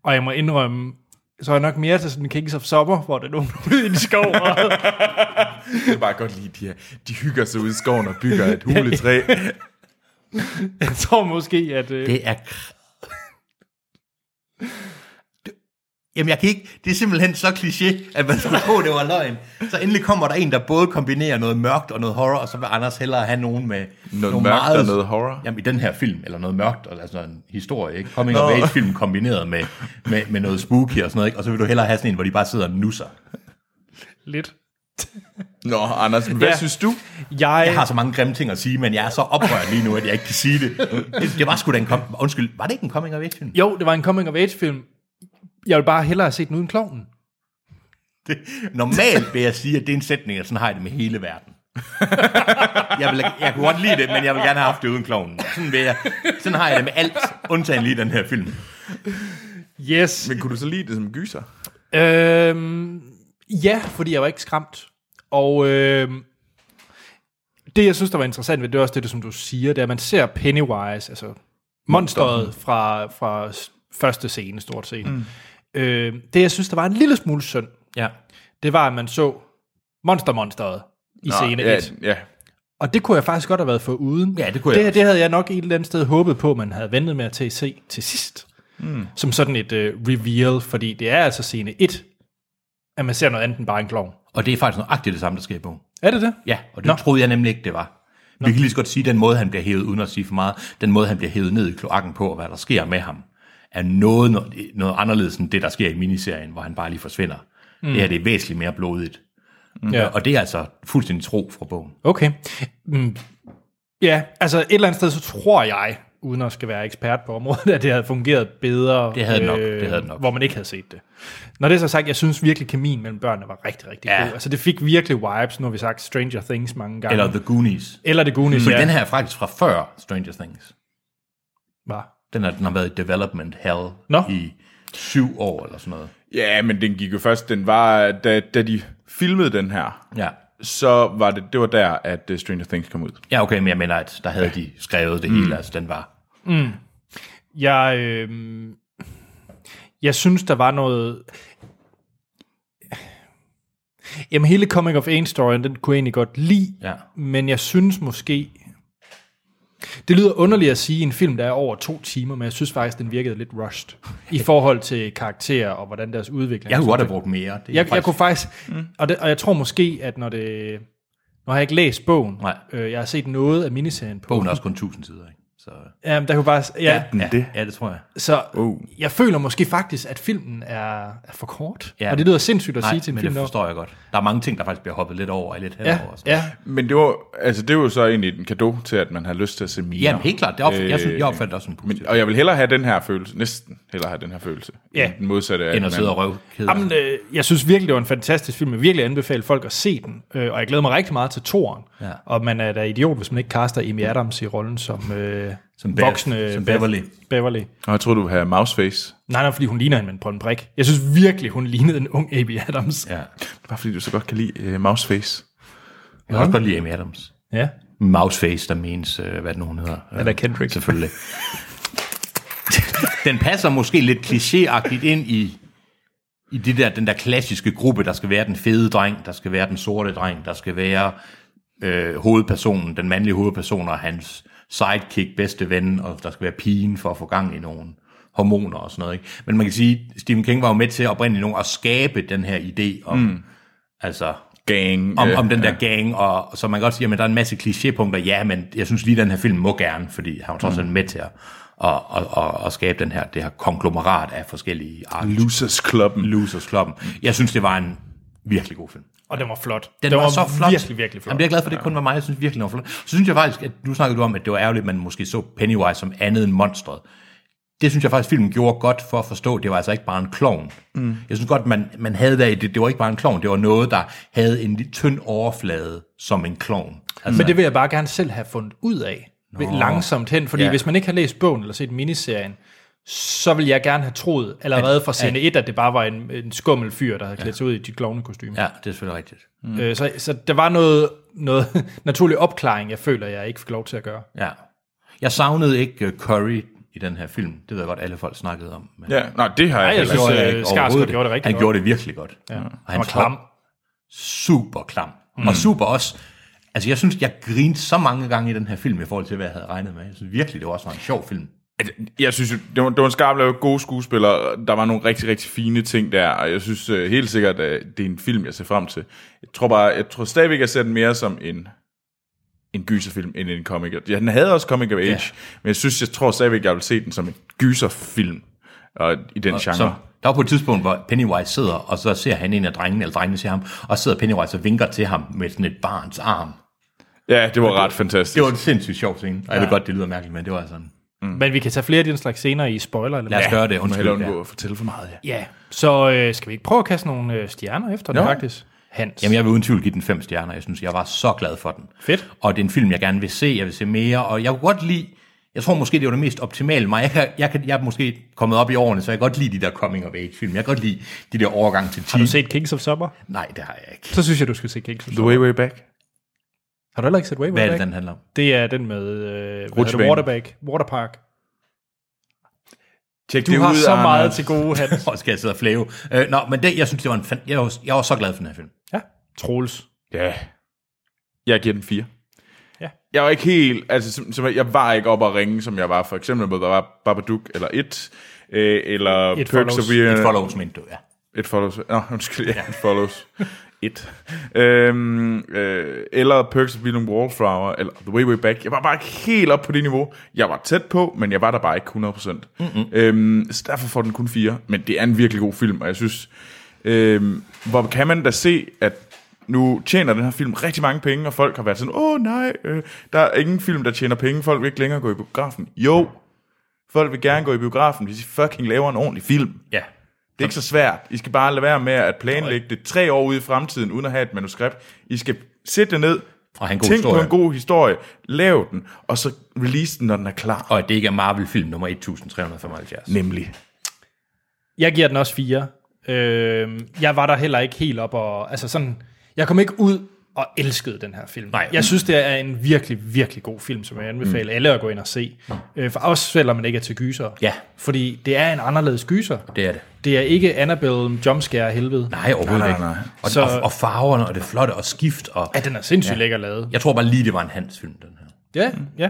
S1: Og jeg må indrømme, så er jeg nok mere til sådan Kings of Summer, hvor der er nogen ude i en skov. Og,
S3: Jeg kan bare godt lide, de her, de hygger sig ude i skoven og bygger et huletræ.
S1: jeg tror måske, at... Øh,
S2: Det er... kr- Det- Jamen, jeg kan ikke... Det er simpelthen så kliché, at man skulle tro, det var løgn. Så endelig kommer der en, der både kombinerer noget mørkt og noget horror, og så vil Anders hellere have nogen med...
S3: Noget mørkt og noget horror?
S2: Jamen, i den her film, eller noget mørkt, og altså en historie, ikke? Coming of Age-film kombineret med, med, med noget spooky og sådan noget, ikke? Og så vil du hellere have sådan en, hvor de bare sidder og nusser.
S1: lidt.
S3: Nå, Anders, hvad
S1: Ja.
S3: ja. synes du?
S1: Jeg,
S2: Jeg har så mange grimme ting at sige, men jeg er så oprørt lige nu, at jeg ikke kan sige det. Det, det var sgu da en kom... Undskyld, var det ikke en coming of age film?
S1: Jo, det var en Coming of Age-film. Jeg vil bare hellere have set den uden klovnen.
S2: Det, normalt vil jeg sige, at det er en sætning, og sådan har jeg det med hele verden. Jeg, vil, jeg kunne godt lide det, men jeg vil gerne have haft det uden kloven. Sådan, vil jeg, sådan har jeg det med alt, undtagen lige den her film.
S1: Yes.
S3: Men kunne du så lide det som gyser?
S1: Øhm, ja, fordi jeg var ikke skræmt. Og øhm, det, jeg synes, der var interessant ved det, er også det, som du siger, det er, at man ser Pennywise, altså monsteret fra, fra s- første scene, stort set. Mm. Øhm, det, jeg synes, der var en lille smule synd,
S2: Ja.
S1: det var, at man så monstermonsteret i Nå, scene 1.
S3: ja, ja.
S1: Og det kunne jeg faktisk godt have været for uden.
S2: Ja, det kunne jeg
S1: det, her,
S2: også.
S1: det havde jeg nok et eller andet sted håbet på, man havde ventet med at til at se til sidst.
S2: Hmm.
S1: Mm. Som sådan et uh, reveal, fordi det er altså scene 1, at man ser noget andet end bare en klovn.
S2: Og det er faktisk nøjagtigt det samme, der sker i bogen.
S1: Er det det?
S2: Ja, og det Nå.
S1: Nå.
S2: troede jeg nemlig ikke, det var. Vi kan lige så godt sige, at den måde, han bliver hævet, uden at sige for meget, den måde, han bliver hævet ned i kloakken på, og hvad der sker med ham, er noget, noget, noget anderledes end det, der sker i miniserien, hvor han bare lige forsvinder. Mm. Det her det er væsentligt mere blodigt.
S1: Mm. Ja.
S2: Og det er altså fuldstændig tro fra bogen.
S1: Okay. Mm. Ja, altså et eller andet sted, så tror jeg, uden at skal være ekspert på området, at det havde fungeret bedre. øh,
S2: Det havde det nok, det havde det nok.
S1: Hvor man ikke havde set det. Når det er så sagt, jeg synes virkelig, kemien mellem børnene var rigtig, rigtig
S2: Ja.
S1: god. Altså det fik virkelig vibes, nu har vi sagt Stranger Things mange gange.
S2: Eller The Goonies.
S1: eller det Goonies,
S2: Fordi
S1: ja.
S2: den her er faktisk fra før Stranger Things.
S1: var.
S2: Den, er, den har været i development hell
S1: Nå.
S2: i syv år eller sådan noget.
S3: Ja, men den gik jo først, den var, da, da de filmede den her,
S2: Ja.
S3: så var det, det var der, at øh, Stranger Things kom ud.
S2: Ja, okay, men jeg mener, at der havde de skrevet det
S1: Mm.
S2: hele, altså den var...
S1: Jeg, øh, jeg synes, der var noget... Jamen, hele Coming of Age-storyen, den kunne jeg egentlig godt lide,
S2: Ja.
S1: men jeg synes måske... Det lyder underligt at sige i en film, der er over to timer, men jeg synes faktisk, den virkede lidt rushed i forhold til karakterer og hvordan deres udvikling...
S2: Jeg kunne godt have brugt mere. Det er
S1: jeg, jeg kunne faktisk... Mm. Og, det, og jeg tror måske, at når det... Nu har jeg ikke læst bogen.
S2: Nej.
S1: Øh, jeg har set noget af miniserien på.
S2: Bogen er også kun 1000 sider, ikke? Så,
S1: Jamen, der kunne bare... Ja,
S3: den det?
S2: ja, det tror jeg.
S1: Så
S2: Uh.
S3: Oh.
S1: jeg føler måske faktisk, at filmen er, er for kort.
S2: Ja.
S1: Ja. Og det lyder sindssygt at
S2: Nej,
S1: sige til en
S2: men
S1: film.
S2: det forstår jeg godt. Der er mange ting, der faktisk bliver hoppet lidt over og lidt
S1: ja,
S2: henover. og sådan.
S1: ja,
S3: Men det var, altså, det var jo så egentlig en gave til, at man har lyst til at se Mina.
S2: Jamen helt klart, det opf- øh, jeg, synes,
S3: Øh,
S2: jeg opfatter det også som positivt.
S3: Men, og jeg vil hellere have den her følelse, næsten hellere have den her følelse,
S1: Ja.
S3: end den modsatte af
S2: End
S3: den
S2: at sidde og
S3: anden.
S2: røve
S1: Jamen, øh, jeg synes virkelig, det var en fantastisk film. Jeg vil virkelig anbefale folk at se den. Øh, og jeg glæder mig rigtig meget til toren.
S2: Ja.
S1: Og man er da idiot, hvis man ikke kaster Amy Adams i rollen som, øh,
S2: Som Bev-
S1: voksne
S2: som Beverly.
S1: Beverly.
S3: Og jeg tror du vil have Mouseface.
S1: Nej, nej, fordi hun ligner hende med en på en brik. Jeg synes virkelig, hun lignede en ung Amy Adams.
S2: Ja.
S3: Bare fordi du så godt kan lide uh, Mouseface.
S2: Jeg kan også godt lide Amy Adams.
S1: ja.
S2: Mouseface, der menes, øh, hvad den hun hedder.
S1: Eller Kendrick.
S2: Selvfølgelig. den passer måske lidt klichéagtigt ind i, i det der, den der klassiske gruppe, der skal være den fede dreng, der skal være den sorte dreng, der skal være øh, hovedpersonen, den mandlige hovedperson og hans sidekick, bedste ven, og der skal være pigen for at få gang i nogen hormoner og sådan noget. Ikke? Men man kan sige, Stephen King var jo med til oprindeligt nogen at skabe den her idé om, mm. altså
S3: Gang.
S2: om,
S3: øh,
S2: om den der gang, og så man kan godt sige, at der er en masse klichépunkter, ja, men jeg synes lige, den her film må gerne, fordi han var trods alt med til at, at, at, at, at skabe den her, det her konglomerat af forskellige art.
S3: Losers Clubben.
S2: Losers Clubben. Jeg synes, det var en virkelig god film.
S1: Og den var flot.
S2: Den det var, var så flot.
S1: Virkelig, virkelig flot.
S2: Jamen, det er jeg glad for, det kun var mig. Jeg synes virkelig, den var flot. Så synes jeg faktisk, at nu snakkede du om, at det var ærgerligt, at man måske så Pennywise som andet end monstret. Det synes jeg faktisk, filmen gjorde godt for at forstå, at det var altså ikke bare en klovn. Mm. Jeg synes godt, man, man havde der i det, det var ikke bare en klovn, det var noget, der havde en lidt tynd overflade som en klovn. Altså,
S1: Mm. Men det vil jeg bare gerne selv have fundet ud af Nå. langsomt hen, fordi
S2: Ja.
S1: ja. hvis man ikke har læst bogen eller set miniserien, så vil jeg gerne have troet allerede fra scene 1, at det bare var en, en skummel fyr, der havde klædt sig ud i de klovnekostyme.
S2: Ja, det er selvfølgelig rigtigt.
S1: Mm. Øh, så, så der var noget, noget naturlig opklaring, jeg føler, jeg ikke fik lov til at gøre.
S2: Ja. Jeg savnede ikke øh, Curry i den her film. Det ved jeg godt, alle folk snakkede om. Men
S3: Ja, nej, det har jeg
S1: jeg
S3: heller
S1: synes,
S3: ikke.
S1: øh,
S2: ikke
S1: Skarsgård
S2: overhovedet.
S1: gjorde det rigtig
S2: Han
S1: godt.
S2: gjorde det virkelig godt. Ja. Og
S1: Han var
S2: hans
S1: klam.
S2: hår- super klam. Mm. Og super også... Altså, jeg synes, jeg grinede så mange gange i den her film, i forhold til, hvad jeg havde regnet med. Jeg synes virkelig, det var også var en sjov film.
S3: Altså, Jeg synes, jo, det var, det var en skarp lavet gode skuespillere. Der var nogle rigtig, rigtig fine ting der, og jeg synes uh, helt sikkert, at det er en film, jeg ser frem til. Jeg tror bare, jeg tror stadigvæk, jeg ser den mere som en en gyserfilm end en comic. Ja, den havde også comic of age, ja. men jeg synes, jeg tror stadigvæk, jeg vil se den som en gyserfilm og i den og genre.
S2: Så der var på et tidspunkt, hvor Pennywise sidder, og så ser han en af drengene, eller drengene ser ham, og sidder Pennywise og vinker til ham med sådan et barns arm.
S3: ja, det var ret fantastisk.
S2: Det var en sindssygt sjov scene. Og jeg ved godt, det lyder mærkeligt, men det var sådan.
S1: Mm. Men vi kan tage flere af den slags scener i spoiler. Eller
S2: Lad os
S1: noget.
S2: ja, gøre det,
S3: må
S2: undskyld.
S3: hellere
S2: Ja.
S3: undgå at fortælle for meget, ja.
S1: ja. Så øh, skal vi ikke prøve at kaste nogle øh, stjerner efter den
S3: Jo.
S1: faktisk? Hans.
S2: Jamen, jeg vil uden tvivl give den fem stjerner. Jeg synes, jeg var så glad for den.
S1: Fedt.
S2: Og det er en film, jeg gerne vil se. Jeg vil se mere, og jeg kunne godt lide... Jeg tror måske, det var det mest optimale mig. Jeg, kan, jeg, kan, jeg er måske kommet op i årene, så jeg kan godt lide de der coming of age film. Jeg kan godt lide de der overgang til teen.
S1: Har du set Kings of Summer?
S2: Nej, det har jeg ikke.
S1: Så synes jeg, du skal se Kings of
S3: The
S1: Summer.
S3: Way Way Back.
S1: Har du heller ikke set Way
S2: Hvad er
S1: Back?
S2: det, den handler om?
S1: Det er den med øh, hvad hedder
S3: Rutsjebanen.
S1: det, Waterback, Waterpark.
S3: Tjek
S1: Du
S3: det
S1: har
S3: ud,
S1: så
S3: Anders.
S1: meget til gode, Hans.
S2: Hvor skal jeg sidde og flæve? Øh, nå, men det, jeg synes, det var en fan... jeg, var, jeg var så glad for den her film.
S1: ja, Troels.
S3: Ja. Jeg giver den 4.
S1: Ja.
S3: Jeg var ikke helt, altså som, som, jeg var ikke oppe at ringe, som jeg var for eksempel med Baba- Babadook, eller It, øh, eller
S1: It
S3: Perks
S1: Follows.
S3: of Being-
S2: Et follows, mente du, ja.
S3: It Follows. Nå, undskyld, ja, It Follows. It. Øhm, øh, eller Perks of Being Wallflower, eller The Way Way Back. Jeg var bare ikke helt op på det niveau. Jeg var tæt på, men jeg var der bare ikke 100%. Mm-hmm. Øhm, så derfor får den kun 4, men det er en virkelig god film, og jeg synes, øhm, hvor kan man da se, at nu tjener den her film rigtig mange penge, og folk har været sådan, åh nej, øh, der er ingen film, der tjener penge, folk vil ikke længere gå i biografen. Jo, folk vil gerne gå i biografen, hvis I fucking laver en ordentlig film.
S2: Ja.
S3: Det er ikke så svært. I skal bare lade være med at planlægge det tre år ude i fremtiden, uden at have et manuskript. I skal sætte det ned,
S2: Og have en god
S3: tænk på
S2: historie.
S3: en god historie, lav den, og så release den, når den er klar.
S2: Og at det ikke er Marvel-film nummer 1375.
S3: Nemlig.
S1: Jeg giver den også fire. Øh, jeg var der heller ikke helt op og... Altså sådan, jeg kom ikke ud og elskede den her film.
S2: Nej.
S1: Jeg synes, det er en virkelig, virkelig god film, som jeg anbefaler mm. alle at gå ind og se. Øh, for også selvom man ikke er til gyser.
S2: Ja.
S1: Fordi det er en anderledes gyser.
S2: Det er det.
S1: Det er ikke Annabelle jumpscare helvede.
S2: Nej, overhovedet
S3: Nej, nej,
S2: ikke.
S3: nej.
S2: Og,
S1: Så-
S2: og, og farverne, og det flotte, og skift, og...
S1: Ja, den er sindssygt ja. lækker lavet.
S2: Jeg tror bare lige, det var en hans film, den her.
S1: Ja, ja.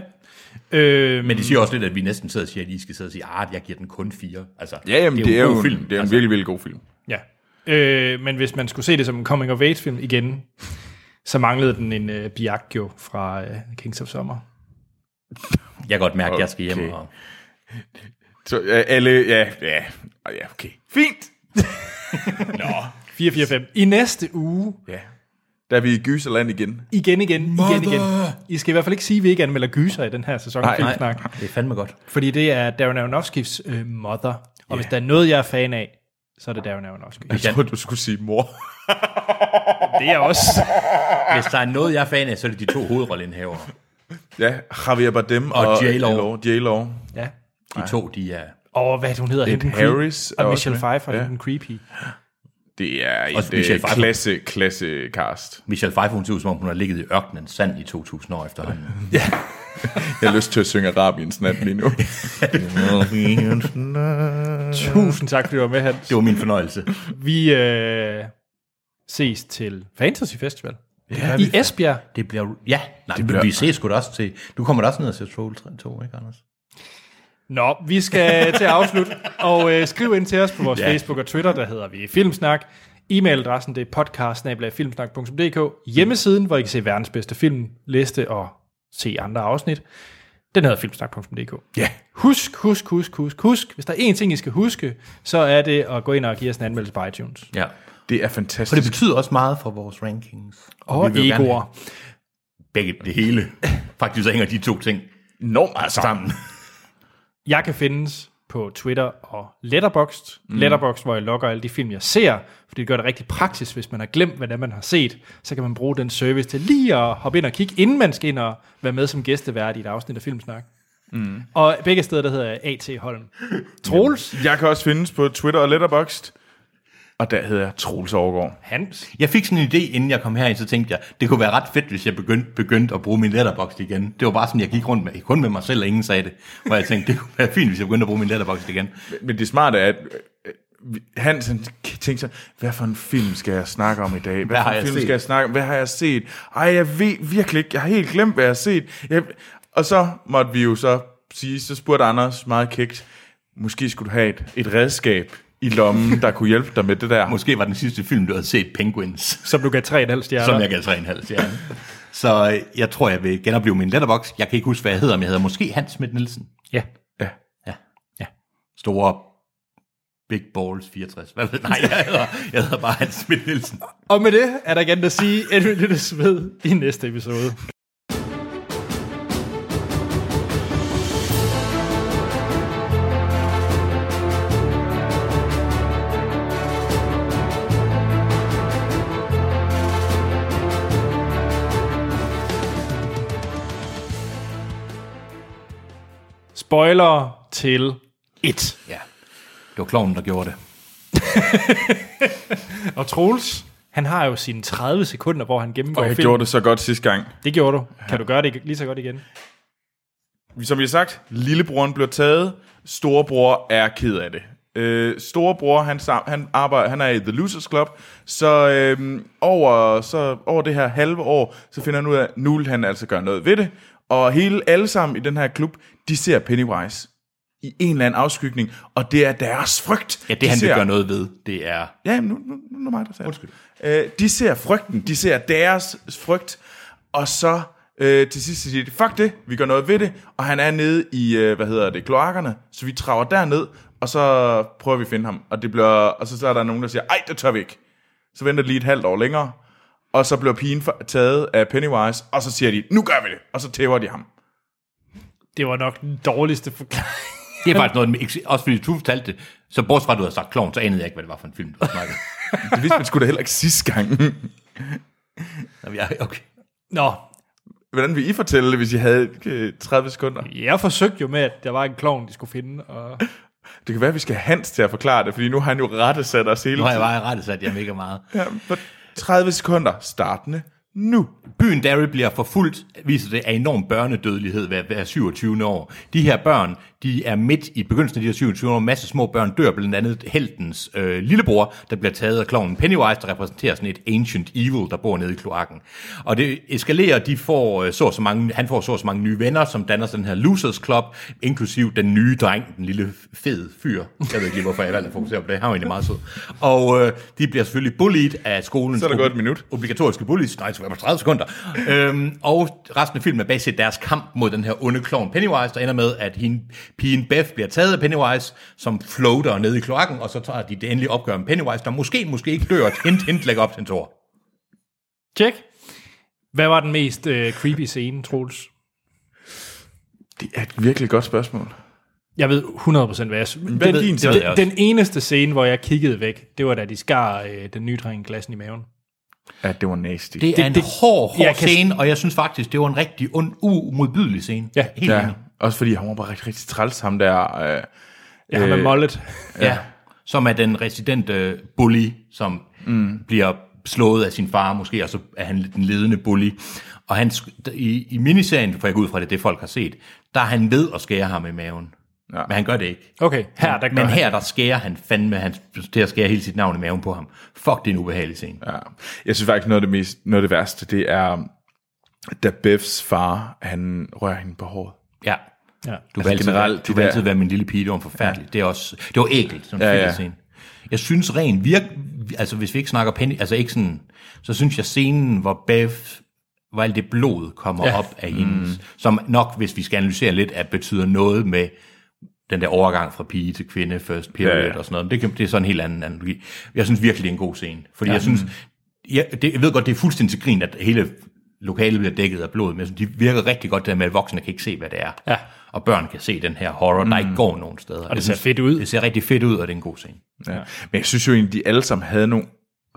S1: Øh,
S2: Men det
S3: Mm.
S2: siger også lidt, at vi næsten sidder og siger, at I skal sidde og sige, at jeg giver den kun fire. Altså,
S3: Ja, jamen, det
S2: en
S3: er, jo
S2: god
S3: en, film. Det er en altså. virkelig, virkelig god film.
S1: Ja. Øh, men hvis man skulle se det som en coming of age film igen, så manglede den en øh, Biagio fra øh, Kings of Summer.
S2: Jeg kan godt mærke, at jeg skal hjem.
S3: Okay.
S2: Og...
S3: Så, øh, alle, ja, ja, og ja, okay. Fint.
S1: 445. I næste uge,
S3: Ja. Der er vi i Gyserland igen.
S1: igen, igen, igen, igen. I skal i hvert fald ikke sige, at vi ikke anmelder gyser i den her sæson. af Filmsnak.
S2: det er fandme godt.
S1: Fordi det er Darren Aronofskis øh, mother. Og yeah. hvis der er noget, jeg er fan af, så er det Darren Aronofsky.
S3: Jeg troede, du skulle sige mor.
S1: Det er også.
S2: Hvis der er noget, jeg er fan af, så er det de to hovedrollenhavere.
S3: ja, Javier Bardem
S2: Og
S3: og,
S2: J.Lo.
S3: J-Lo.
S1: Ja.
S2: De to, de er...
S1: Og hvad er det, hun hedder? Hende den
S3: Harris
S1: creep-
S3: er
S1: Og
S3: også
S1: Michelle
S3: med.
S1: Pfeiffer, ja.
S3: Ja.
S1: den creepy.
S3: Det er
S2: Også
S3: et
S2: Michelle
S3: øh,
S2: Pfeiffer.
S3: klasse, klasse cast.
S2: Michelle Pfeiffer, hun ser ud, som om hun har ligget i ørkenen sand i 2000 år efterhånden.
S3: Jeg har lyst til at synge Arabiens nat lige nu.
S1: Tusind tak, fordi du var med, Hans.
S2: det var min fornøjelse.
S1: Vi øh, ses til Fantasy Festival. Ja, I Esbjerg.
S2: Det bliver... Ja, nej, det bliver... vi ses sgu da også til... Du kommer da også ned og ser Troll 2, ikke, Anders?
S1: Nå, vi skal til at afslutte. Og øh, skriv ind til os på vores
S2: Ja.
S1: ja. Facebook og Twitter, der hedder vi Filmsnak. E-mailadressen det er podcast-filmsnak.dk. Hjemmesiden, hvor I kan se verdens bedste filmliste og se andre afsnit, den hedder filmsnak.dk. Ja. Husk, husk, husk, husk, husk. Hvis der er én ting, I skal huske, så er det at gå ind og give os en anmeldelse på iTunes.
S2: Ja.
S3: Det er
S2: For det
S3: fantastisk.
S2: betyder også meget for vores rankings.
S1: Og
S2: vil jo gerne
S1: egoer.
S2: Begge det hele. Faktisk så hænger de to ting
S3: enormt meget sammen.
S1: Jeg kan findes på Twitter og Letterboxd. Mm. Letterboxd, hvor jeg logger alle de film, jeg ser, fordi det gør det rigtig praktisk, hvis man har glemt, hvad det er, man har set. Så kan man bruge den service til lige at hoppe ind og kigge, inden man skal ind og være med som gæstevært i et afsnit af Filmsnak. Mm. Og begge steder, der hedder jeg A.T. Holm. Troels,
S3: Jeg kan også findes på Twitter og Letterboxd. Og der hedder jeg Troels Overgaard.
S1: Hans,
S2: Jeg fik sådan en idé, inden jeg kom herind, så tænkte jeg, det kunne være ret fedt, hvis jeg begyndte, begyndte at bruge min letterbox igen. Det var bare sådan, jeg gik rundt med, kun med mig selv, og ingen sagde det. Og jeg tænkte, det kunne være fint, hvis jeg begyndte at bruge min letterbox igen.
S3: Men det smarte er, at øh, vi- Hans han tænkte sig, hvad for en film skal jeg snakke om i dag? Hvad,
S2: Hvad har
S3: for en
S2: jeg
S3: film
S2: set?"
S3: skal jeg snakke om? Hvad har jeg set? Ej, jeg ved virkelig ikke. Jeg har helt glemt, hvad jeg har set. Jeg... Og så måtte vi jo så sige, så spurgte Anders meget kægt, måske skulle du have et, et redskab i lommen, der kunne hjælpe dig med det der.
S2: Måske var den sidste film, du havde set, Penguins.
S1: som du gav 3,5
S2: Som
S1: stjerner.
S2: jeg gav 3,5 ja. Så øh, jeg tror, jeg vil genopleve min letterbox. Jeg kan ikke huske, hvad jeg hedder, men jeg hedder måske Hans Schmidt Nielsen.
S1: Ja.
S2: Store Big Balls 64. Hvad ved, nej, jeg hedder, jeg hedder bare Hans Schmidt Nielsen.
S1: Og med det er der igen at sige, at vi lyttes ved i næste episode. Spoiler til 1.
S2: Ja, det var klovnen, der gjorde det.
S1: Og Troels, han har jo sine 30 sekunder, hvor han gennemgår
S3: Og jeg
S1: filmen.
S3: gjorde det så godt sidste gang.
S1: Det gjorde du. Kan du gøre det lige så godt igen?
S3: som vi har sagt, lillebroren bliver taget, storebror er ked af det. Øh, storebror, han, sam- han, arbejder, han er i The Losers Club, så, øh, over, så over det her halve år, så finder han ud af, at nu vil han altså gøre noget ved det, og hele alle sammen i den her klub, de ser Pennywise i en eller anden afskygning, og det er deres frygt.
S2: Ja, det
S3: de
S2: han vil
S3: ser.
S2: gøre noget ved, det er...
S3: Ja, nu, nu, nu er det mig, der sagde Undskyld. Øh, de ser frygten, de ser deres frygt, og så øh, til sidst siger de, fuck det, vi gør noget ved det, og han er nede i, øh, hvad hedder det, kloakkerne, så vi traver derned, og så prøver vi at finde ham, og, det bliver, og så, så er der nogen, der siger, ej, det tør vi ikke. Så venter de lige et halvt år længere, og så bliver pigen for, taget af Pennywise, og så siger de, nu gør vi det, og så tæver de ham.
S1: Det var nok den dårligste forklaring.
S2: Det er faktisk noget, den ikke- også fordi du fortalte det, så bortset fra, at du havde sagt klovn, så anede jeg ikke, hvad det var for en film, du snakkede.
S3: Det vidste man sgu da heller ikke sidste gang.
S2: Nå, men jeg- okay.
S1: Nå,
S3: Hvordan vil I fortælle det, hvis I havde øh, 30 sekunder?
S1: jeg forsøgte jo med, at der var en klovn, de skulle finde. Og...
S3: Det kan være, at vi skal have Hans til at forklare det, fordi nu har han jo rettesat os hele
S2: Nu har
S3: tiden.
S2: jeg bare rettet sat jer mega meget.
S3: For 30 sekunder, startende nu.
S2: Byen Derry bliver forfulgt, viser det, af enorm børnedødelighed hver, hver 27. år. De her børn, de er midt i begyndelsen af de her 27 år. En masse små børn dør, blandt andet heltens øh, lillebror, der bliver taget af klovnen Pennywise, der repræsenterer sådan et ancient evil, der bor nede i kloakken. Og det eskalerer, de får, øh, så og så mange, han får så og så mange nye venner, som danner sådan her Losers Club, inklusiv den nye dreng, den lille fed fyr. Jeg ved ikke lige, hvorfor jeg valgte at fokusere på det. Han var egentlig meget sød. Og øh, de bliver selvfølgelig bullied af skolen.
S3: Så er der gået et minut.
S2: Obligatoriske bullies. Nej, så 30 sekunder. øhm, og resten af filmen er baseret deres kamp mod den her onde klovn Pennywise, der ender med, at hende, pigen Beth bliver taget af Pennywise, som floater ned i kloakken, og så tager de det endelige opgør med Pennywise, der måske, måske ikke dør, hint, hint, lægger op til en tår.
S1: Tjek. Hvad var den mest øh, creepy scene, Troels?
S3: Det er et virkelig godt spørgsmål.
S1: Jeg ved 100% hvad jeg... Den,
S3: er din
S2: ved jeg
S1: den,
S2: også.
S1: den eneste scene, hvor jeg kiggede væk, det var da de skar øh, den nye dreng glassen i maven.
S3: Ja, det var nasty.
S2: Det er det, en
S1: det-
S2: det, hård, hård
S1: jeg kan-
S2: scene, og jeg synes faktisk, det var en rigtig ond, umodbydelig scene.
S1: Ja.
S2: helt
S3: ja.
S2: enig.
S3: Også fordi han var bare rigtig, rigtig træls, ham der. Øh,
S1: Jeg har med
S3: Øh,
S1: mollet.
S2: Ja, som er den residente bully, som mm. bliver slået af sin far måske, og så er han den ledende bully. Og han, sk- i, i miniserien, for jeg går ud fra det, er det folk har set, der er han ved at skære ham i maven.
S3: Ja.
S2: Ja. Men han gør det ikke.
S1: Okay, her der gør
S2: Men
S1: han.
S2: her, der skærer han fandme, han til at skære hele sit navn i maven på ham. Fuck, det er en ubehagelig scene. Ja.
S3: ja. Jeg synes faktisk, noget af det, mest, noget af det værste, det er, da Beths far, han rører hende på håret.
S2: ja.
S1: Ja.
S2: Du vil altid,
S3: Altså, generelt,
S2: være- du
S3: de
S2: vil
S3: der-
S2: altid være min lille pige, det var forfærdeligt. Det, er også, det var ægelt, sådan en
S3: Ja,
S2: ja,
S3: ja.
S2: ja. scene. Jeg synes rent virk, altså hvis vi ikke snakker Penny, altså ikke sådan, så synes jeg scenen, hvor Bev, hvor alt det blod kommer ja. op af hendes, mm. som nok, hvis vi skal analysere lidt, at betyder noget med den der overgang fra pige til kvinde, first period
S3: Ja,
S2: ja,
S3: ja.
S2: ja. og sådan noget. Men Det, kan, det er sådan en helt anden analogi. Jeg synes virkelig, det er en god scene. Fordi ja, jeg synes, jeg, det, jeg ved godt, det er fuldstændig til grin, at hele lokalet bliver dækket af blod, men jeg synes, de virker rigtig godt det der med, at voksne kan ikke se, hvad det er.
S1: Ja.
S2: Og børn kan se den her horror, mm. der ikke går nogen steder. Og
S1: det ser fedt ud.
S2: Det ser rigtig fedt ud, og det er en god scene.
S3: Ja. Men jeg synes jo egentlig, de alle sammen havde nogle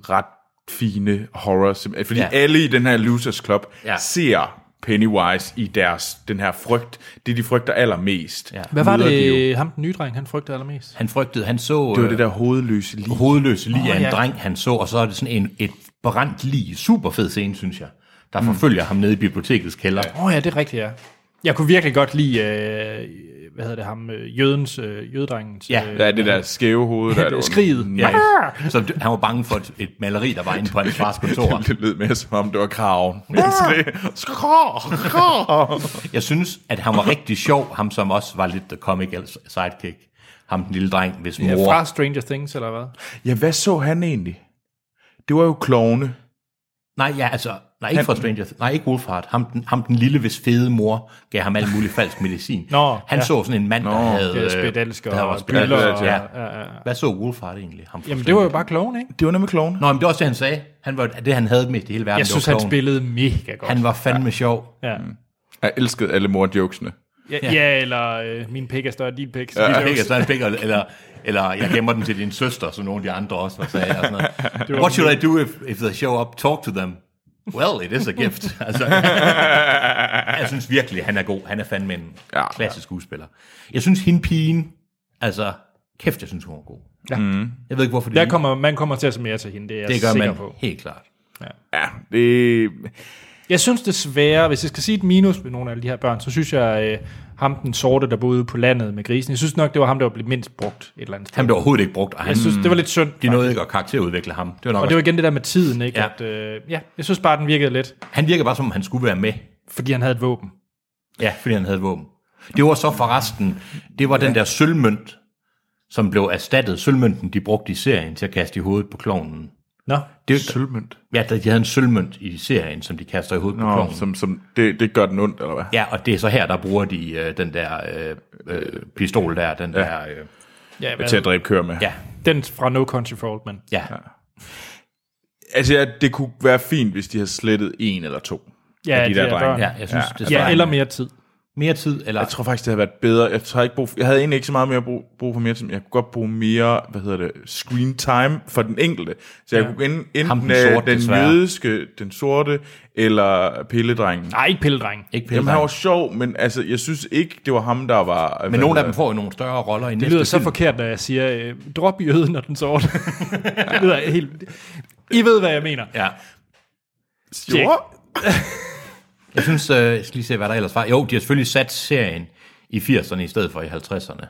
S3: ret fine horror, sim- fordi ja.
S2: Ja.
S3: alle i den her Losers Club ja.
S2: Ja.
S3: ser Pennywise i deres, den her frygt, det de frygter allermest.
S2: Ja.
S1: Hvad var
S3: Møder de jo.
S1: det, ham den nye dreng, han frygtede allermest?
S2: Han frygtede, han så...
S3: Det var
S2: øh,
S3: det der hovedløse lige.
S2: hovedløse lige af en
S1: ja.
S2: ja. dreng, han så, og så er det sådan en, et brændt lige. Super fed scene, synes jeg. Der forfølger ham nede i bibliotekets kælder.
S1: Åh oh, ja, det er rigtigt, ja. Jeg kunne virkelig godt lide, øh, hvad hedder det ham, øh, jødens, øh, jøddrengens
S2: Ja.
S1: øh,
S3: Ja, det der skæve hoved. Der, det var-
S1: skriget.
S2: Mm.
S3: Ja.
S1: Ah!
S2: Så det- han var bange for et, et maleri, der var inde på hans fars kontor.
S3: Det lød mere som om, det var kraven. Ja.
S2: Jeg synes, at han var rigtig sjov, ham som også var lidt the comic sidekick. Ham den lille dreng, hvis mor...
S1: ja, fra Stranger Things, eller hvad?
S3: ja, hvad så han egentlig? Det var jo klovne.
S2: Nej, ja, altså, nej, ikke fra Stranger Things. Nej, ikke Wolfhard. Ham den, ham den lille, hvis fede mor gav ham alt muligt falsk medicin.
S1: Nå,
S2: han
S1: ja.
S2: så sådan en mand, der havde...
S1: Det er
S2: øh,
S1: spedalsker
S2: der var
S1: og
S2: spedalsker,
S1: byller. Og,
S2: ja.
S1: ja. Ja, ja.
S2: Hvad så Wolfhard egentlig? Ham fra
S1: Jamen, det
S2: Stranger
S1: var jo bare kloven, ikke?
S3: Det var nemlig klovne.
S2: Nå, men det var også det, han sagde. Han var det, han havde mest i hele verden.
S1: Jeg
S2: det
S1: synes,
S2: var
S1: han
S2: klovnen.
S1: spillede mega godt.
S2: Han var fandme ja. sjov.
S1: Ja,
S3: Jeg elskede alle mor-jokesene.
S1: ja, ja eller øh, min pik er større end din pik.
S2: Ja.
S1: Ja.
S2: Jeg fik, så han fik, eller, eller jeg gemmer den til din søster, som nogle af de andre også var sagde. Og sådan noget. What should I do if, if they show up? Talk to them. Well, it is a gift. altså, jeg synes virkelig, han er god. Han er fandme en
S3: Ja.
S2: ja, klassisk skuespiller. Jeg synes, hende pigen, altså, kæft, jeg synes, hun er god.
S1: Ja.
S2: Mm. Jeg ved ikke, hvorfor det,
S1: Der kommer, man kommer til at se mere til hende, det er jeg
S2: det gør
S1: sikker
S2: man
S1: på.
S2: helt klart.
S3: Ja, det,
S1: Jeg synes desværre, hvis jeg skal sige et minus ved nogle af alle de her børn, så synes jeg, øh, ham den sorte, der boede på landet med grisen, jeg synes nok, det var ham, der var blevet mindst brugt et eller andet sted.
S2: Han blev overhovedet ikke brugt, og han,
S1: Jeg synes, det var lidt synd.
S2: de nåede ikke at karakterudvikle ham. Det var nok
S1: Og det var igen det der med tiden, ikke?
S2: Ja.
S1: At, øh, ja, jeg synes bare, den virkede lidt,
S2: Han virker bare, som om han skulle være med.
S1: fordi han havde et våben.
S2: Ja, fordi han havde våben. Det var så forresten, det var den der sølvmønt, som blev erstattet. Sølvmønten, de brugte i serien til at kaste i hovedet på klovnen.
S1: Nå,
S2: Det,
S3: sølvmønt.
S2: ja, de havde en sølvmønt i serien, som de kaster i hovedet på
S3: Nå,
S2: klovnen.
S3: som, som, det, det gør den ondt, eller hvad?
S2: Ja, og det er så her, der bruger de øh, den der øh, øh, pistol der, den ja. der... Øh,
S1: ja,
S3: Til at
S1: hvad,
S3: dræbe køer med.
S2: ja,
S1: den fra No Country for Old Men.
S2: ja.
S3: Altså, ja, det kunne være fint, hvis de havde slettet en eller to.
S1: Ja,
S3: Af de der drenge.
S2: Ja, jeg synes, ja. det
S1: Ja, eller mere tid.
S2: mere tid, eller...
S3: Jeg tror faktisk, det havde været bedre. Jeg, tror ikke brug for, jeg havde egentlig ikke så meget mere brug, brug for mere tid. men Jeg kunne godt bruge mere, hvad hedder det, screen time for den enkelte. Så jeg ja. kunne en, enten
S2: Ham den
S3: den,
S2: sorte,
S3: den
S2: desværre.
S3: jødiske, den sorte, eller pilledrengen.
S1: Nej, ikke pilledreng.
S2: ikke
S3: Jamen,
S2: pille
S3: han var sjov, men altså, jeg synes ikke, det var ham, der var...
S2: Men nogle af dem får jo nogle større roller i
S1: Det
S2: næste
S1: lyder så
S2: film.
S1: forkert, når jeg siger, øh, drop jøden og den sorte. det lyder helt... I ved, hvad jeg mener.
S2: Ja.
S3: Jo,
S2: Jeg synes, øh, jeg skal lige se, hvad der ellers var. Jo, de har selvfølgelig sat serien i 80'erne i stedet for i 50'erne.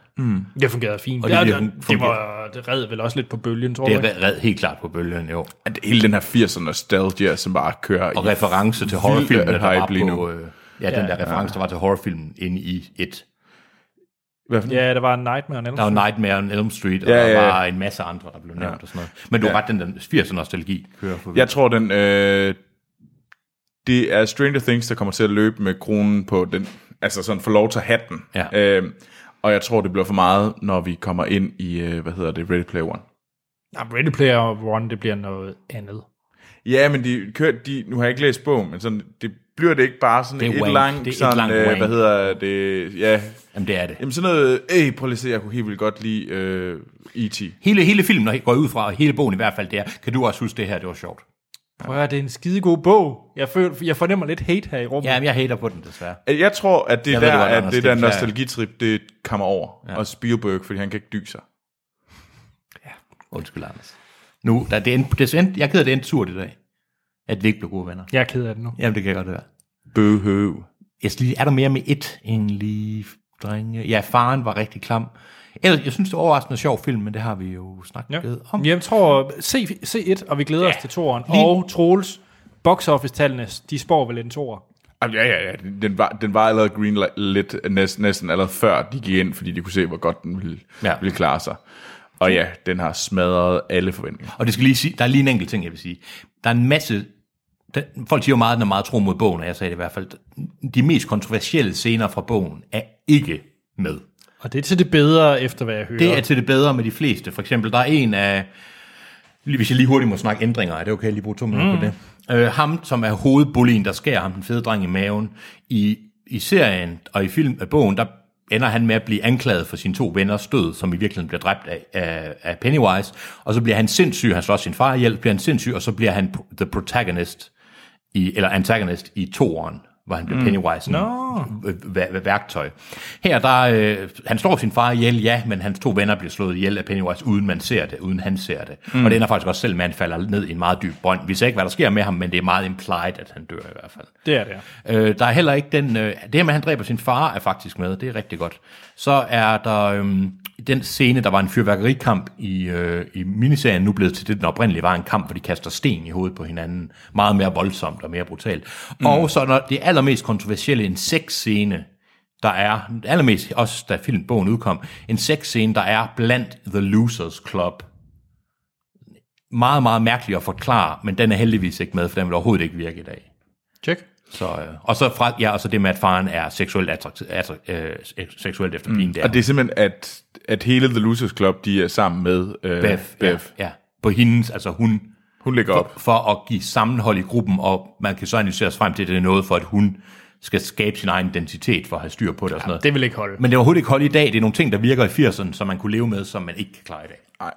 S1: Det fungerede fint.
S2: Og det
S1: Ja,
S2: virkede-
S1: det, det, var, det red vel også lidt på bølgen, tror
S2: Det
S1: jeg.
S2: er red- red helt klart på bølgen, jo.
S3: at hele den her 80'er nostalgia, som bare kører
S2: Og
S3: i.
S2: reference til horrorfilmen, der
S3: hype
S2: var
S3: lige
S2: på...
S3: nu.
S2: Øh, ja, den der reference, der var til horrorfilmen inde i et.
S3: Hvad for en?
S1: Ja, der var en Nightmare on Elm
S2: Der var
S1: Street.
S2: Nightmare on Elm Street, og
S3: Ja,
S2: ja,
S3: ja,
S2: der
S3: ja.
S2: var en masse andre, der blev nævnt og sådan noget. Men du har ret, den der 80'er nostalgi kører forbi.
S3: Jeg tror, den, øh, Det er Stranger Things, der kommer til at løbe med kronen på den, altså sådan for lov til hatten.
S2: Ja.
S3: Øhm, og jeg tror, det bliver for meget, når vi kommer ind i, øh, hvad hedder det, Ready Player One.
S1: Jamen, Ready Player One, det bliver noget andet.
S3: Ja, men de kører, de, nu har jeg ikke læst bogen, men sådan, det bliver det ikke bare sådan
S2: Det er
S3: et
S2: wank.
S3: langt,
S2: Det er et
S3: sådan,
S2: langt
S3: øh,
S2: wank.
S3: hvad hedder det, ja,
S2: Jamen, det er det.
S3: jamen sådan noget, øh, prøv lige at se, jeg kunne helt vildt godt lide øh, E.T.
S2: Hele, hele filmen når jeg går jeg ud fra, og hele bogen i hvert fald, det er, kan du også huske det her, det var sjovt.
S1: Prøv at høre, det er en skide god bog. Jeg, føler, jeg fornemmer lidt hate her i rummet.
S2: Jamen, jeg hater på den, desværre.
S3: Jeg tror, at det
S2: Jeg
S3: er
S2: ved
S3: der,
S2: det godt,
S3: at
S2: Anders, det
S3: det der
S2: er klart.
S3: nostalgitrip, det kommer over. Ja. Og Spielberg, fordi han kan ikke dyse sig.
S2: Undskyld, Anders. Nu, der, det er en, det er en, jeg er ked af, det er en tur i dag, at vi ikke blev gode venner.
S1: Jeg er ked af det nu.
S2: Jamen, det kan jeg godt være.
S3: Bøhøv.
S2: Jeg skal lige, er der mere med et end lige drenge? Ja, faren var rigtig klam. Ellers, jeg synes, det er overraskende sjov film, men det har vi jo snakket
S1: Ja.
S2: om.
S1: Jamen, jeg tror, se, se et, og vi glæder ja. os til toeren. Lige... Og Troels, box office-tallene, de spår vel en toer.
S3: Jamen, ja, ja, ja. Den var, den var allerede green lidt næsten, næsten allerede før de gik ind, fordi de kunne se, hvor godt den ville,
S2: Ja.
S3: ja. ville klare sig. Og ja, den har smadret alle forventninger.
S2: Og det skal lige sige, der er lige en enkelt ting, jeg vil sige. Der er en masse... Den, folk siger jo meget, at den er meget tro mod bogen, og jeg sagde det i hvert fald. De mest kontroversielle scener fra bogen er ikke med.
S1: Og det er til det bedre, efter hvad jeg hører.
S2: Det er til det bedre med de fleste. For eksempel, der er en af... lige- Hvis jeg lige hurtigt må snakke ændringer, er det okay, at jeg lige bruge to minutter mm. på det? Øh, ham, som er hovedbullien, der skærer ham den fede dreng i maven. I, i serien og i film af bogen, der ender han med at blive anklaget for sine to venners død, som i virkeligheden bliver dræbt af, af, af Pennywise. Og så bliver han sindssyg, han slår sin far ihjel, bliver han sindssyg, og så bliver han p- the protagonist, i, eller antagonist i toeren, hvor han bliver mm. Pennywise no. værktøj. Her, der, øh, han slår sin far ihjel, ja, men hans to venner bliver slået ihjel af Pennywise, uden man ser det, uden han ser det. Mm. Og det ender faktisk også selv med, at han falder ned i en meget dyb brønd. Vi ser ikke, hvad der sker med ham, men det er meget implied, at han dør i hvert fald.
S1: det er det. ja.
S2: Øh, der er heller ikke den... Øh, det her med, at han dræber sin far, er faktisk med. Det er rigtig godt. Så er der øhm, den scene, der var en fyrværkerikamp i, øh, i miniserien, nu blevet til det, den oprindelige var en kamp, hvor de kaster sten i hovedet på hinanden. Meget mere voldsomt og mere brutalt. Mm. Og så er der det allermest kontroversielle, en sexscene, der er, allermest også da filmbogen udkom, en sexscene, der er blandt The Losers Club meget, meget mærkelig at forklare, men den er heldigvis ikke med, for den vil overhovedet ikke virke i dag.
S1: Check.
S2: Så, øh, og så fra, ja, og så det med, at faren er seksuelt, attraktiv, attra- øh, sek- seksuelt efter pigen der.
S3: Mm. Og det er simpelthen, at, at hele The Losers Club, de er sammen med øh,
S2: Beth,
S3: Beth.
S2: Ja, ja, på hendes, altså hun,
S3: Hun lægger op.
S2: for at give sammenhold i gruppen, og man kan så analysere frem til, at det er noget for, at hun skal skabe sin egen identitet for at have styr på det og sådan noget.
S1: Det vil ikke holde.
S2: Men det er overhovedet ikke holdt i dag. Det er nogle ting, der virker i 80'erne, som man kunne leve med, som man ikke kan klare i dag.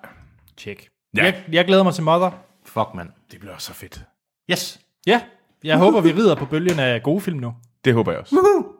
S1: Check. Ja. Jeg, jeg glæder mig til Mother.
S2: Fuck, mand.
S3: Det bliver så fedt.
S2: Yes.
S1: Ja, jeg håber, vi rider på bølgen af gode film nu.
S3: Det håber jeg også.